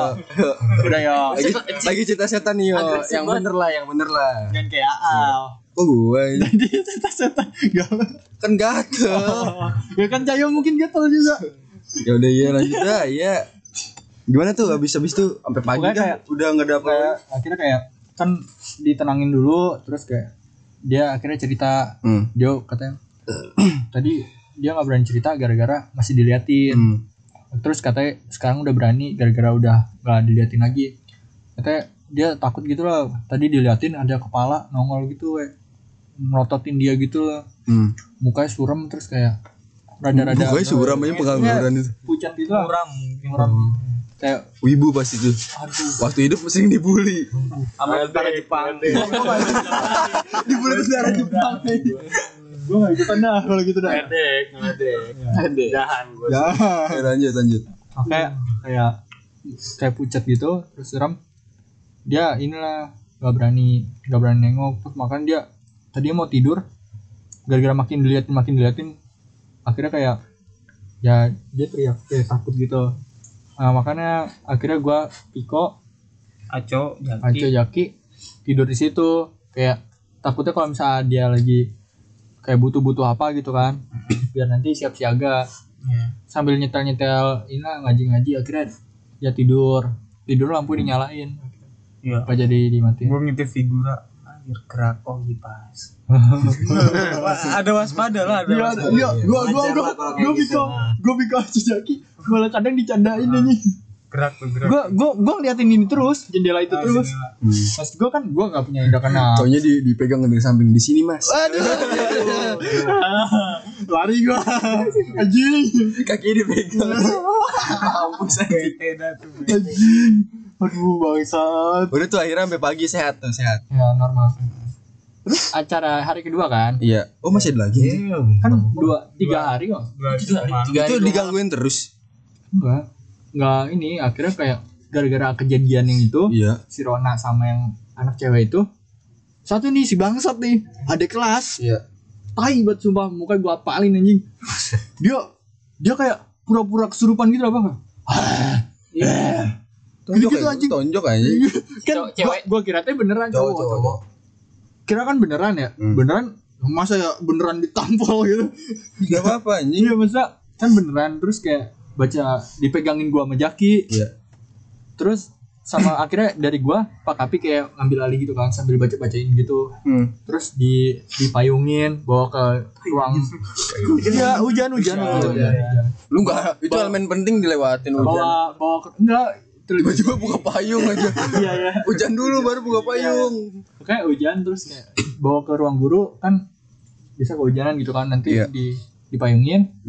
Speaker 1: udah yo
Speaker 2: Lagi, lagi cerita setan yo. Yang bener lah, yang bener lah.
Speaker 1: dan kayak Aal
Speaker 2: Oh gua anjir.
Speaker 1: jadi setan-setan galau
Speaker 2: kan gatel.
Speaker 1: ya kan Cahyo mungkin gatel juga
Speaker 2: ya udah iya lanjut dah iya gimana tuh habis habis tuh sampai pagi kan?
Speaker 1: Pokoknya
Speaker 2: dah
Speaker 1: kayak-
Speaker 2: udah nggak ada apa
Speaker 1: kayak akhirnya kayak kan ditenangin dulu terus kayak dia akhirnya cerita
Speaker 2: hmm.
Speaker 1: dia katanya tadi dia nggak berani cerita gara-gara masih diliatin
Speaker 2: hmm.
Speaker 1: terus katanya sekarang udah berani gara-gara udah nggak diliatin lagi katanya dia takut gitu loh tadi diliatin ada kepala nongol gitu we melototin dia gitu loh
Speaker 2: hmm.
Speaker 1: mukanya suram terus kayak
Speaker 2: Ada,
Speaker 1: rada-rada ya,
Speaker 2: suram aja pengangguran itu
Speaker 1: pucat gitu lah Hmm. suram suram kayak
Speaker 2: wibu pasti tuh waktu hidup sering dibully
Speaker 6: sama tentara Jepang
Speaker 2: dibully tentara Jepang
Speaker 1: gue nggak ikutan dah kalau gitu dah
Speaker 7: Ngeledek, ngeledek. Dahan gue.
Speaker 2: ya lanjut lanjut
Speaker 1: kayak kayak kayak pucat gitu terus suram dia inilah nggak berani nggak berani nengok terus makan dia tadi mau tidur gara-gara makin diliatin makin diliatin akhirnya kayak ya dia teriak kayak takut gitu nah, makanya akhirnya gua piko
Speaker 5: Iya.
Speaker 6: Aco
Speaker 1: Anco
Speaker 6: Jaki
Speaker 1: Jaki tidur di situ kayak takutnya kalau misalnya dia lagi kayak butuh-butuh apa gitu kan biar nanti siap siaga sambil nyetel nyetel ini lah, ngaji-ngaji akhirnya ya tidur tidur lampu dinyalain
Speaker 6: Iya.
Speaker 1: apa jadi dimatiin
Speaker 6: gue ngintip figura anjir gerak oh kipas ada waspada lah ada waspada
Speaker 1: iya gua gua gua gua bisa gua bisa Jaki malah kadang dicandain ini
Speaker 6: gerak tuh gerak Ah,
Speaker 1: gua gua gua ngeliatin ini terus jendela itu terus pas gua kan gua nggak punya indra kenal
Speaker 2: taunya di, dipegang dari samping di sini mas
Speaker 1: lari gua anjing
Speaker 2: kaki dipegang
Speaker 1: Anjing. Aduh bangsat.
Speaker 2: udah tuh akhirnya sampai pagi sehat tuh sehat
Speaker 1: Ya normal. Terus acara hari kedua kan?
Speaker 2: iya oh masih ada lagi anjing?
Speaker 1: Kan dua tiga hari kok.
Speaker 2: itu digangguin terus
Speaker 1: Enggak. Enggak ini akhirnya kayak gara-gara kejadian yang itu
Speaker 2: iya
Speaker 1: si Rona sama yang anak cewek itu satu nih si bangsat nih ada kelas
Speaker 2: iya
Speaker 1: tai banget sumpah muka gua apalin anjing dia dia kayak pura-pura kesurupan gitu apa Gitu-gitu,
Speaker 2: tonjok aja
Speaker 1: gitu anjing.
Speaker 2: tonjok aja
Speaker 1: kan gua, gua kira teh beneran
Speaker 2: cowok
Speaker 1: cowok,
Speaker 2: cowok
Speaker 1: cowok.
Speaker 2: cowok.
Speaker 1: kira kan beneran ya
Speaker 2: Hmm.
Speaker 1: beneran masa ya beneran ditampol gitu
Speaker 2: gak apa-apa anjing
Speaker 1: Iya masa kan beneran terus kayak baca dipegangin gua sama Jaki
Speaker 2: iya
Speaker 1: terus sama akhirnya dari gua Pak Kapi kayak ngambil alih gitu kan sambil baca bacain gitu terus di dipayungin bawa ke ruang iya hujan hujan waktu itu.
Speaker 2: lu nggak itu elemen penting dilewatin hujan
Speaker 1: bawa bawa ke, enggak terlibat
Speaker 2: tiba-tiba buka payung aja
Speaker 1: iya ya
Speaker 2: hujan dulu baru
Speaker 3: Iya.
Speaker 2: buka payung
Speaker 1: kayak hujan terus kayak bawa ke ruang guru kan bisa kehujanan gitu kan nanti
Speaker 2: Iya.
Speaker 1: di dipayungin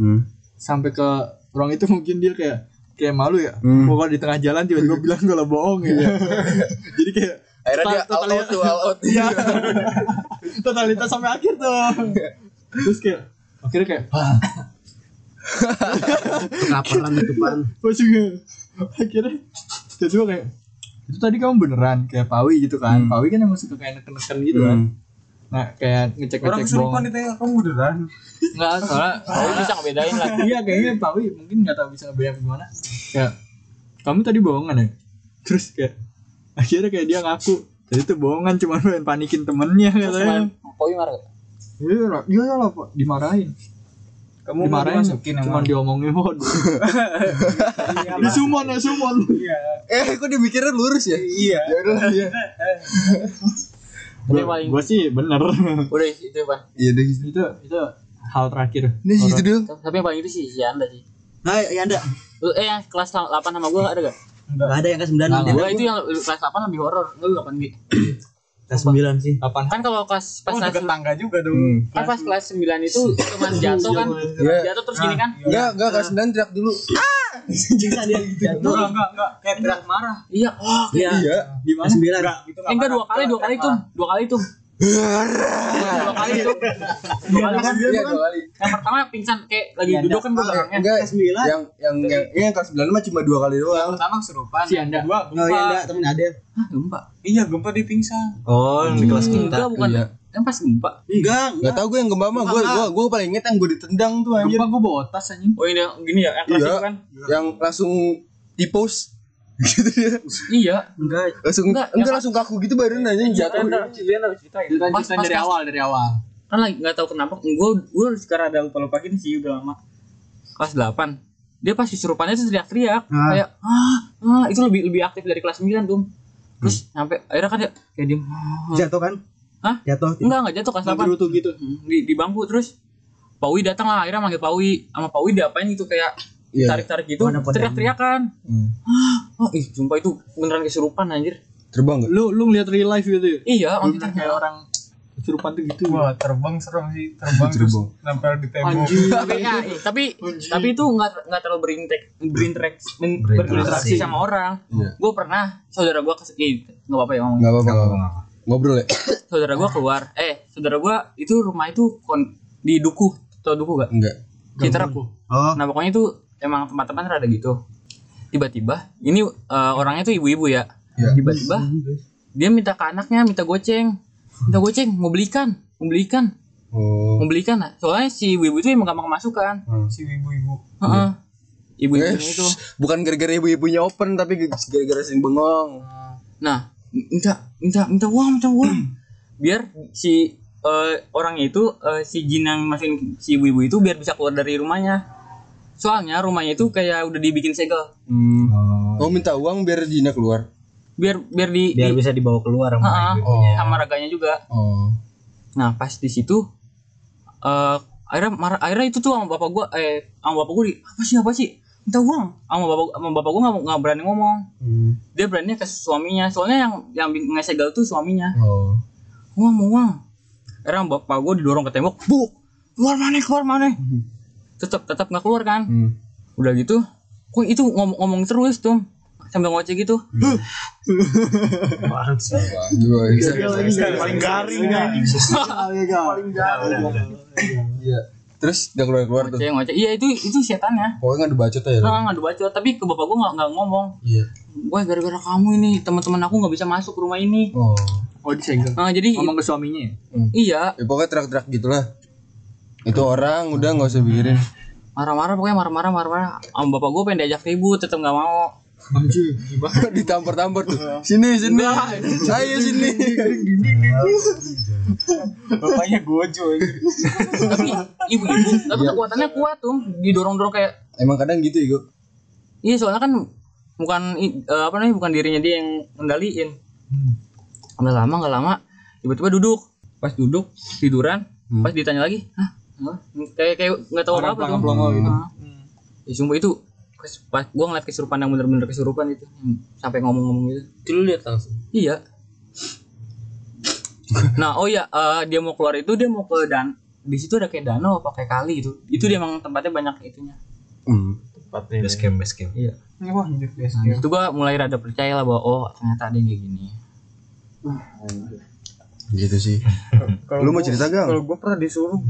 Speaker 1: sampai ke ruang itu mungkin dia kayak kayak malu ya
Speaker 2: Hmm.
Speaker 1: pokoknya di tengah jalan tiba-tiba bilang kalau bohong ya jadi kayak
Speaker 2: akhirnya dia
Speaker 1: total-
Speaker 2: all out tuh all out
Speaker 1: ya totalitas sampai akhir tuh terus kayak akhirnya kayak ah.
Speaker 5: Kapan itu pan?
Speaker 1: gue juga akhirnya tiba-tiba kayak itu tadi kamu beneran kayak Pawi gitu kan Pawi kan emang suka kayak neken-neken gitu kan nah kayak ngecek
Speaker 6: orang
Speaker 1: ngecek
Speaker 6: kesurupan ditanya kamu beneran
Speaker 3: Enggak, soalnya Pawi bisa ngebedain lah.
Speaker 1: iya kayaknya Pawi mungkin nggak tahu bisa ngebayang gimana kayak kamu tadi bohongan ya terus kayak akhirnya kayak dia ngaku tadi itu bohongan cuman pengen panikin temennya katanya
Speaker 11: Poi marah gak?
Speaker 1: iya lah iya lah pak dimarahin
Speaker 6: Kamu mau
Speaker 1: dimarahin
Speaker 6: dimasukin
Speaker 1: cuman
Speaker 6: emang?
Speaker 1: diomongin waduh
Speaker 3: Iya,
Speaker 1: disumon ya sumon
Speaker 2: Eh, kok dia mikirnya lurus ya?
Speaker 6: Iya.
Speaker 2: Ya udah lah, iya.
Speaker 1: Gua gua sih bener
Speaker 3: Udah itu Pan.
Speaker 2: Iya deh. gitu.
Speaker 1: itu itu hal terakhir
Speaker 2: Ini situ dulu.
Speaker 3: Tapi yang paling itu sih si Anda sih.
Speaker 5: Nah, ya anda
Speaker 3: Lu- Eh yang kelas 8 sama gua ada gak?
Speaker 5: Gak ada yang ke 9
Speaker 1: Nggak
Speaker 3: Gua itu yang kelas 8 lebih horor. Lu 8 G.
Speaker 5: Ke 9 sih
Speaker 1: kapan Hmm.
Speaker 3: Kan kalau kelas pas
Speaker 6: Oh,
Speaker 3: kelas
Speaker 6: juga tangga juga dong.
Speaker 3: kan pas kelas 9 itu cuma jatuh kan. Jatuh terus gini kan.
Speaker 2: Enggak, enggak kelas 9 teriak dulu.
Speaker 6: Enggak, enggak, enggak. Kayak teriak marah.
Speaker 3: Iya. Oh, iya.
Speaker 2: Iya.
Speaker 5: Ke 9
Speaker 6: Gitu
Speaker 3: Eh, enggak dua kali, dua kali tuh. Dua kali tuh. dua kali tuh. Dua kali kan.
Speaker 2: Iya, dua kali.
Speaker 3: Yang pertama pingsan kayak lagi duduk kan gua belakangnya.
Speaker 2: Enggak, yang yang yang iya, kelas 9 mah cuma dua kali doang.
Speaker 6: Pertama kesurupan.
Speaker 1: si anda
Speaker 6: Dua,
Speaker 5: Oh iya
Speaker 6: gempa.
Speaker 5: enggak temen ada
Speaker 3: Hah, gempa.
Speaker 6: Iya, gempa di pingsan.
Speaker 5: Oh di kelas
Speaker 3: Enggak
Speaker 5: kita
Speaker 3: bukan.
Speaker 2: Iya.
Speaker 3: Kan pas gempa.
Speaker 5: Enggak
Speaker 2: Enggak tahu gue yang gempa mah, gue gue gue paling inget yang gue ditendang tuh anjir.
Speaker 1: gempa gua bawa tas anjing
Speaker 3: Oh, ini yang gini ya, yang kelas
Speaker 2: Iya.
Speaker 3: itu kan.
Speaker 2: Yang langsung tipus gitu ya.
Speaker 3: Iya.
Speaker 2: Langsung
Speaker 3: Enggak,
Speaker 2: enggak,
Speaker 3: yang- Iya,
Speaker 2: langsung kaku gitu badan aja jatuh.
Speaker 1: lanjutin
Speaker 3: pas-
Speaker 1: dari
Speaker 3: pas-
Speaker 1: awal dari awal
Speaker 3: kan lagi nggak tahu kenapa gue gue sekarang ada lupa lupa gini sih udah lama kelas 8 dia pasti surupannya tuh teriak-teriak kayak ah, ah itu lebih lebih aktif dari kelas 9 tuh terus sampai akhirnya kan dia kayak diem ah.
Speaker 5: Jatuh kan?
Speaker 3: Hah?
Speaker 5: Jatuh
Speaker 3: enggak enggak jatuh kelas 8
Speaker 1: gerutu gitu
Speaker 3: di, di bangku terus Pawi datang lah akhirnya manggil Pawi sama Pawi diapain gitu kayak
Speaker 2: Iya.
Speaker 3: tarik-tarik gitu teriak-teriakan
Speaker 2: Hmm.
Speaker 3: ah ih sumpah itu beneran kesurupan anjir
Speaker 2: Terbang enggak?
Speaker 1: lu lu ngeliat real life gitu ya
Speaker 3: iya maksudnya
Speaker 1: kayak orang kesurupan tuh gitu
Speaker 6: Wah, terbang serem sih. Terbang terus
Speaker 2: Terbang.
Speaker 6: nempel di tembok.
Speaker 1: anjing
Speaker 3: tapi ya, eh, tapi tapi itu nggak nggak terlalu berintek berinteraksi men- berinteraksi sama orang
Speaker 2: Iya.
Speaker 3: gue pernah saudara gue kes eh, nggak apa-apa ya ngomong
Speaker 2: Enggak apa-apa. nggak apa-apa. Ngobrol ya?
Speaker 3: saudara gue keluar eh saudara gue itu rumah itu kon di dukuh tau dukuh gak
Speaker 2: Enggak.
Speaker 3: citra nah pokoknya itu emang tempat-tempat rada gitu tiba-tiba ini eh, orangnya tuh ibu-ibu ya
Speaker 2: Iya.
Speaker 3: tiba-tiba dia minta ke anaknya minta goceng minta goceng mau belikan mau belikan
Speaker 2: Oh.
Speaker 3: mau belikan nah. soalnya si ibu-ibu itu emang gampang kemasukan
Speaker 6: Si ibu-ibu.
Speaker 3: Heeh.
Speaker 2: Eh,
Speaker 3: ibu-ibu itu
Speaker 2: bukan gara-gara ibu-ibunya open tapi gara-gara sering bengong.
Speaker 3: Nah, minta minta minta uang, minta uang. biar si eh, orang itu eh, si jin yang masukin si ibu-ibu itu biar bisa keluar dari rumahnya. Soalnya rumahnya itu kayak udah dibikin segel.
Speaker 2: Oh, minta uang biar Jina keluar.
Speaker 3: Biar biar di,
Speaker 5: Biar
Speaker 3: di-
Speaker 5: bisa dibawa keluar
Speaker 3: Ah,
Speaker 5: sama ibu
Speaker 3: sama raganya juga.
Speaker 2: Oh.
Speaker 3: Nah, pas di situ eh akhirnya marah akhirnya itu tuh sama bapak gua eh sama bapak gua di apa sih apa sih? Minta uang. Sama bapak sama bapak gua nggak nggak berani ngomong.
Speaker 1: Hmm.
Speaker 3: Dia berani ke suaminya. Soalnya yang yang ngesegel tuh suaminya.
Speaker 2: Oh.
Speaker 3: uang uang Erang bapak gue didorong ke tembok bu keluar mana keluar mana tetap tetap nggak keluar kan
Speaker 2: Hmm.
Speaker 3: udah gitu kok itu ngomong ngomong terus tuh sambil ngoceh gitu
Speaker 5: Hmm.
Speaker 2: Dua bisa.
Speaker 7: paling garing anjing.
Speaker 2: Iya. Terus udah keluar-keluar tuh.
Speaker 3: ngoceh ngoceh iya itu itu setannya
Speaker 2: Pokoknya nggak dibacot aja.
Speaker 3: nggak nggak dibacot tapi ke bapak gue nggak nggak ngomong
Speaker 2: Iya.
Speaker 3: gue gara-gara kamu ini teman-teman aku nggak bisa masuk ke rumah ini
Speaker 2: Oh.
Speaker 1: oh disegel
Speaker 3: nah, jadi
Speaker 1: ngomong ke suaminya ya?
Speaker 3: iya
Speaker 2: Ya, pokoknya terak-terak gitulah. Itu orang udah nggak usah pikirin.
Speaker 3: marah-marah pokoknya marah-marah marah-marah sama bapak gue pengen diajak ribut tetap nggak mau
Speaker 2: Ditampar-tampar tuh. Sini sini. Ayo sini.
Speaker 6: Bapaknya gojo.
Speaker 3: tapi ibu-ibu
Speaker 1: Iya.
Speaker 3: tapi kekuatannya kuat tuh didorong-dorong kayak
Speaker 2: Emang kadang gitu ya, Gu.
Speaker 3: Iya soalnya kan bukan i- eh, apa namanya bukan dirinya dia yang ngendaliin. Nggak lama nggak lama tiba-tiba duduk pas duduk tiduran pas ditanya lagi hah Hah? kayak kayak nggak tahu apa apa tuh. Hah. Ya, sumpah itu kes- pas gua ngeliat kesurupan yang bener-bener kesurupan itu yang sampai ngomong-ngomong gitu.
Speaker 11: Dulu lihat langsung.
Speaker 3: Iya. Nah, oh ya, dia mau keluar itu dia mau ke dan di situ ada kayak danau apa kayak kali gitu. Itu dia emang tempatnya banyak itunya.
Speaker 2: Hmm.
Speaker 5: Basecamp basecamp
Speaker 3: Iya.
Speaker 6: Wah, anjir guys.
Speaker 3: Nah, itu gua mulai rada percaya lah bahwa oh ternyata ada yang kayak gini.
Speaker 2: Gitu sih. Lu mau cerita
Speaker 6: Kalau
Speaker 2: gak?
Speaker 6: gua pernah disuruh,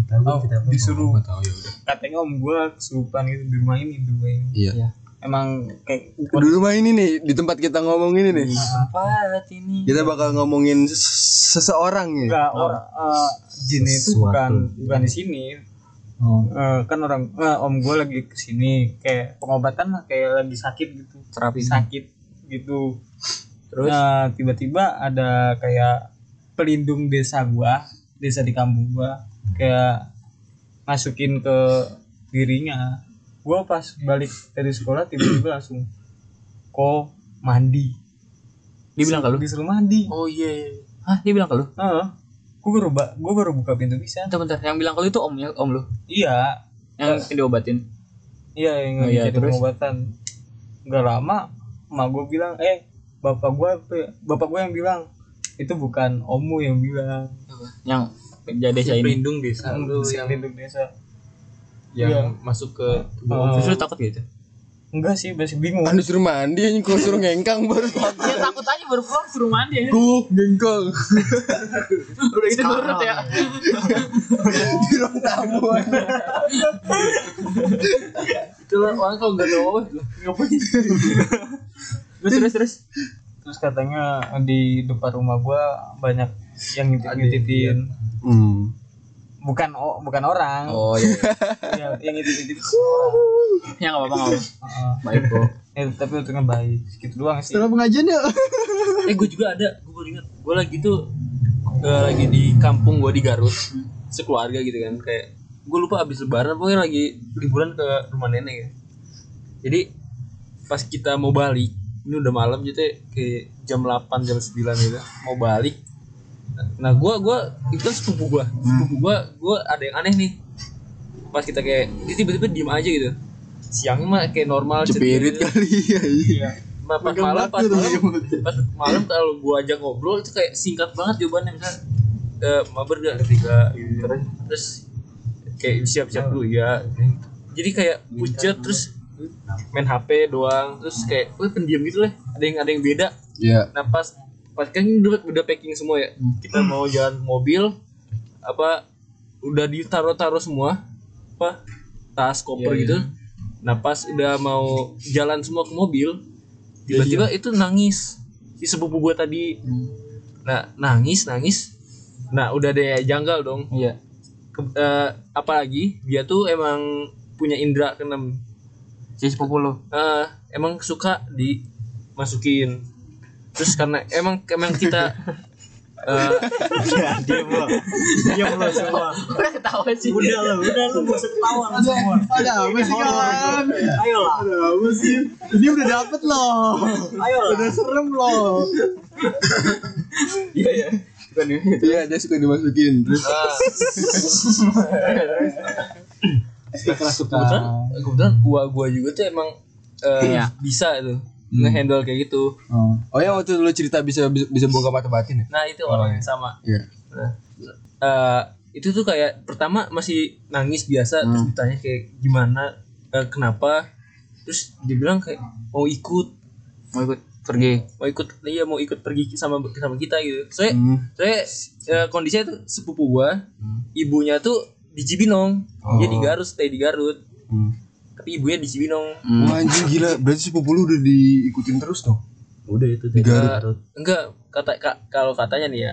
Speaker 6: disuruh
Speaker 12: ya
Speaker 6: katanya om gua kesurupan gitu di rumah ini, di rumah ini.
Speaker 2: Iya.
Speaker 6: Emang kayak Iya.
Speaker 2: Dulu mah ini nih di tempat kita ngomong ini nih.
Speaker 3: Tempat ini.
Speaker 2: Kita bakal ngomongin ses- seseorang ya.
Speaker 6: enggak orang eh, jin itu bukan bukan di sini.
Speaker 3: Oh.
Speaker 6: Eh, kan orang eh, om gua lagi kesini kayak pengobatan lah, kayak lagi sakit gitu.
Speaker 3: Terapi.
Speaker 6: sakit gitu
Speaker 3: Terus?
Speaker 1: Nah, tiba-tiba ada kayak pelindung desa gua, desa di kampung gua, kayak masukin ke dirinya. Gua pas balik dari sekolah tiba-tiba langsung kok mandi.
Speaker 3: Dia bilang ke lu?
Speaker 1: Disuruh mandi.
Speaker 3: Oh iya. Hah, dia bilang ke lu?
Speaker 1: Heeh. Gua baru ba- gua baru buka pintu bisa.
Speaker 3: Bentar, bentar. Yang bilang ke lu itu omnya, om lu.
Speaker 1: Iya,
Speaker 3: Yang diobatin.
Speaker 1: Iya yang
Speaker 3: Oh, iya,
Speaker 1: jadi
Speaker 3: terus?
Speaker 1: pengobatan. Gak lama, emak gue bilang, eh bapak gue, bapak gue yang bilang itu bukan omu yang bilang.
Speaker 3: Yang kerja desa ini.
Speaker 12: pelindung desa
Speaker 1: Om
Speaker 12: lu
Speaker 1: si
Speaker 12: yang
Speaker 1: pelindung desa. Iya. Oh,
Speaker 12: yang masuk ke tubuh
Speaker 3: Terus lu takut gitu?
Speaker 1: Enggak sih, masih bingung.
Speaker 2: Anda suruh mandi anjing kalau suruh ngengkang baru takut.
Speaker 13: Dia takut aja baru pulang suruh mandi aja.
Speaker 2: Tuh, ngengkang.
Speaker 3: Udah itu nurut ya.
Speaker 2: Di ruang tamu. anjing.
Speaker 3: Itu lah, orang kalau enggak tahu ngapain. Terus terus terus.
Speaker 1: Terus katanya di depan rumah gue banyak yang ngintip-ngintipin.
Speaker 2: Hmm.
Speaker 1: Bukan o- bukan orang.
Speaker 3: Oh iya.
Speaker 1: Iya, yang ngintip-ngintipin orang.
Speaker 3: Ya enggak apa-apa enggak apa-apa.
Speaker 1: Heeh.
Speaker 3: Baik kok.
Speaker 1: Eh, tapi untungnya baik. Segitu doang sih.
Speaker 12: pengajian ya
Speaker 3: Eh gue juga ada, gue baru ingat. Gue lagi tuh eh, lagi di kampung gue di Garut, sekeluarga gitu kan. Kayak gue lupa abis lebaran, pokoknya lagi liburan ke rumah nenek ya. Jadi pas kita mau balik, ini udah malam jadi kayak jam 8 jam 9 gitu mau balik. Nah gue gua itu kan sepupu gue, sepupu gue gue ada yang aneh nih. Pas kita kayak dia tiba-tiba diem aja gitu. Siang mah kayak normal.
Speaker 2: Jepirit
Speaker 3: ceria.
Speaker 2: kali ya. iya.
Speaker 3: Ma- pas malam pas malam pas malam kalau gua ajak ngobrol itu kayak singkat banget jawabannya misalnya eh mabar gak ketiga terus terus kayak siap-siap dulu ya jadi kayak pucat terus main HP doang terus kayak wah pendiam gitu lah ada yang ada yang beda
Speaker 2: Iya.
Speaker 3: nah pas pas kan ini udah, udah packing semua ya
Speaker 12: Hmm.
Speaker 3: kita mau jalan ke mobil apa udah ditaruh-taruh semua apa
Speaker 12: Iya,
Speaker 3: tas koper gitu nah pas udah mau jalan semua ke mobil tiba-tiba
Speaker 12: Iya,
Speaker 3: itu nangis si sepupu gue tadi
Speaker 12: Hmm.
Speaker 3: nah nangis nangis nah udah deh janggal dong
Speaker 12: iya
Speaker 3: Ke- eh, apalagi dia tuh emang punya indera keenam
Speaker 12: si sepupu lu
Speaker 3: eh emang suka dimasukin terus karena emang emang kita eh,
Speaker 5: Diam lo semua.
Speaker 13: Ketawa sih.
Speaker 5: Udah lo, udah lo masuk tawa lo semua.
Speaker 12: ada apa sih kawan
Speaker 5: Ayo lah.
Speaker 12: ada apa sih ini udah dapet loh
Speaker 5: Ayo lah.
Speaker 12: serem loh
Speaker 6: iya.
Speaker 2: Iya, dia suka dimasukin. Terus
Speaker 3: kebetulan kebetulan gua gua juga tuh emang eh,
Speaker 12: Iya.
Speaker 3: bisa tuh
Speaker 12: Hmm.
Speaker 3: ngehandle kayak gitu
Speaker 2: Oh ya waktu lu cerita bisa bisa, bisa buka mata batin ya?
Speaker 3: nah itu orang yang sama Nah,
Speaker 2: Iya.
Speaker 3: Eh, itu tuh kayak pertama masih nangis biasa
Speaker 12: Hmm.
Speaker 3: terus ditanya kayak gimana eh, kenapa terus dibilang kayak mau ikut
Speaker 12: mau ikut pergi
Speaker 3: mau ikut iya mau ikut pergi sama sama kita gitu saya
Speaker 2: Hmm.
Speaker 3: saya eh, kondisinya tuh sepupu gua ibunya tuh di Cibinong dia di Garut stay di Garut
Speaker 2: Oh. Hmm.
Speaker 3: tapi ibunya di Cibinong
Speaker 2: Wah anjing gila, berarti sepupu lu udah diikutin terus dong.
Speaker 3: udah itu
Speaker 2: Di Garut.
Speaker 3: Eh, enggak kata ka- kalau katanya nih ya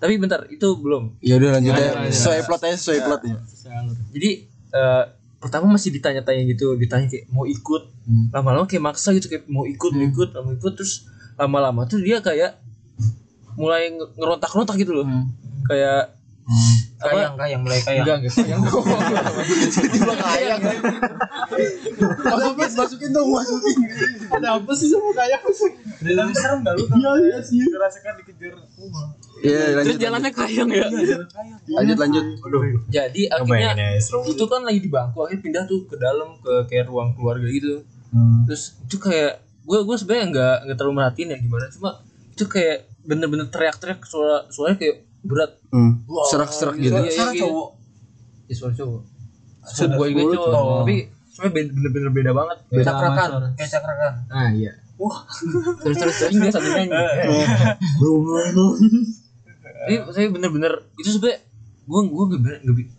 Speaker 3: tapi bentar itu belum
Speaker 2: Ya udah lanjut aja. Sesuai plot aja, sesuai plot ya.
Speaker 3: jadi eh, pertama masih ditanya-tanya gitu ditanya kayak mau ikut
Speaker 12: Hmm.
Speaker 3: lama-lama kayak maksa gitu kayak mau ikut mau ikut mau ikut terus lama-lama tuh dia kayak mulai nge- ngerontak-rontak gitu loh
Speaker 12: Hmm.
Speaker 3: kayak apa
Speaker 1: Kayang, kayang, mulai kayang.
Speaker 12: enggak enggak sayang
Speaker 2: Masukin, masukin dong, masukin.
Speaker 1: Tapi serem gak lu? Iya, iya sih. Ngerasakan dikejar.
Speaker 2: Iya,
Speaker 3: terus
Speaker 2: lanjut.
Speaker 3: jalannya kayang ya
Speaker 2: Lanjut, lanjut.
Speaker 3: jadi akhirnya itu kan lagi di bangku akhirnya pindah tuh ke dalam ke kayak ruang keluarga gitu terus itu kayak gue gue sebenarnya nggak nggak terlalu merhatiin ya gimana cuma itu kayak bener-bener teriak-teriak suara suaranya kayak berat
Speaker 2: Hmm. Serak-serak gitu.
Speaker 3: Iya, iya, iya.
Speaker 12: ya suara cowok
Speaker 3: Suara gue juga cowok tapi sebenarnya beda- bener-bener beda banget beda
Speaker 1: Cakrakan.
Speaker 3: banget.
Speaker 1: Kayak cakrakan.
Speaker 12: ah iya
Speaker 3: terus terus terus dia sambil nyanyi tapi saya bener-bener itu sebenarnya gue gue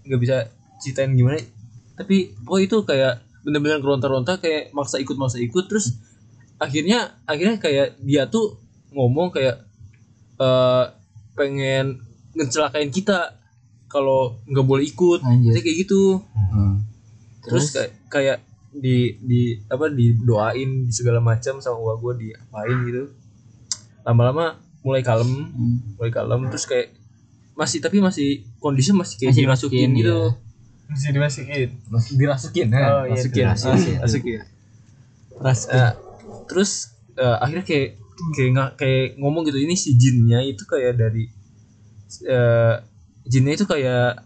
Speaker 3: nggak bisa ceritain gimana tapi pokoknya itu kayak bener-bener keronta-ronta kayak maksa ikut maksa ikut terus akhirnya akhirnya kayak dia tuh ngomong kayak eh pengen ngecelakain kita kalau nggak boleh ikut
Speaker 12: Anjir.
Speaker 3: Jadi kayak gitu
Speaker 2: Hmm.
Speaker 3: terus kayak kayak di di apa didoain segala macam sama gua gua diapain gitu
Speaker 5: lama-lama mulai kalem
Speaker 1: Hmm.
Speaker 5: mulai kalem terus kayak masih tapi masih kondisi masih kayak
Speaker 3: Masih
Speaker 5: dimasukin
Speaker 3: dimasukin,
Speaker 5: gitu
Speaker 1: iya. Mesti dimasukin.
Speaker 3: dirasukin
Speaker 1: Oh, iya,
Speaker 3: ya masukin
Speaker 5: Masih masukin Eh, terus eh, akhirnya kayak kayak nggak- kayak ngomong gitu ini si jinnya itu kayak dari eh, jinnya itu kayak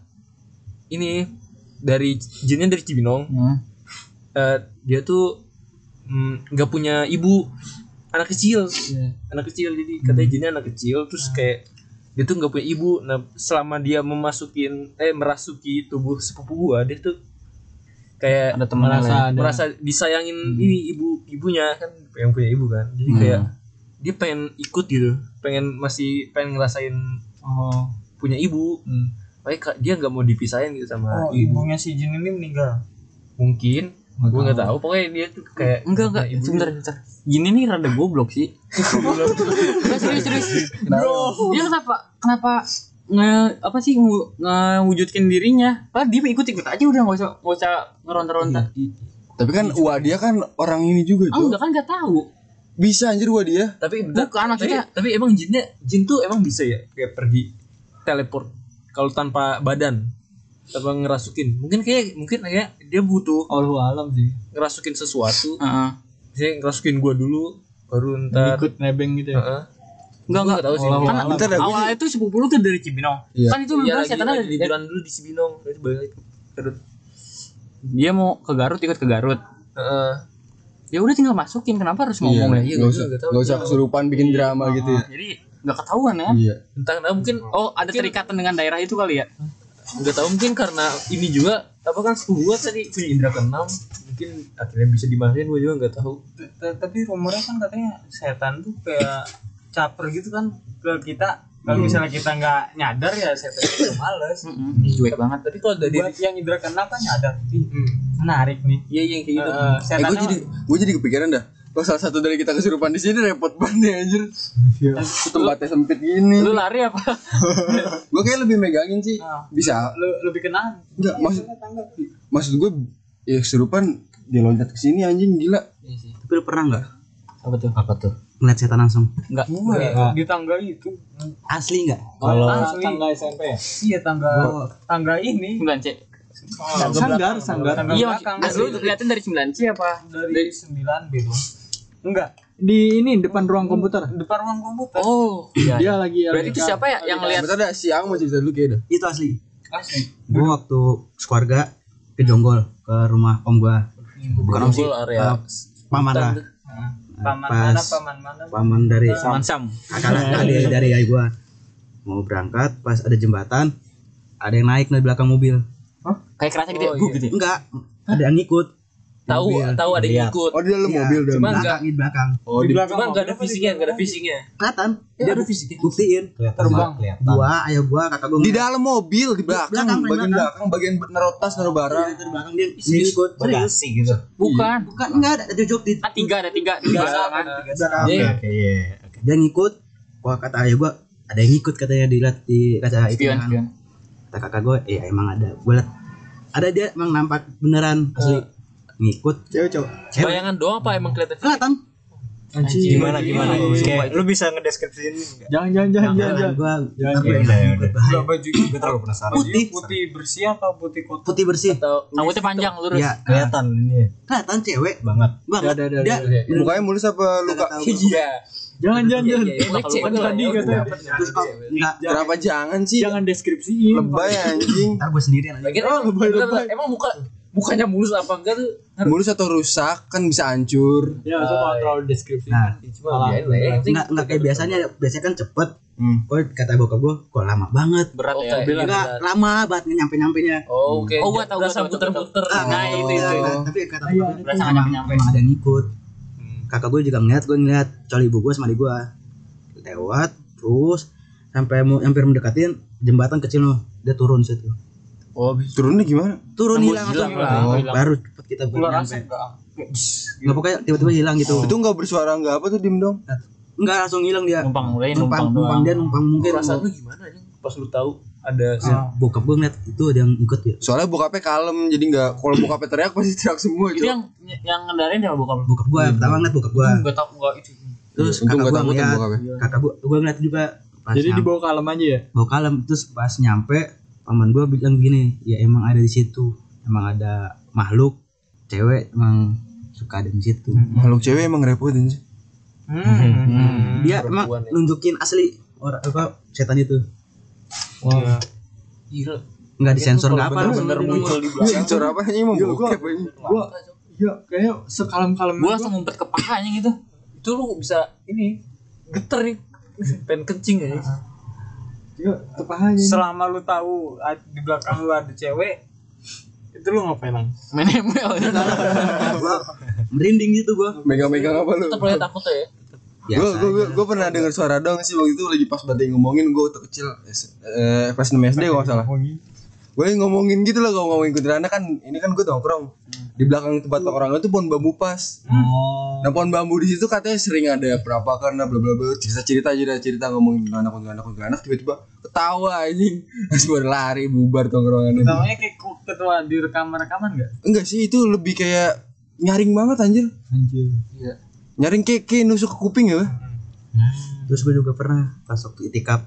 Speaker 5: ini dari jinnya dari Cibinong Eh, dia tuh mm, nggak punya ibu anak kecil
Speaker 3: Iya.
Speaker 5: anak kecil jadi
Speaker 3: Hmm.
Speaker 5: katanya jinnya anak
Speaker 3: Ah.
Speaker 5: kecil terus kayak dia tuh nggak punya ibu nah selama dia memasukin eh merasuki tubuh sepupu gua dia tuh kayak
Speaker 3: ada Hmm. teman
Speaker 5: merasa
Speaker 3: lain.
Speaker 5: merasa disayangin ini ibu ibunya kan yang punya ibu kan jadi
Speaker 3: Hmm.
Speaker 5: kayak dia pengen ikut gitu pengen masih pengen ngerasain
Speaker 1: Oh.
Speaker 5: punya ibu
Speaker 3: Hmm.
Speaker 5: Makanya ka- dia nggak mau dipisahin gitu
Speaker 1: Oh,
Speaker 5: sama ibu
Speaker 3: iya.
Speaker 1: ibunya si Jin ini meninggal.
Speaker 5: mungkin gue nggak tahu pokoknya dia tuh kayak
Speaker 3: enggak enggak
Speaker 5: ibu
Speaker 3: sebentar sebentar gini nih rada goblok sih enggak serius serius bro dia kenapa kenapa nge apa sih ngu- ngewujudin dirinya Padahal dia ikut ikut aja udah nggak usah nggak usah ngeronta ronta
Speaker 5: Iya,
Speaker 2: Tapi kan Wah dia kan orang ini juga,
Speaker 3: ah
Speaker 2: Jo.
Speaker 3: enggak kan nggak tahu
Speaker 2: Bisa anjir Wah dia.
Speaker 5: tapi bentar,
Speaker 3: Bukan, Oh, maksudnya-
Speaker 5: tapi, tapi emang jinnya jin tuh emang bisa ya kayak pergi teleport kalau tanpa badan tanpa ngerasukin mungkin kayak mungkin kayak dia butuh
Speaker 1: Allahu Oh, alam sih.
Speaker 5: ngerasukin sesuatu
Speaker 3: Heeh.
Speaker 5: misalnya ngerasukin gua dulu baru ntar
Speaker 1: Ikut nebeng gitu ya.
Speaker 5: Heeh.
Speaker 3: enggak
Speaker 5: Gua
Speaker 3: enggak
Speaker 5: nggak tahu sih
Speaker 3: kan
Speaker 2: Bentar dah, gua
Speaker 3: awal itu sepupu lu tuh dari Cibinong
Speaker 2: Iya.
Speaker 3: kan itu lu
Speaker 5: Iya
Speaker 3: bilang
Speaker 5: lagi,
Speaker 3: setan
Speaker 5: lagi
Speaker 3: ada di-
Speaker 5: liburan dulu di Cibinong itu balik terus
Speaker 3: dia mau ke Garut ikut ke Garut
Speaker 5: Heeh.
Speaker 3: ya udah tinggal masukin kenapa harus
Speaker 2: Iya,
Speaker 3: ngomong ya
Speaker 2: nggak usah
Speaker 5: nggak tahu
Speaker 2: nggak usah kesurupan bikin drama gitu ya.
Speaker 3: jadi nggak ketahuan ya
Speaker 2: Iya.
Speaker 5: entah kenapa mungkin
Speaker 3: oh ada terikatan dengan daerah itu kali ya
Speaker 5: nggak tahu mungkin karena ini juga apa kan sepupu gua tadi punya indra keenam mungkin akhirnya bisa dimasukin gua juga nggak tahu
Speaker 1: T- Tapi rumornya kan katanya setan tuh kayak caper gitu kan ke kita. Kalau misalnya kita nggak nyadar ya setan itu males.
Speaker 3: Hmm. cuek banget
Speaker 5: tapi kalau dari
Speaker 1: Buat yang indra keenam kan nyadar. Ih, Menarik nih.
Speaker 5: iya yang kayak gitu
Speaker 1: Eh,
Speaker 2: Eh, gue
Speaker 1: setannya
Speaker 2: jadi gue jadi kepikiran dah. Kalau salah satu dari kita kesurupan di sini repot banget ya anjir. Tempatnya sempit gini.
Speaker 3: lu lari apa
Speaker 2: Gue kayak lebih megangin sih.
Speaker 1: Ah.
Speaker 2: Bisa.
Speaker 1: lu- lebih kenal
Speaker 2: Enggak, maksud maksud gue ya kesurupan dia loncat ke sini anjing gila.
Speaker 14: Tapi lu pernah nggak
Speaker 3: apa tuh
Speaker 14: apa tuh ngeliat setan langsung?
Speaker 3: enggak
Speaker 1: di tangga itu.
Speaker 14: Asli nggak?
Speaker 1: Asli.
Speaker 15: tangga SMP ya?
Speaker 1: Ah, Iya tangga tangga ini
Speaker 3: sembilan C
Speaker 1: sanggar sanggar tangga
Speaker 3: iya
Speaker 1: belakang
Speaker 3: maksud lu kelihatan dari sembilan C apa
Speaker 1: dari sembilan gitu enggak
Speaker 16: Di ini depan ruang komputer.
Speaker 1: depan ruang komputer
Speaker 3: oh iya
Speaker 16: Dia lagi
Speaker 3: berarti itu siapa ya yang lihat
Speaker 2: Bentar dah si Ang mau cerita dulu kayak dah.
Speaker 14: Itu asli. Asli. Gue waktu sekeluarga ke Jonggol ke rumah om gua. Bukan om sih.
Speaker 5: Jonggol area
Speaker 14: eh, paman lah. Eh,
Speaker 1: paman
Speaker 14: Pas.
Speaker 1: mana paman mana
Speaker 14: Paman dari
Speaker 3: Mansam
Speaker 14: kakak lah, adik dari ayah gua. Mau berangkat pas ada jembatan ada yang naik dari belakang mobil.
Speaker 3: kayak kerasa gede
Speaker 5: Oh,
Speaker 3: bu
Speaker 5: iya.
Speaker 3: gitu
Speaker 14: Enggak, ada yang ngikut.
Speaker 5: tahu tahu ada yang ikut
Speaker 2: Oh di dalam
Speaker 14: Iya,
Speaker 2: mobil dalam.
Speaker 5: Cuman
Speaker 14: Belakang,
Speaker 5: nggak
Speaker 14: di belakang.
Speaker 2: Oh di
Speaker 1: iya,
Speaker 5: cuma nggak ada fisiknya nggak ada fisiknya
Speaker 14: Kelihatan.
Speaker 5: ya
Speaker 3: Iya.
Speaker 14: Dia
Speaker 5: ada fisiknya
Speaker 14: buktiin.
Speaker 1: terbang
Speaker 14: Gua, ayah gua, kakak gua.
Speaker 2: di dalam mobil di belakang,
Speaker 14: Belakang,
Speaker 2: bagian
Speaker 14: belakang.
Speaker 2: belakang, bagian naruh tas naruh barang.
Speaker 14: Iya, dari belakang dia ngikut. Serius.
Speaker 3: bukan
Speaker 14: Bukan, enggak ada, ada jejak di
Speaker 3: kan tiga ada tiga tiga kan
Speaker 14: Oke, oke, iya. Oke. Dia ngikut. Wah kata ayah gua ada yang ngikut katanya dilihat di kaca itu.
Speaker 3: Spion,
Speaker 14: kan.
Speaker 3: spion.
Speaker 14: Kata kakak gua, ya emang ada. Gua liat ada dia emang nampak beneran asli
Speaker 3: Eh.
Speaker 14: ngikut.
Speaker 2: Iya,
Speaker 14: Cewek cowok. Cewek.
Speaker 5: bayangan doang apa emang kelihatan
Speaker 14: Kelihatan.
Speaker 1: gimana gimana
Speaker 14: Sumpah,
Speaker 1: lu bisa
Speaker 16: Jangan jangan jangan jangan.
Speaker 14: Tangan Nah, gua, aku yang ngikut bahaya.
Speaker 1: gue terlalu penasaran
Speaker 14: Putih.
Speaker 1: putih bersih apa putih kotor
Speaker 14: Putih bersih.
Speaker 5: atau
Speaker 3: rambutnya panjang lurus
Speaker 14: Iya, kelihatan ini. Kelihatan cewek banget. Banget. Dia
Speaker 2: Mukanya mulus apa luka?
Speaker 14: tahu.
Speaker 5: iya
Speaker 16: Jangan jangan jangan.
Speaker 5: iya bakal lupa
Speaker 16: Cewek tadi
Speaker 5: juga.
Speaker 1: iya,
Speaker 16: katanya.
Speaker 14: Terus oh, enggak.
Speaker 2: Kenapa jangan sih?
Speaker 16: Jangan deskripsiin.
Speaker 2: Lebay anjing.
Speaker 14: Ntar gua sendirian aja.
Speaker 5: Lagian
Speaker 3: Oh,
Speaker 5: emang- bentar, bentar, emang muka mukanya mulus apa enggak tuh
Speaker 2: Mulus atau rusak kan bisa hancur.
Speaker 16: Ya,
Speaker 1: Eh,
Speaker 16: so kalau terlalu deskripsi.
Speaker 14: Nah,
Speaker 5: cuma biarin lah ya Yang penting
Speaker 14: Enggak, enggak kayak biasanya, biasanya kan cepet. Kok kata bokap gua, kok lama banget.
Speaker 5: berat ya
Speaker 14: Enggak, lama banget nyampe-nyampenya.
Speaker 5: oh oke
Speaker 3: Oh, gua tahu, gua
Speaker 5: Berasa
Speaker 3: tahu, gua tahu.
Speaker 5: muter-muter
Speaker 14: nah, itu itu. Iya, Tapi kata bokap gua,
Speaker 3: berasa
Speaker 14: emang-
Speaker 3: nyampe-nyampe.
Speaker 14: emang ada yang ikut. Kakak gue juga ngeliat, gue ngeliat coli ibu gue sama adik gue lewat, terus sampai mau hampir mendekatin jembatan kecil loh, dia turun situ.
Speaker 2: Turunnya gimana?
Speaker 14: Turun hilang, langsung hilang. baru cepet kita baru nyampe. Nggak pokoknya tiba-tiba hilang gitu.
Speaker 2: Itu nggak bersuara nggak apa tuh dim dong?
Speaker 14: Enggak langsung hilang dia.
Speaker 3: numpang mulai
Speaker 14: Numpang,
Speaker 3: numpang
Speaker 14: numpang
Speaker 3: doang
Speaker 14: dia numpang mungkin.
Speaker 5: perasaan lu gimana aja pas lu tahu ada
Speaker 14: Ah, Bokap gue ngeliat itu ada yang ikut ya.
Speaker 2: Soalnya bokapnya kalem jadi nggak kalau bokapnya teriak pasti teriak semua
Speaker 3: itu
Speaker 2: gitu.
Speaker 3: yang ya, yang ngendarain sama bokap lu
Speaker 14: Iya. Bokap gue pertama ngeliat bokap gue.
Speaker 3: nggak tahu nggak itu
Speaker 14: terus
Speaker 2: Untung gak
Speaker 14: kakak gua
Speaker 2: takut
Speaker 14: ngeliat
Speaker 2: sama
Speaker 14: kakak gua gua ngeliat juga pas
Speaker 1: Jadi
Speaker 14: nyam-
Speaker 1: dibawa kalem aja ya.
Speaker 14: bawa kalem terus pas nyampe paman gua bilang gini ya emang ada di situ emang ada makhluk cewek emang suka ada di situ
Speaker 3: Hmm,
Speaker 2: Makhluk cewek emang ngerepotin sih.
Speaker 1: Hmm.
Speaker 6: Hmm,
Speaker 14: dia emang
Speaker 5: ya.
Speaker 14: nunjukin asli orang apa setan itu
Speaker 1: Wah.
Speaker 14: nggak disensor nggak apa
Speaker 3: bener-bener muncul di belakang
Speaker 2: Sensor Iya, apa ini mau bokep ini.
Speaker 1: Gua iya kayak sekalem-kalem
Speaker 3: gue langsung ngumpet ke pahanya gitu itu lu bisa ini geter nih pengen kencing ya
Speaker 1: Iya, kepahanya.
Speaker 6: Selama lu tahu ad- di belakang lu ada cewek, itu lu ngapain lang?
Speaker 3: main ML ya
Speaker 14: merinding gitu gua
Speaker 2: Megang-megang apa lu?
Speaker 3: tetep liat takut ya
Speaker 2: Gue
Speaker 14: biasa
Speaker 2: gue gue gue pernah dengar suara dong sih waktu itu lagi pas banget ngomongin gue waktu kecil eh, pas 6 SD kalau nggak salah. Gue lagi ngomongin gitu lah kalau ngomongin kuntilanak kan ini kan gue nongkrong
Speaker 6: Hmm.
Speaker 2: di belakang tempat orang itu pohon bambu pas.
Speaker 6: Oh.
Speaker 2: Nah pohon bambu di situ katanya sering ada berapa karena bla bla bla cerita cerita aja dah, cerita ngomongin kuntilanak kuntilanak kuntilanak tiba-tiba ketawa anjing terus gue lari bubar tongkrongan ini.
Speaker 6: Namanya kayak ku- ketua di rekaman-rekaman nggak?
Speaker 2: Enggak sih itu lebih kayak nyaring banget anjir.
Speaker 1: Anjir.
Speaker 2: Nyaring kayak, kayak nusuk ke kuping ya.
Speaker 14: terus gua juga pernah pas waktu itikaf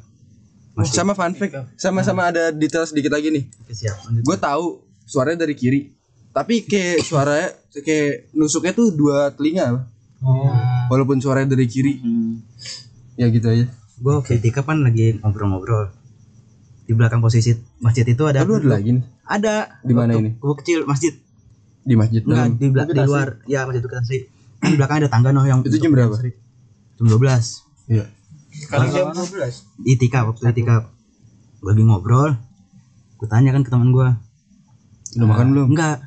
Speaker 14: masih
Speaker 2: Sama fun fact, sama-sama ada detail sedikit lagi nih.
Speaker 14: kesiapan
Speaker 2: gue tahu suaranya dari kiri tapi kayak suaranya kayak nusuknya tuh dua telinga
Speaker 14: Oh.
Speaker 2: walaupun suaranya dari kiri
Speaker 14: Hmm.
Speaker 2: ya gitu aja
Speaker 14: gue waktu itikaf kan lagi ngobrol-ngobrol di belakang posisi masjid itu ada
Speaker 2: lalu ada lagi nih
Speaker 14: ada
Speaker 2: Di mana
Speaker 14: Waktu
Speaker 2: ini?
Speaker 14: gua kecil masjid
Speaker 2: di masjid
Speaker 14: enggak
Speaker 2: dalam
Speaker 14: di, belak- di luar ya masjid Bukit Asri kan di belakang ada tangga noh yang
Speaker 2: Itu jam
Speaker 14: untuk
Speaker 2: berapa?
Speaker 14: Asri. jam 12
Speaker 2: Iya.
Speaker 14: sekarang jam 12 itikaf waktu itikaf gue lagi ngobrol gue tanya kan ke teman gue
Speaker 2: udah makan belum
Speaker 14: enggak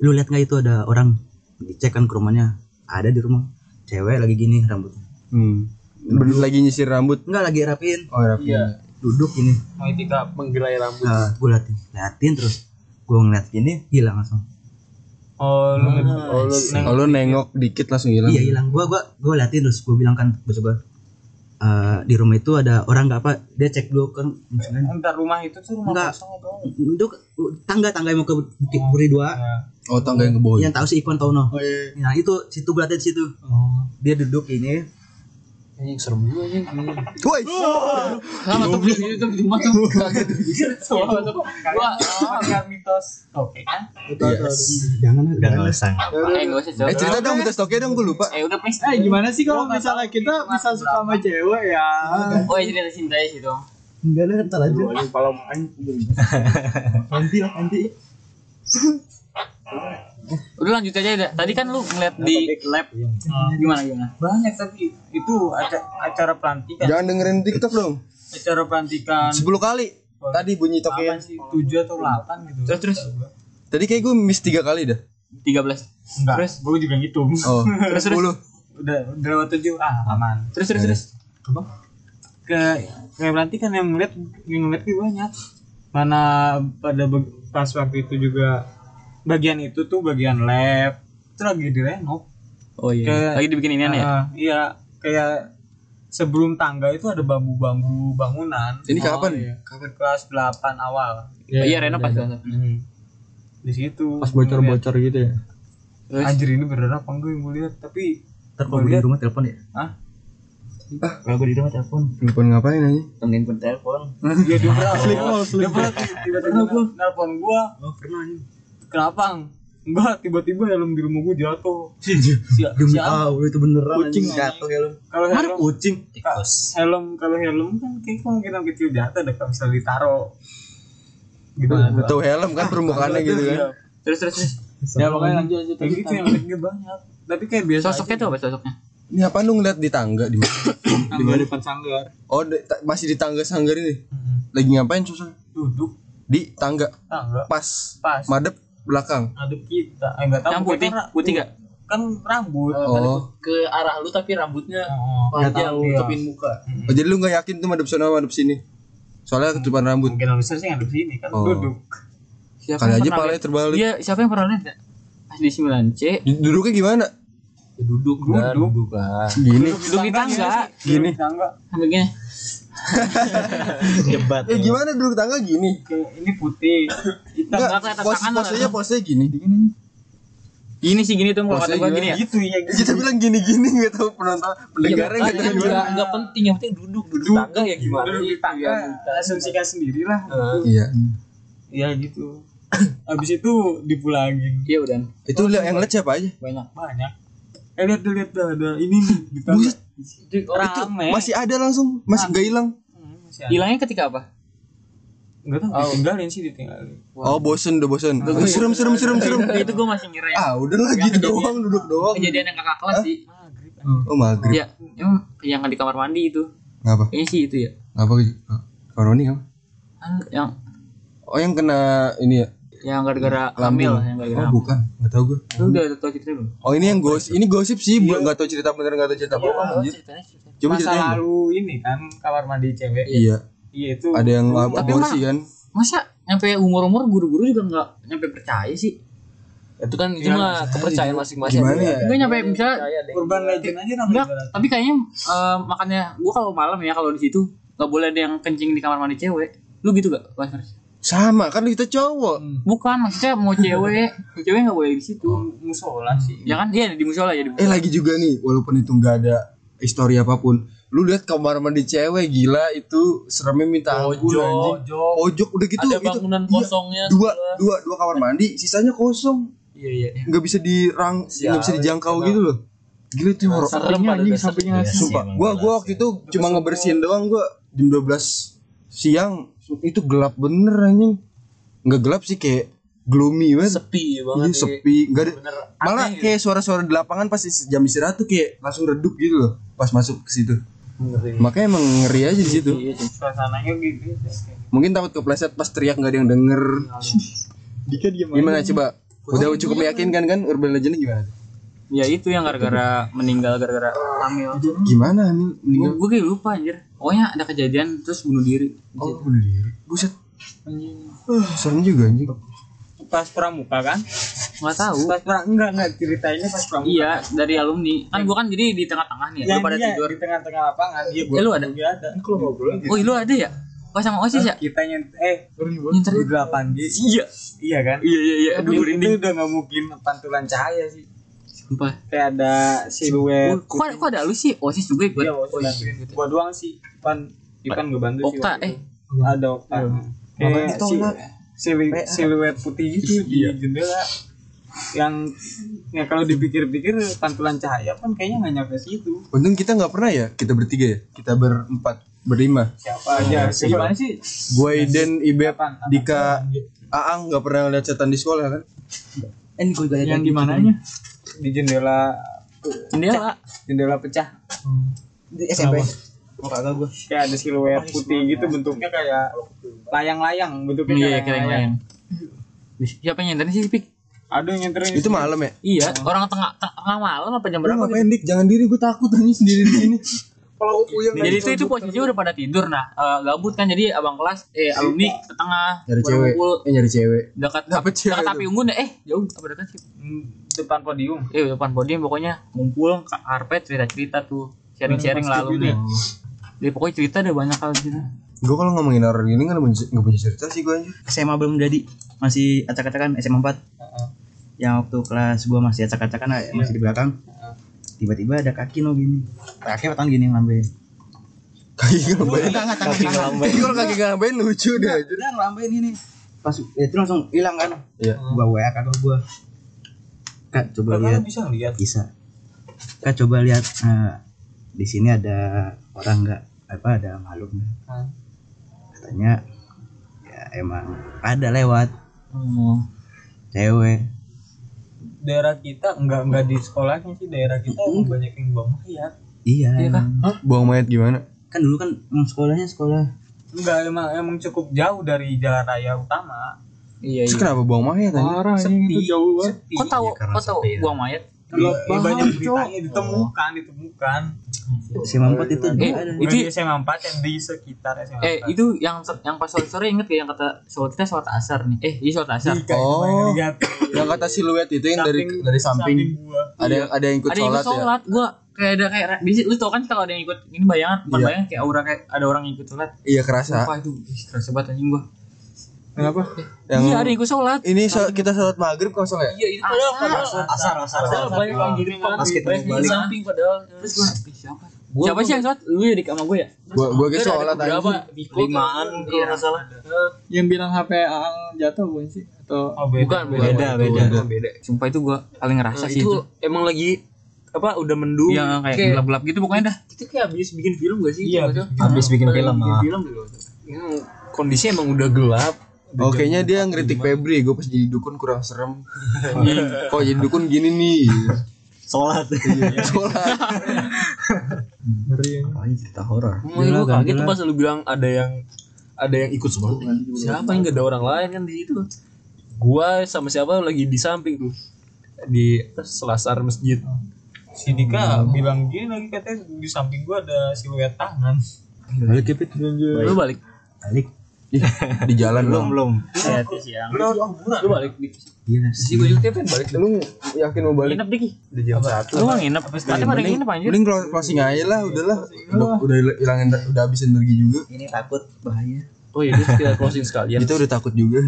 Speaker 14: lu lihat nggak itu ada orang dicek kan ke rumahnya ada di rumah cewek lagi gini rambutnya
Speaker 2: hmm. Bener lagi nyisir rambut
Speaker 14: enggak lagi rapiin
Speaker 2: oh rapi
Speaker 14: Iya. duduk gini
Speaker 6: Mau tidak menggerai rambut.
Speaker 14: nah, gue liatin liatin terus gue ngeliat gini hilang langsung
Speaker 6: Oh, lu
Speaker 2: oh, lu, oh, lu nengok dikit langsung hilang
Speaker 6: Hmm.
Speaker 14: Iya hilang. Gua gua gua liatin terus gua bilang kan bos gua "Eh, di rumah itu ada orang nggak apa dia cek dulu kan misalnya
Speaker 6: ntar rumah itu tuh rumah
Speaker 14: Enggak.
Speaker 6: kosong dong.
Speaker 14: itu tangga tangga yang mau ke Bukit Puri dua
Speaker 6: Hmm.
Speaker 2: oh tangga yang ke bawah
Speaker 14: yang tahu si Ikon Tono
Speaker 6: Oh, iya,
Speaker 14: nah itu situ gua liatin di situ dia duduk ini
Speaker 3: anjing serem juga anjing
Speaker 2: Woi, eh,
Speaker 3: lama tuh belum itu cuma tuh kaget
Speaker 6: Gua kan mitos. Oke kan?
Speaker 14: jangan udah ngelesang
Speaker 3: eh gak usah
Speaker 2: eh
Speaker 3: cerita
Speaker 2: cerita dong kita stoknya dong gue lupa
Speaker 3: eh udah pes
Speaker 1: Eh gimana sih kalau misalnya kita bisa suka sama cewek ya?
Speaker 3: oh ya cerita cinta ya sih dong
Speaker 14: enggak lah ntar aja
Speaker 3: udah lanjut aja udah tadi kan lu ngeliat di lab gimana gimana
Speaker 6: Banyak tapi itu aca- acara pelantikan.
Speaker 2: jangan dengerin tiktok dong
Speaker 6: Acara pelantikan
Speaker 2: 10 kali tadi bunyi
Speaker 6: apa
Speaker 2: toknya
Speaker 6: sih? 7 atau 8 gitu.
Speaker 3: terus terus
Speaker 2: tadi kayak gue miss 3 kali dah
Speaker 3: 13
Speaker 6: Enggak.
Speaker 3: Terus?
Speaker 6: Gua juga ngitung.
Speaker 2: oh 10
Speaker 6: Udah udah lewat 7. Ah, aman.
Speaker 3: terus terus terus
Speaker 6: ke kayak berarti kan yang ngeliat yang ngeliat gue banyak mana pada be- pas waktu itu juga bagian itu tuh bagian lab itu lagi direnov
Speaker 3: oh
Speaker 2: iya.
Speaker 6: Kayak-
Speaker 3: lagi dibikin inian ya
Speaker 6: Ah, iya kayak sebelum tangga itu ada bambu-bambu bangunan Oh, iya.
Speaker 2: Ini kapan?
Speaker 6: kapan kelas 8 awal
Speaker 3: Oh, iya Reno pas pas-
Speaker 6: di situ
Speaker 1: Pas bocor-bocor gitu ya.
Speaker 6: Ngeliat, anjir ini beneran apa enggak yang gue lihat tapi
Speaker 14: ntar kalau gua di rumah telepon ya
Speaker 6: ah
Speaker 14: kalau gua di rumah telepon
Speaker 2: Telepon ngapain aja?
Speaker 14: tungguin pun telepon
Speaker 6: dia dia pernah dia pernah tiba-tiba nelpon gua
Speaker 14: oh pernah nih
Speaker 6: kenapa enggak tiba-tiba helm di rumah gue jatuh si si
Speaker 14: demi
Speaker 6: apa?
Speaker 14: Allah itu beneran
Speaker 6: Kucing.
Speaker 14: anjing. jatuh ya lu
Speaker 6: kalau helm
Speaker 14: kucing
Speaker 6: Ka- helm kalau helm kan kayak kemungkinan kecil jatuh deh kalau misalnya ditaro gitu
Speaker 2: Tahu helm kan permukaannya gitu
Speaker 3: Iya.
Speaker 2: kan.
Speaker 3: terus terus terus
Speaker 1: Ya pokoknya lanjut lanjut.
Speaker 6: kayak gitu yang liatnya banyak tapi kayak biasa
Speaker 3: sosoknya tuh apa sosoknya
Speaker 2: Ini apa lu ngeliat di tangga di mana?
Speaker 1: Tangga depan sanggar.
Speaker 2: Oh, di- ta- masih di tangga sanggar ini. Lagi ngapain susah?
Speaker 6: duduk
Speaker 2: Di tangga
Speaker 6: tangga
Speaker 2: pas,
Speaker 6: Pas.
Speaker 2: madep belakang.
Speaker 6: ada kita eh, enggak tahu
Speaker 3: yang
Speaker 6: pokoknya
Speaker 3: putih
Speaker 6: kan ra-
Speaker 3: putih gak
Speaker 6: kan rambut
Speaker 2: Oh.
Speaker 3: ke arah lu tapi rambutnya
Speaker 6: Oh, nggak
Speaker 3: panjang
Speaker 6: tahu,
Speaker 3: nutupin
Speaker 6: iya.
Speaker 3: muka
Speaker 2: oh jadi lu nggak yakin tuh madep sana madep sini. Soalnya ketutupan rambut.
Speaker 6: mungkin harusnya sih yang ada di sini kan
Speaker 2: Oh.
Speaker 6: duduk
Speaker 3: siapa
Speaker 2: Kali
Speaker 3: yang
Speaker 2: aja
Speaker 3: pernah
Speaker 2: palanya
Speaker 3: lihat?
Speaker 2: terbalik.
Speaker 3: Iya, siapa yang pernah lihat? ya? Pas di 9C,
Speaker 2: Duduknya gimana?
Speaker 3: duduk
Speaker 6: Udah, duduk.
Speaker 2: Gini.
Speaker 3: Duduk di tangga,
Speaker 6: gini tangga
Speaker 3: sampai gini.
Speaker 5: Jebat.
Speaker 2: Eh gimana duduk tangga gini?
Speaker 6: kayak ini putih hitam
Speaker 2: Enggak,
Speaker 3: kelihatan Iya,
Speaker 2: pos
Speaker 3: tangan lah.
Speaker 2: posenya posenya gini.
Speaker 3: Gini sih gini tuh kalau
Speaker 2: Maksudnya
Speaker 3: kata gua
Speaker 2: gimana?
Speaker 3: gini ya.
Speaker 6: Gitu ya.
Speaker 2: Kita bilang gini-gini nggak tahu penonton pendengarnya nggak
Speaker 3: Makanya
Speaker 2: tahu
Speaker 3: juga
Speaker 2: gimana.
Speaker 3: nggak penting yang penting duduk duduk tangga ya gimana? Iya.
Speaker 6: Duduk di tangga, asumsikan sendiri lah.
Speaker 2: Iya.
Speaker 6: Iya gitu. Habis itu dipulangin.
Speaker 3: Iya udah
Speaker 2: Itu lihat yang lihat siapa aja?
Speaker 3: banyak.
Speaker 6: Banyak. Eh lihat tuh, lihat tuh, ada ini nih di tangga.
Speaker 2: Buset,
Speaker 3: Rame. ya.
Speaker 2: masih ada langsung, masih
Speaker 3: Ah.
Speaker 2: nggak hilang.
Speaker 3: Hilangnya ketika apa?
Speaker 6: Enggak tahu ditinggalin sih ditinggalin.
Speaker 2: Oh, bosen udah bosen. Udah Serem serem serem serem.
Speaker 3: Itu gua masih ngira ya.
Speaker 2: Ah, udah lah gitu doang duduk doang.
Speaker 3: Ah, oh, Kejadian yang kakak kelas
Speaker 2: Hah?
Speaker 3: sih.
Speaker 2: Oh, maghrib.
Speaker 3: Iya, emang yang di kamar mandi itu.
Speaker 2: Ngapa?
Speaker 3: Kayaknya sih itu ya.
Speaker 2: Ngapa? Koroni apa?
Speaker 3: Kan Yang
Speaker 2: Oh, yang kena ini ya.
Speaker 3: yang gara-gara
Speaker 2: lambung.
Speaker 3: hamil, yang gara-gara.
Speaker 2: Oh, bukan. Enggak tahu Iya. gue.
Speaker 3: Lu udah tau cerita belum?
Speaker 2: Oh, ini yang gosip. Ini gosip sih, bukan enggak tahu cerita bener enggak tahu cerita bohong anjir. Coba
Speaker 6: Masa
Speaker 2: ceritain. dong.
Speaker 6: lalu ini kan kamar mandi cewek.
Speaker 2: Iya,
Speaker 6: Iya itu.
Speaker 2: ada yang ab-
Speaker 3: Tapi
Speaker 2: aborsi
Speaker 3: mah-
Speaker 2: kan.
Speaker 3: Masa nyampe umur-umur guru-guru juga nggak nyampe percaya sih? Itu kan itu mah kepercayaan masing-masing.
Speaker 2: Gimana ya?
Speaker 3: Enggak nyampe misalnya
Speaker 6: Urban legend aja
Speaker 3: enggak,
Speaker 6: namanya.
Speaker 3: tapi kayaknya eh, makanya gua kalau malam ya kalau di situ nggak boleh ada yang kencing di kamar mandi cewek. Lu gitu gak, Mas Faris?
Speaker 2: Sama kan kita cowok.
Speaker 3: Bukan, maksudnya mau cewek, cewek nggak boleh di situ.
Speaker 6: Oh, Musola sih.
Speaker 3: Ya kan? Iya, di musola ya di
Speaker 2: Eh lagi juga nih, walaupun itu nggak ada histori apapun, lu lihat kamar mandi cewek gila itu seremnya minta ampun
Speaker 3: Pojok,
Speaker 2: anjing. Pojok udah gitu
Speaker 3: ada
Speaker 2: gitu.
Speaker 3: bangunan
Speaker 2: Iya,
Speaker 3: kosongnya
Speaker 2: dua, dua, dua kamar mandi, sisanya kosiong.
Speaker 3: iya iya
Speaker 2: Nggak bisa dirang, nggak bisa dijangkau gitu loh. Gila itu horor.
Speaker 3: sampingnya anjing sampingnya
Speaker 2: Sumpah, gua gua waktu itu cuma ngebersihin doang gua jam 12 siang itu gelap bener anjing. Nggak gelap sih kayak gloomy banget.
Speaker 3: sepi
Speaker 2: Iya
Speaker 3: banget
Speaker 2: sepi, nggak ada. Malah kayak suara-suara di lapangan pas is- jam istirahat tuh kayak langsung redup gitu loh pas masuk ke situ. Makanya emang ngeri Iya. aja di situ.
Speaker 3: Iya,
Speaker 6: Suasananya gitu.
Speaker 2: Mungkin takut kepleset pas teriak nggak ada yang denger. Gimana coba? Udah cukup meyakinkan kan urban legend gimana? tuh?
Speaker 3: ya itu yang gara-gara meninggal gara-gara hamil
Speaker 2: Gimana Anil meninggal?
Speaker 3: gue kayak lupa anjir pokoknya ada kejadian terus bunuh diri
Speaker 2: Oh, bunuh diri. Buset. Ah, Serem juga anjing.
Speaker 6: Pas pramuka kan?
Speaker 3: nggak tahu
Speaker 6: Pas pra enggak enggak ceritainnya pas pramuka.
Speaker 3: iya dari alumni kan gue kan jadi di tengah-tengah nih ya,
Speaker 6: Yang iya.
Speaker 3: lu pada
Speaker 6: dia
Speaker 3: tidur
Speaker 6: di tengah-tengah lapangan. Iya
Speaker 3: Eh, lu ada?
Speaker 6: Dia ada.
Speaker 3: oh lu ada ya Oh sama osis ya?
Speaker 6: Kita nyent eh
Speaker 3: Nyenter.
Speaker 6: di 8G.
Speaker 3: Iya,
Speaker 6: Iya kan?
Speaker 3: iya, iya, iya. Aduh,
Speaker 6: Itu-
Speaker 3: merinding.
Speaker 6: Itu udah nggak mungkin pantulan cahaya sih.
Speaker 3: Sumpah.
Speaker 6: Kayak ada
Speaker 3: Oh,
Speaker 6: siluet.
Speaker 3: kok, kok ada lu sih? Osis juga ikut. Oh, gitu.
Speaker 6: Iya, waktu bantuin. Gua doang sih. Ipan Ipan nggak bantu sih.
Speaker 3: Okta,
Speaker 6: waktu
Speaker 3: eh.
Speaker 6: itu. Ada Okta. Kayak si, silu- siluet putih gitu di jendela yang ya kalau dipikir-pikir pantulan cahaya kan kayaknya nggak nyampe situ
Speaker 2: Untung kita nggak pernah ya kita bertiga ya. Kita berempat, berlima.
Speaker 6: siapa aja gimana sih
Speaker 2: Gue Iden, Ibep,
Speaker 6: Apaan? Apaan?
Speaker 2: Dika, Aang nggak pernah ngeliat setan di sekolah kan?
Speaker 6: yang di mananya di jendela
Speaker 3: Jendela.
Speaker 6: jendela pecah
Speaker 14: Hmm. Di SMP. Oh,
Speaker 6: kayak ada siluet putih
Speaker 14: iya.
Speaker 6: gitu bentuknya kayak layang-layang bentuknya
Speaker 3: Iya,
Speaker 6: kayak
Speaker 3: keren keren. Siapa yang nyenterin sih, Pik?
Speaker 6: aduh yang nyenterin
Speaker 2: Itu malam ya?
Speaker 3: Iya, orang tengah tengah malam apa gitu? jam
Speaker 2: Lu
Speaker 3: berapa?
Speaker 2: ngapain dik? Kan Jangan diri gue takut anjing sendiri di sini. Kalau gue puyeng
Speaker 3: Jadi itu itu posisinya udah pada tidur nah eh, gabut kan jadi abang kelas eh alumni ke tengah
Speaker 2: nyari
Speaker 3: baru
Speaker 2: cewek,
Speaker 3: ngumpul
Speaker 2: eh, nyari cewek.
Speaker 3: dekat
Speaker 2: Dapet cewek
Speaker 3: dekat api unggun eh jauh apa dekat sih
Speaker 6: depan podium
Speaker 3: eh depan podium pokoknya ngumpul ke karpet cerita cerita tuh sharing sharing lah alumni jadi pokoknya cerita ada banyak hal gitu
Speaker 2: Gue kalau ngomongin horor gini nggak punya nggak punya cerita sih gue anjir.
Speaker 14: SMA belum jadi masih acak-acakan SMA 4 yang waktu kelas gua masih acak-acakan eh,
Speaker 6: Iya.
Speaker 14: masih di belakang tiba-tiba ada kaki no gini kaki tangan gini ngelambai
Speaker 2: Kaki ngelambain.
Speaker 14: kaki ngelambai
Speaker 2: Tapi kalau kaki ngelambain lucu deh anjir.
Speaker 14: udah ngelambai ini pas ya, itu langsung hilang kan
Speaker 2: Iya.
Speaker 14: gua wa kakak gua kak coba lihat
Speaker 6: bisa lihat
Speaker 14: bisa kak coba lihat eh, di sini ada orang nggak apa ada makhluk nggak
Speaker 6: Nah,
Speaker 14: katanya ya emang ada lewat cewek
Speaker 6: daerah kita enggak enggak di sekolahnya sih daerah kita emang banyak yang buang mayat
Speaker 14: iya
Speaker 3: Kak.
Speaker 14: emang.
Speaker 2: Buang mayat gimana?
Speaker 14: kan dulu kan emang sekolahnya sekolah
Speaker 6: enggak emang emang cukup jauh dari jalan raya utama
Speaker 3: iya
Speaker 2: Terus kenapa buang mayat anjir?
Speaker 6: sepi jauh sepi
Speaker 3: kok tahu kok tahu buang mayat
Speaker 6: Iya, banyak beritanya ditemukan ditemukan
Speaker 14: SMA 4 itu
Speaker 3: eh
Speaker 14: ada
Speaker 3: itu
Speaker 6: itu SMA 4 yang di sekitar SMA
Speaker 3: eh itu yang yang pas sore sore inget gak yang kata sholat kita sholat asar nih eh iya sholat asar
Speaker 2: Oh, yang kata siluet itu yang dari dari samping. Ada yang ada yang ikut
Speaker 3: ada yang
Speaker 2: sholat
Speaker 3: ikut
Speaker 2: ya.
Speaker 3: sholat gua kayak ada kayak di situ- lu tau kan kalau ada yang ikut ini bayangan bukan
Speaker 2: Iya.
Speaker 3: bayangan kayak aura kayak ada orang yang ikut sholat
Speaker 2: Iya kerasa.
Speaker 3: apa itu Ih, kerasa banget anjing gua
Speaker 2: Kenapa? Yang
Speaker 8: Iya, hari gue sholat.
Speaker 2: ini sal- kita sholat maghrib kok salah ya?
Speaker 3: Iya, itu padahal padahal
Speaker 5: asar asar
Speaker 3: padahal
Speaker 5: asar.
Speaker 3: banyak yang di depan,
Speaker 5: Pas kita
Speaker 3: banyak yang di
Speaker 5: balik.
Speaker 3: samping padahal. Terus gua
Speaker 8: Siapa sih yang sholat? Lu ya di sama gue ya?
Speaker 2: Gua gua ke
Speaker 3: Terus ada
Speaker 2: sholat
Speaker 3: beberapa
Speaker 2: aja.
Speaker 3: Biko tuh.
Speaker 5: limaan kalau
Speaker 3: Iya.
Speaker 5: nggak salah
Speaker 1: Yang bilang HP Aang jatuh bukan sih? Atau
Speaker 6: Oh, beda.
Speaker 3: Bukan, bukan.
Speaker 5: Beda, beda.
Speaker 3: Bukan, beda.
Speaker 8: Sumpah itu gue paling ngerasa
Speaker 3: Nah,
Speaker 8: sih
Speaker 3: itu
Speaker 8: itu.
Speaker 3: emang lagi apa udah mendung
Speaker 8: Yang kayak gelap-gelap gitu pokoknya dah.
Speaker 3: kita kayak habis bikin film gak sih
Speaker 5: Iya,
Speaker 3: Maksudnya?
Speaker 5: habis bikin
Speaker 3: Padahal
Speaker 5: film,
Speaker 3: bikin
Speaker 5: ah.
Speaker 3: film gitu Ini kondisinya emang udah gelap
Speaker 2: Oh kayaknya dia ngeritik Febri, gue pas jadi dukun kurang serem. Kok jadi dukun gini nih?
Speaker 5: sholat
Speaker 14: Iya.
Speaker 2: Sholat.
Speaker 5: Apalagi cerita horor
Speaker 3: Emang gue kaget tuh pas lu bilang ada yang ada yang ikut semua siapa yang gak ada orang lain kan di situ gua sama siapa lagi di samping tuh di selasar masjid
Speaker 6: Si Dika bilang gini lagi katanya di samping gua ada siluet tangan.
Speaker 2: Balik ya, Pit.
Speaker 3: lu balik
Speaker 5: balik
Speaker 2: Ih, Di jalan
Speaker 5: belum
Speaker 2: dong.
Speaker 5: belum
Speaker 3: lu balik di
Speaker 8: Iya,
Speaker 3: sisi gue juga pengen balik
Speaker 2: Lu yakin mau balik?
Speaker 8: Nginep Diki.
Speaker 7: Di jam satu.
Speaker 8: Lu gak nginep. Katanya pada nginep anjir.
Speaker 2: Mending clo- closing aja lah, udahlah. Udah, udah hilangin, udah habis energi juga.
Speaker 14: Iya. Ini takut bahaya.
Speaker 3: oh iya terus kita closing sekalian
Speaker 2: Kita udah takut juga.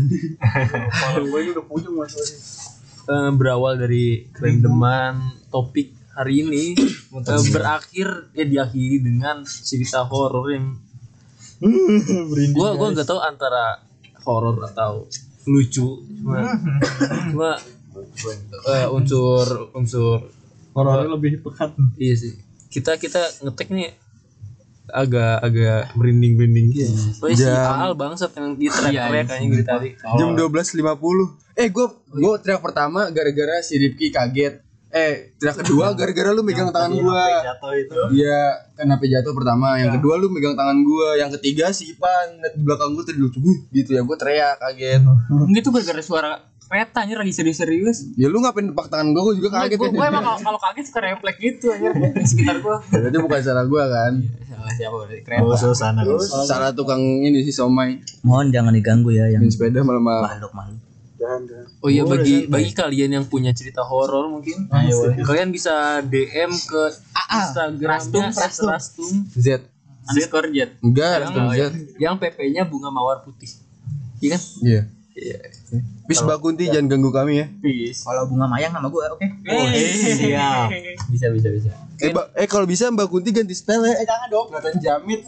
Speaker 3: Eh, berawal dari randoman topik hari ini eh, berakhir ya diakhiri dengan cerita horor yang
Speaker 8: Iya,
Speaker 3: gua gua nggak tahu antara horor atau lucu cuma cuma, eh, unsur unsur
Speaker 6: Horornya lebih pekat.
Speaker 3: iya sih kita kita ngetek nih agak agak merinding merinding gitu.
Speaker 8: Iya.
Speaker 3: Pokoknya si
Speaker 2: Jam-
Speaker 3: Aal bangsat yang di track track kayaknya gitu tadi.
Speaker 2: Jam 12.50. Eh, gue gue teriak pertama gara-gara si Ripki kaget. Eh, teriak kedua gara-gara lu megang tangan gua.
Speaker 5: jatuh itu
Speaker 2: Iya, kan HP jatuh pertama.
Speaker 14: Iya.
Speaker 2: Yang kedua lu megang tangan gua. Yang ketiga si Ipan liat di belakang gua terduduk "Huh," gitu ya. Gua teriak kaget.
Speaker 14: Oh.
Speaker 8: Mungkin itu gara-gara suara kereta anjir lagi serius-serius.
Speaker 2: Ya lu ngapain depak tangan gua? Gua juga kaget.
Speaker 8: Gue
Speaker 2: ya.
Speaker 8: emang kalau- kalau kaget suka refleks gitu anjir di sekitar gue.
Speaker 2: Berarti bukan salah gua kan.
Speaker 5: bawa suasana
Speaker 2: Salah tukang ini si Somai.
Speaker 14: Mohon jangan diganggu ya yang
Speaker 2: Main sepeda malam-malam.
Speaker 14: makhluk-makhluk.
Speaker 3: Oh iya bagi bagi kalian yang punya cerita horor mungkin
Speaker 8: Ah, iya,
Speaker 3: kalian bisa DM ke Instagramnya Rastum, Rastum
Speaker 2: Z.
Speaker 3: underscore Jet
Speaker 2: Enggak, Rastum Z.
Speaker 3: yang PP-nya bunga mawar putih. Iya kan?
Speaker 2: Iya. Bis Bakunti jangan ganggu kami ya.
Speaker 14: Kalau bunga mayang sama gua, oke.
Speaker 5: siap
Speaker 3: Bisa bisa bisa.
Speaker 2: Eh, Mbak- eh kalau bisa Mbak Kunti ganti style ya. Eh jangan dong, kelihatan jamit.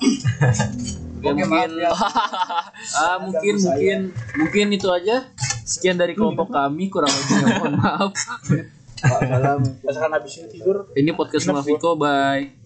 Speaker 3: Ya, mungkin ah, mungkin mungkin mungkin itu aja. Sekian dari kelompok kami kurang lebihnya mohon maaf.
Speaker 7: Misalkan habis ini tidur
Speaker 3: Ini podcast Mafiko bye.